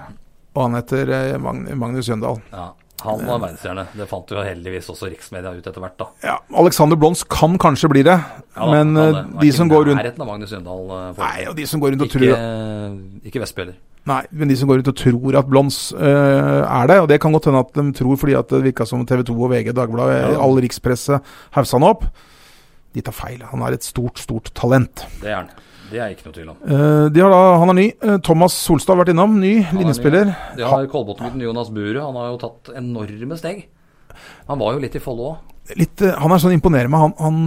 S3: Og han heter eh, Magn- Magnus Jøndal.
S2: Ja, han var verdensstjerne. Det fant jo heldigvis også riksmedia ut etter hvert, da.
S3: Ja, Alexander Blons kan kanskje bli det,
S2: Ja, da, han
S3: men eh,
S2: hadde- var
S3: de
S2: ikke
S3: som
S2: i
S3: går rundt
S2: Nærheten av Magnus Jøndal. eh, for-
S3: Nei, og de som går rundt og tror at-
S2: Ikke, ikke Vestby heller.
S3: Nei, men de som går ut og tror at Blons eh, er det, og det kan godt hende at de tror fordi at det virka som TV 2 og VG, Dagbladet,
S2: Ja.
S3: all rikspresse haussa han opp. De tar feil. Han er et stort, stort talent.
S2: Det er han. Det er ikke noe tvil om.
S3: Eh, de har da, han er ny. Eh, Thomas Solstad har vært innom. Ny
S2: ny,
S3: linjespiller.
S2: De har Kolbotn-gutten Jonas Buru. Han har jo tatt enorme steg. Han var jo litt i Follo òg.
S3: Litt, eh, han er sånn imponerer meg. Han, han,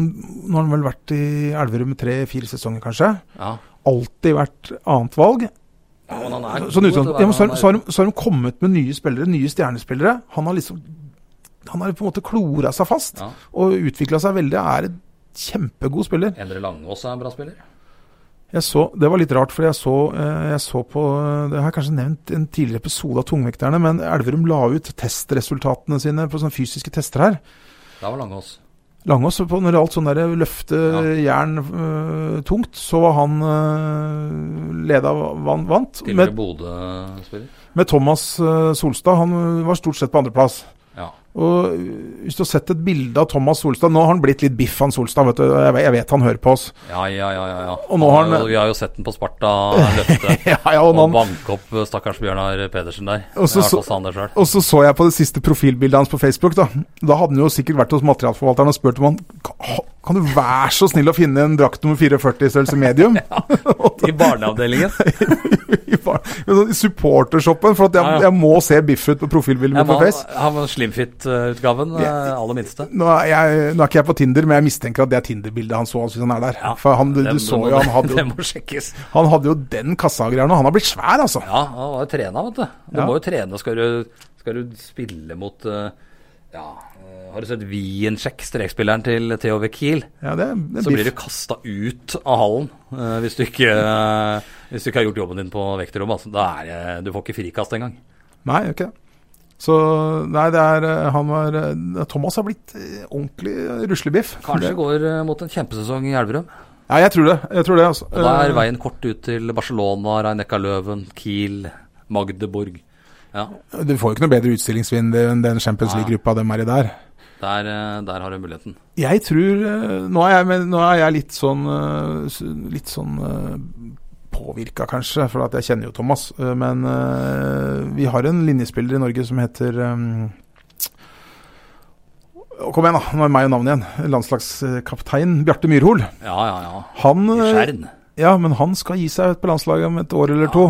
S3: nå har han vel vært i Elverum tre-fire sesonger, kanskje.
S2: Ja.
S3: Alltid vært annet valg.
S2: Ja, men han er god
S3: Sånn
S2: til å
S3: utgangspunkt.
S2: være-
S3: Ja, men så,
S2: han
S3: har-
S2: er-
S3: så, har de, så har de kommet med nye spillere, nye stjernespillere. Han har liksom Han har på en måte klora seg fast.
S2: ja.
S3: og utvikla seg veldig. Er en kjempegod spiller.
S2: Endre Langås er en bra spiller.
S3: Jeg så, det var litt rart, for jeg så, eh, jeg så på eh, Det har jeg kanskje nevnt i en tidligere episode av Tungvekterne, men Elverum la ut testresultatene sine på sånne fysiske tester her.
S2: Der var Langås.
S3: Langås på når alt sånn der løfte jern eh, tungt, så var han øh, leda van, vant.
S2: Tidligere
S3: Med,
S2: Bodø-spiller.
S3: med Thomas eh, Solstad, han var stort eh, sett på andreplass.
S2: Ja.
S3: Og Hvis du har sett et bilde av Thomas Solstad Nå har han blitt litt biff, han Solstad. Vet du. Jeg, vet, jeg vet han hører på oss.
S2: Ja, ja, ja. ja, ja.
S3: Og nå har han-
S2: jo, vi har jo sett den på Sparta løfte
S3: Ja, ja, og,
S2: og
S3: han,
S2: banke opp eh, stakkars Bjørnar Pedersen der.
S3: Og så-
S2: det har kosta sånn han det sjøl.
S3: og så så jeg på det siste profilbildet hans på Facebook. Da Da hadde han jo sikkert vært hos materialforvalteren og spurt om han "Ka- Kan du være så snill å finne en drakt nummer 44 i størrelse medium?
S2: I barneavdelingen.
S3: I bar- med sånn supportershoppen, for at jeg,
S2: Ja, ja.
S3: jeg må se biff ut på profilbildet
S2: Jeg
S3: mitt
S2: må
S3: på Face.
S2: ha med Slimfit-utgaven, eh,
S3: Ja.
S2: aller minste.
S3: Nå er, jeg, nå er ikke jeg på Tinder, men jeg mistenker at det er Tinder-bildet han så. altså, Hvis han er der.
S2: Ja,
S3: For han, du,
S2: det-
S3: du
S2: det
S3: så
S2: må-
S3: jo, han hadde
S2: Det
S3: jo,
S2: må sjekkes.
S3: han hadde jo den kassagreia nå. Han har blitt svær, altså.
S2: Ja, han var jo trena, vet du. Du
S3: Ja.
S2: må jo trene. Skal du, skal du spille mot eh, Ja, eh, har du sett Wiencheck, strekspilleren til THV Kiel?
S3: Ja, det, det
S2: Så blir du
S3: blir
S2: kasta ut av hallen eh, hvis, du ikke, eh, hvis du ikke har gjort jobben din på vekterrommet. Altså. Da er det- du får ikke frikast engang.
S3: Nei, gjør ikke det. Så nei, det er eh, Han var eh, Thomas har blitt eh, ordentlig ruslebiff.
S2: Kanskje
S3: Det-
S2: går eh, mot en kjempesesong i Elverum.
S3: Ja, jeg tror det. Jeg tror det altså.
S2: Og da er
S3: Eh,
S2: veien kort ut til Barcelona, Reineca Løven, Kiel, Magdeburg. Ja,
S3: Eh, Du får jo ikke noe bedre utstillingsvinn enn den Champions
S2: Nei.
S3: League-gruppa de er i der.
S2: der, eh, der har du muligheten.
S3: Jeg tror eh, Nå er jeg, men, nå er jeg litt sånn eh, s- Litt sånn påvirka, kanskje, for at jeg kjenner jo Thomas. eh, Men eh, vi har en linjespiller i Norge som heter eh, Kom igjen, da. Nå er meg og navnet igjen. Landslagskaptein Bjarte Myrhol.
S2: Ja, ja, ja.
S3: Han,
S2: I
S3: eh,
S2: Skjern.
S3: ja, men han skal gi seg ut på landslaget om et år eller
S2: Ja.
S3: to.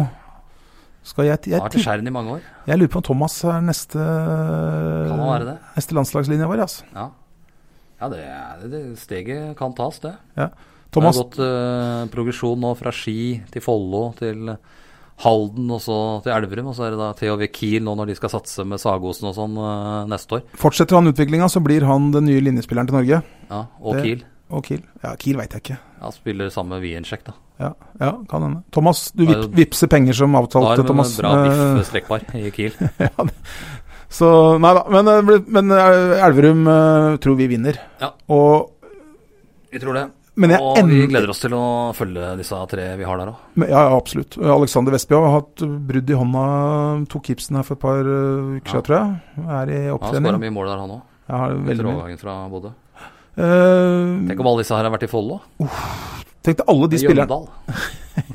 S3: Skal jeg,
S2: Har
S3: jeg,
S2: vært i
S3: jeg,
S2: Skjern i mange år.
S3: jeg lurer på om Thomas er neste,
S2: Kan han være det?
S3: neste landslagslinja vår. Altså.
S2: Ja, ja det, er- det, det steget kan tas, det.
S3: Thomas,
S2: Det har gått eh, progresjon nå fra Ski til Follo til Halden og så til Elverum. Og så er det da THV Kiel nå når de skal satse med Sagosen og sånn eh, neste år.
S3: Fortsetter han utviklinga, så blir han den nye linjespilleren til Norge.
S2: Ja, Og
S3: Det-
S2: Kiel.
S3: Og Kiel. Ja, Kiel veit jeg ikke.
S2: Ja, spiller sammen med Wiencheck, da.
S3: Ja, ja kan hende. Thomas, du
S2: Da er
S3: vip,
S2: jo-
S3: vippser penger som
S2: Da
S3: avtalt,
S2: er det en
S3: Thomas.
S2: bra
S3: Eh,
S2: biff-strekbar i Kiel.
S3: ja, det- så nei da. Men, eh, ble- men eh, Elverum eh, tror vi vinner.
S2: Ja.
S3: Og,
S2: Vi tror det.
S3: men jeg
S2: og vi
S3: endelig
S2: gleder oss til å følge disse tre vi har der òg.
S3: Men- Ja, ja, absolutt. Alexander Vestby har hatt brudd i hånda, tok gipsen her for et par eh, uker
S2: Ja.
S3: siden, tror jeg. Er i
S2: Han skåra
S3: opptrening.
S2: mye mål der, han òg.
S3: Jeg har
S2: Etter
S3: veldig mye.
S2: overgangen fra Bodø.
S3: Eh,
S2: Tenk om alle disse her har vært i Follo.
S3: tenkte alle de spillerne
S2: Jøndal.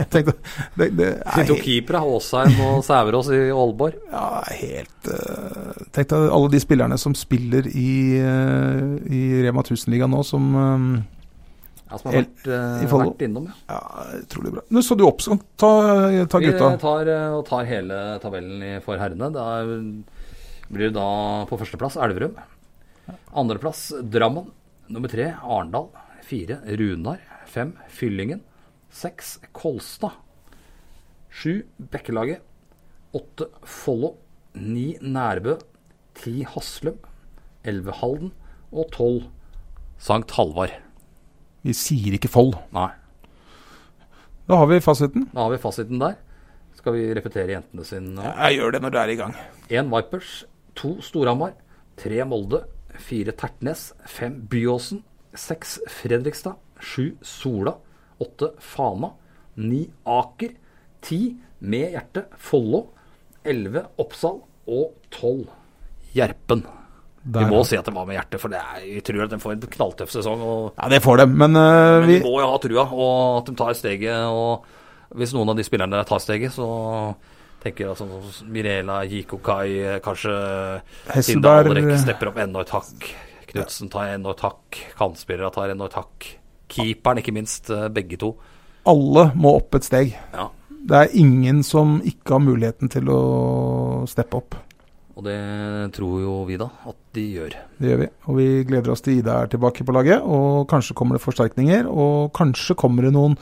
S3: tenkte, det, det
S2: De
S3: er
S2: to keepere, Aasheim og Sæverås i Aalborg.
S3: Ja, helt eh, Tenk deg alle de spillerne som spiller i, eh, i Rema 1000-ligaen nå, som eh,
S2: Ja, som har
S3: El-
S2: vært, eh,
S3: i Follo.
S2: vært innom, ja.
S3: Ja, utrolig bra. Nå så du opp, så ta, ta gutta.
S2: Vi tar, eh, og tar hele tabellen i- for herrene. Da er- blir det da på førsteplass Elverum. Andreplass Drammen. Nummer tre Arendal. Fire Runar. Fem Fyllingen. Seks Kolstad. Sju Bekkelaget. Åtte Follo. Ni Nærbø. Ti Haslum. Elleve Halden. Og tolv Sankt Halvard.
S3: Vi sier ikke Fold.
S2: Nei.
S3: Da har vi fasiten.
S2: Da har vi fasiten der. Skal vi repetere jentene sin? eh? Ja.
S3: Jeg gjør det når du er i gang.
S2: Én Vipers, to Storhamar, tre Molde, fire Tertnes, fem Byåsen, seks Fredrikstad, sju Sola, åtte Fana, ni Aker, ti Med hjerte Follo, elleve Oppsal og tolv Gjerpen.
S3: Der.
S2: Vi må si at det var med hjerte, for det er, vi tror at de får en knalltøff sesong. og
S3: Ja, det får de, men, eh,
S2: men
S3: vi
S2: de må jo ha trua, og at de tar steget. Og hvis noen av de spillerne der tar steget, så tenker jeg sånn som Mirela, Jikokai, kanskje
S3: Hesselberg.
S2: Tindal Rekk stepper opp enda et hakk. Knutsen tar enda et hakk. Kantspillere tar enda et hakk. Keeperen, ikke minst. eh, Begge to.
S3: alle må opp et steg.
S2: Ja.
S3: Det er ingen som ikke har muligheten til å steppe opp.
S2: Og det tror jo vi, da, at de gjør.
S3: Det gjør vi. Og vi gleder oss til Ida er tilbake på laget. Og kanskje kommer det forsterkninger. Og kanskje kommer det noen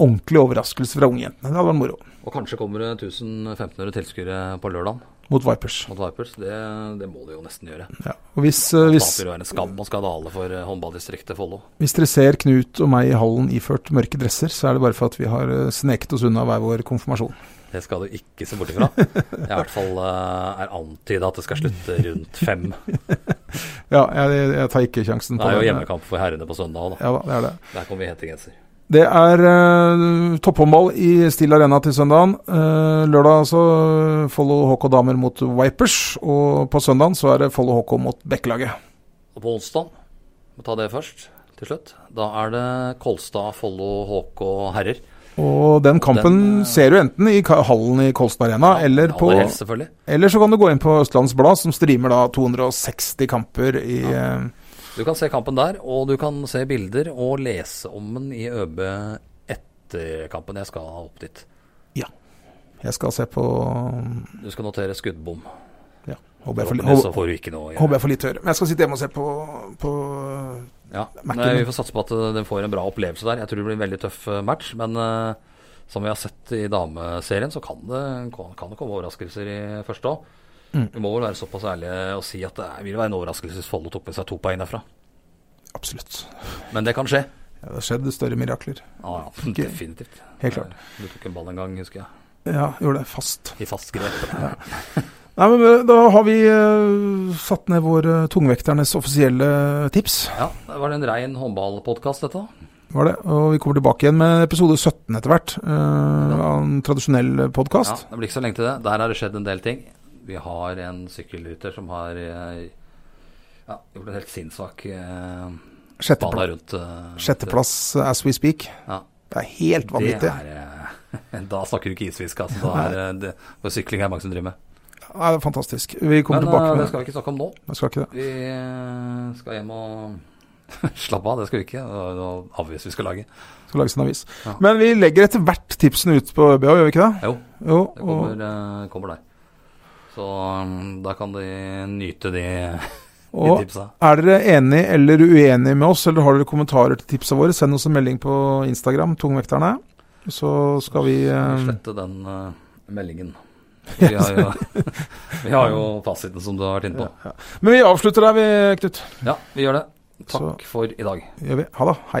S3: ordentlige overraskelser fra ungjentene. Det hadde vært moro.
S2: Og kanskje kommer det 1500 tilskuere på lørdag
S3: Mot Vipers.
S2: mot Vipers. Det, det må de jo nesten gjøre.
S3: Ja. Og hvis, eh, hvis,
S2: Taper jo er en skam og skandale for eh, håndballdistriktet Follo.
S3: hvis dere ser Knut og meg i hallen iført mørke dresser, så er det bare for at vi har eh, sneket oss unna hver vår konfirmasjon.
S2: Det skal du ikke se bort ifra. Jeg i hvert fall eh, er antyda at det skal slutte rundt fem.
S3: Ja, jeg, jeg tar ikke sjansen
S2: Det
S3: på
S2: er jo
S3: det.
S2: hjemmekamp for herrene på søndag òg, da.
S3: Ja da, det er det.
S2: Der kommer vi i hette genser.
S3: Det er eh, topphåndball i Steel Arena til søndagen. Eh, lørdag altså Follo HK damer mot Vipers, og på søndagen så er det Follo HK mot Bekkelaget.
S2: Og på onsdag, må ta det først til slutt, da er det Kolstad, Follo, HK herrer.
S3: Og den kampen
S2: Den, eh,
S3: ser du enten i ka- hallen i Kolstad Arena, eller, på,
S2: Aller helst, selvfølgelig.
S3: eller så kan du gå inn på Østlands Blad, som streamer da 260 kamper i eh,
S2: Du kan se kampen der, og du kan se bilder og lese om den i ØB etter kampen. Jeg skal opp dit.
S3: Jeg skal se på mm,
S2: Du skal notere skuddbom.
S3: ja, håper, jeg får,
S2: Forhåpentligvis så
S3: håper,
S2: får du ikke noe. å gjøre.
S3: håper jeg får litt høre. Men jeg skal sitte hjemme og se på, på
S2: Ja,
S3: Mac-en.
S2: Nei, Vi får satse på at eh, den får en bra opplevelse der. Jeg tror det blir en veldig tøff eh, match. Men eh, som vi har sett i dameserien, så kan det, kan det komme overraskelser i første òg.
S3: Mm.
S2: Vi må vel være såpass ærlige og si at det er- vil være en overraskelse hvis Follo tok med seg to poeng derfra.
S3: Absolutt.
S2: Men det kan skje.
S3: Ja, det har skjedd større mirakler.
S2: Ja, ja, definitivt.
S3: Helt klart.
S2: Du tok en ball en gang, husker jeg.
S3: Ja, gjorde det fast.
S2: I fast grep.
S3: Nei, men eh, da har vi eh, satt ned vår eh, tungvekternes offisielle tips.
S2: Ja, det var en rein håndballpodkast, dette.
S3: Var det, og Vi kommer tilbake igjen med episode 17 etter hvert. eh, av en tradisjonell
S2: Ja,
S3: podkast.
S2: det blir ikke så lenge til det. Der har det skjedd en del ting. Vi har en sykkelrytter som har eh, ja, gjort en helt sinnssak eh, bane
S3: Sjetteplass,
S2: rundt eh,
S3: sjetteplass eh, as we speak.
S2: Ja.
S3: Det er helt
S2: Det
S3: vanvittig.
S2: er eh, Da snakker du ikke isfiske, altså. Da er eh, det for sykling er det mange som driver med.
S3: Ja, det er fantastisk. Vi kommer
S2: Men
S3: tilbake
S2: eh,
S3: med
S2: det skal vi ikke snakke om nå.
S3: Jeg skal ikke det.
S2: Vi eh, skal hjem og slappe av. Det skal vi ikke. Det var noe avvis vi skal lage.
S3: Skal lages en avis.
S2: Ja.
S3: Men vi legger etter hvert tipsene ut på ØBA, gjør vi ikke det?
S2: Jo,
S3: Jo,
S2: det
S3: og,
S2: kommer, eh, kommer der. Så eh, da kan de nyte de, de
S3: og
S2: tipsa.
S3: er dere enig eller uenig med oss, eller har dere kommentarer til tipsa våre, send oss en melding på Instagram, Tungvekterne. Så skal vi
S2: Skal vi
S3: eh,
S2: slette den eh, meldingen. Vi har, jo, vi har jo fasiten som du har vært inne på.
S3: Men vi avslutter der, vi, Knut.
S2: Ja, vi gjør det.
S3: Så-
S2: Takk for i dag.
S3: Gjør vi. Ha det. Hei.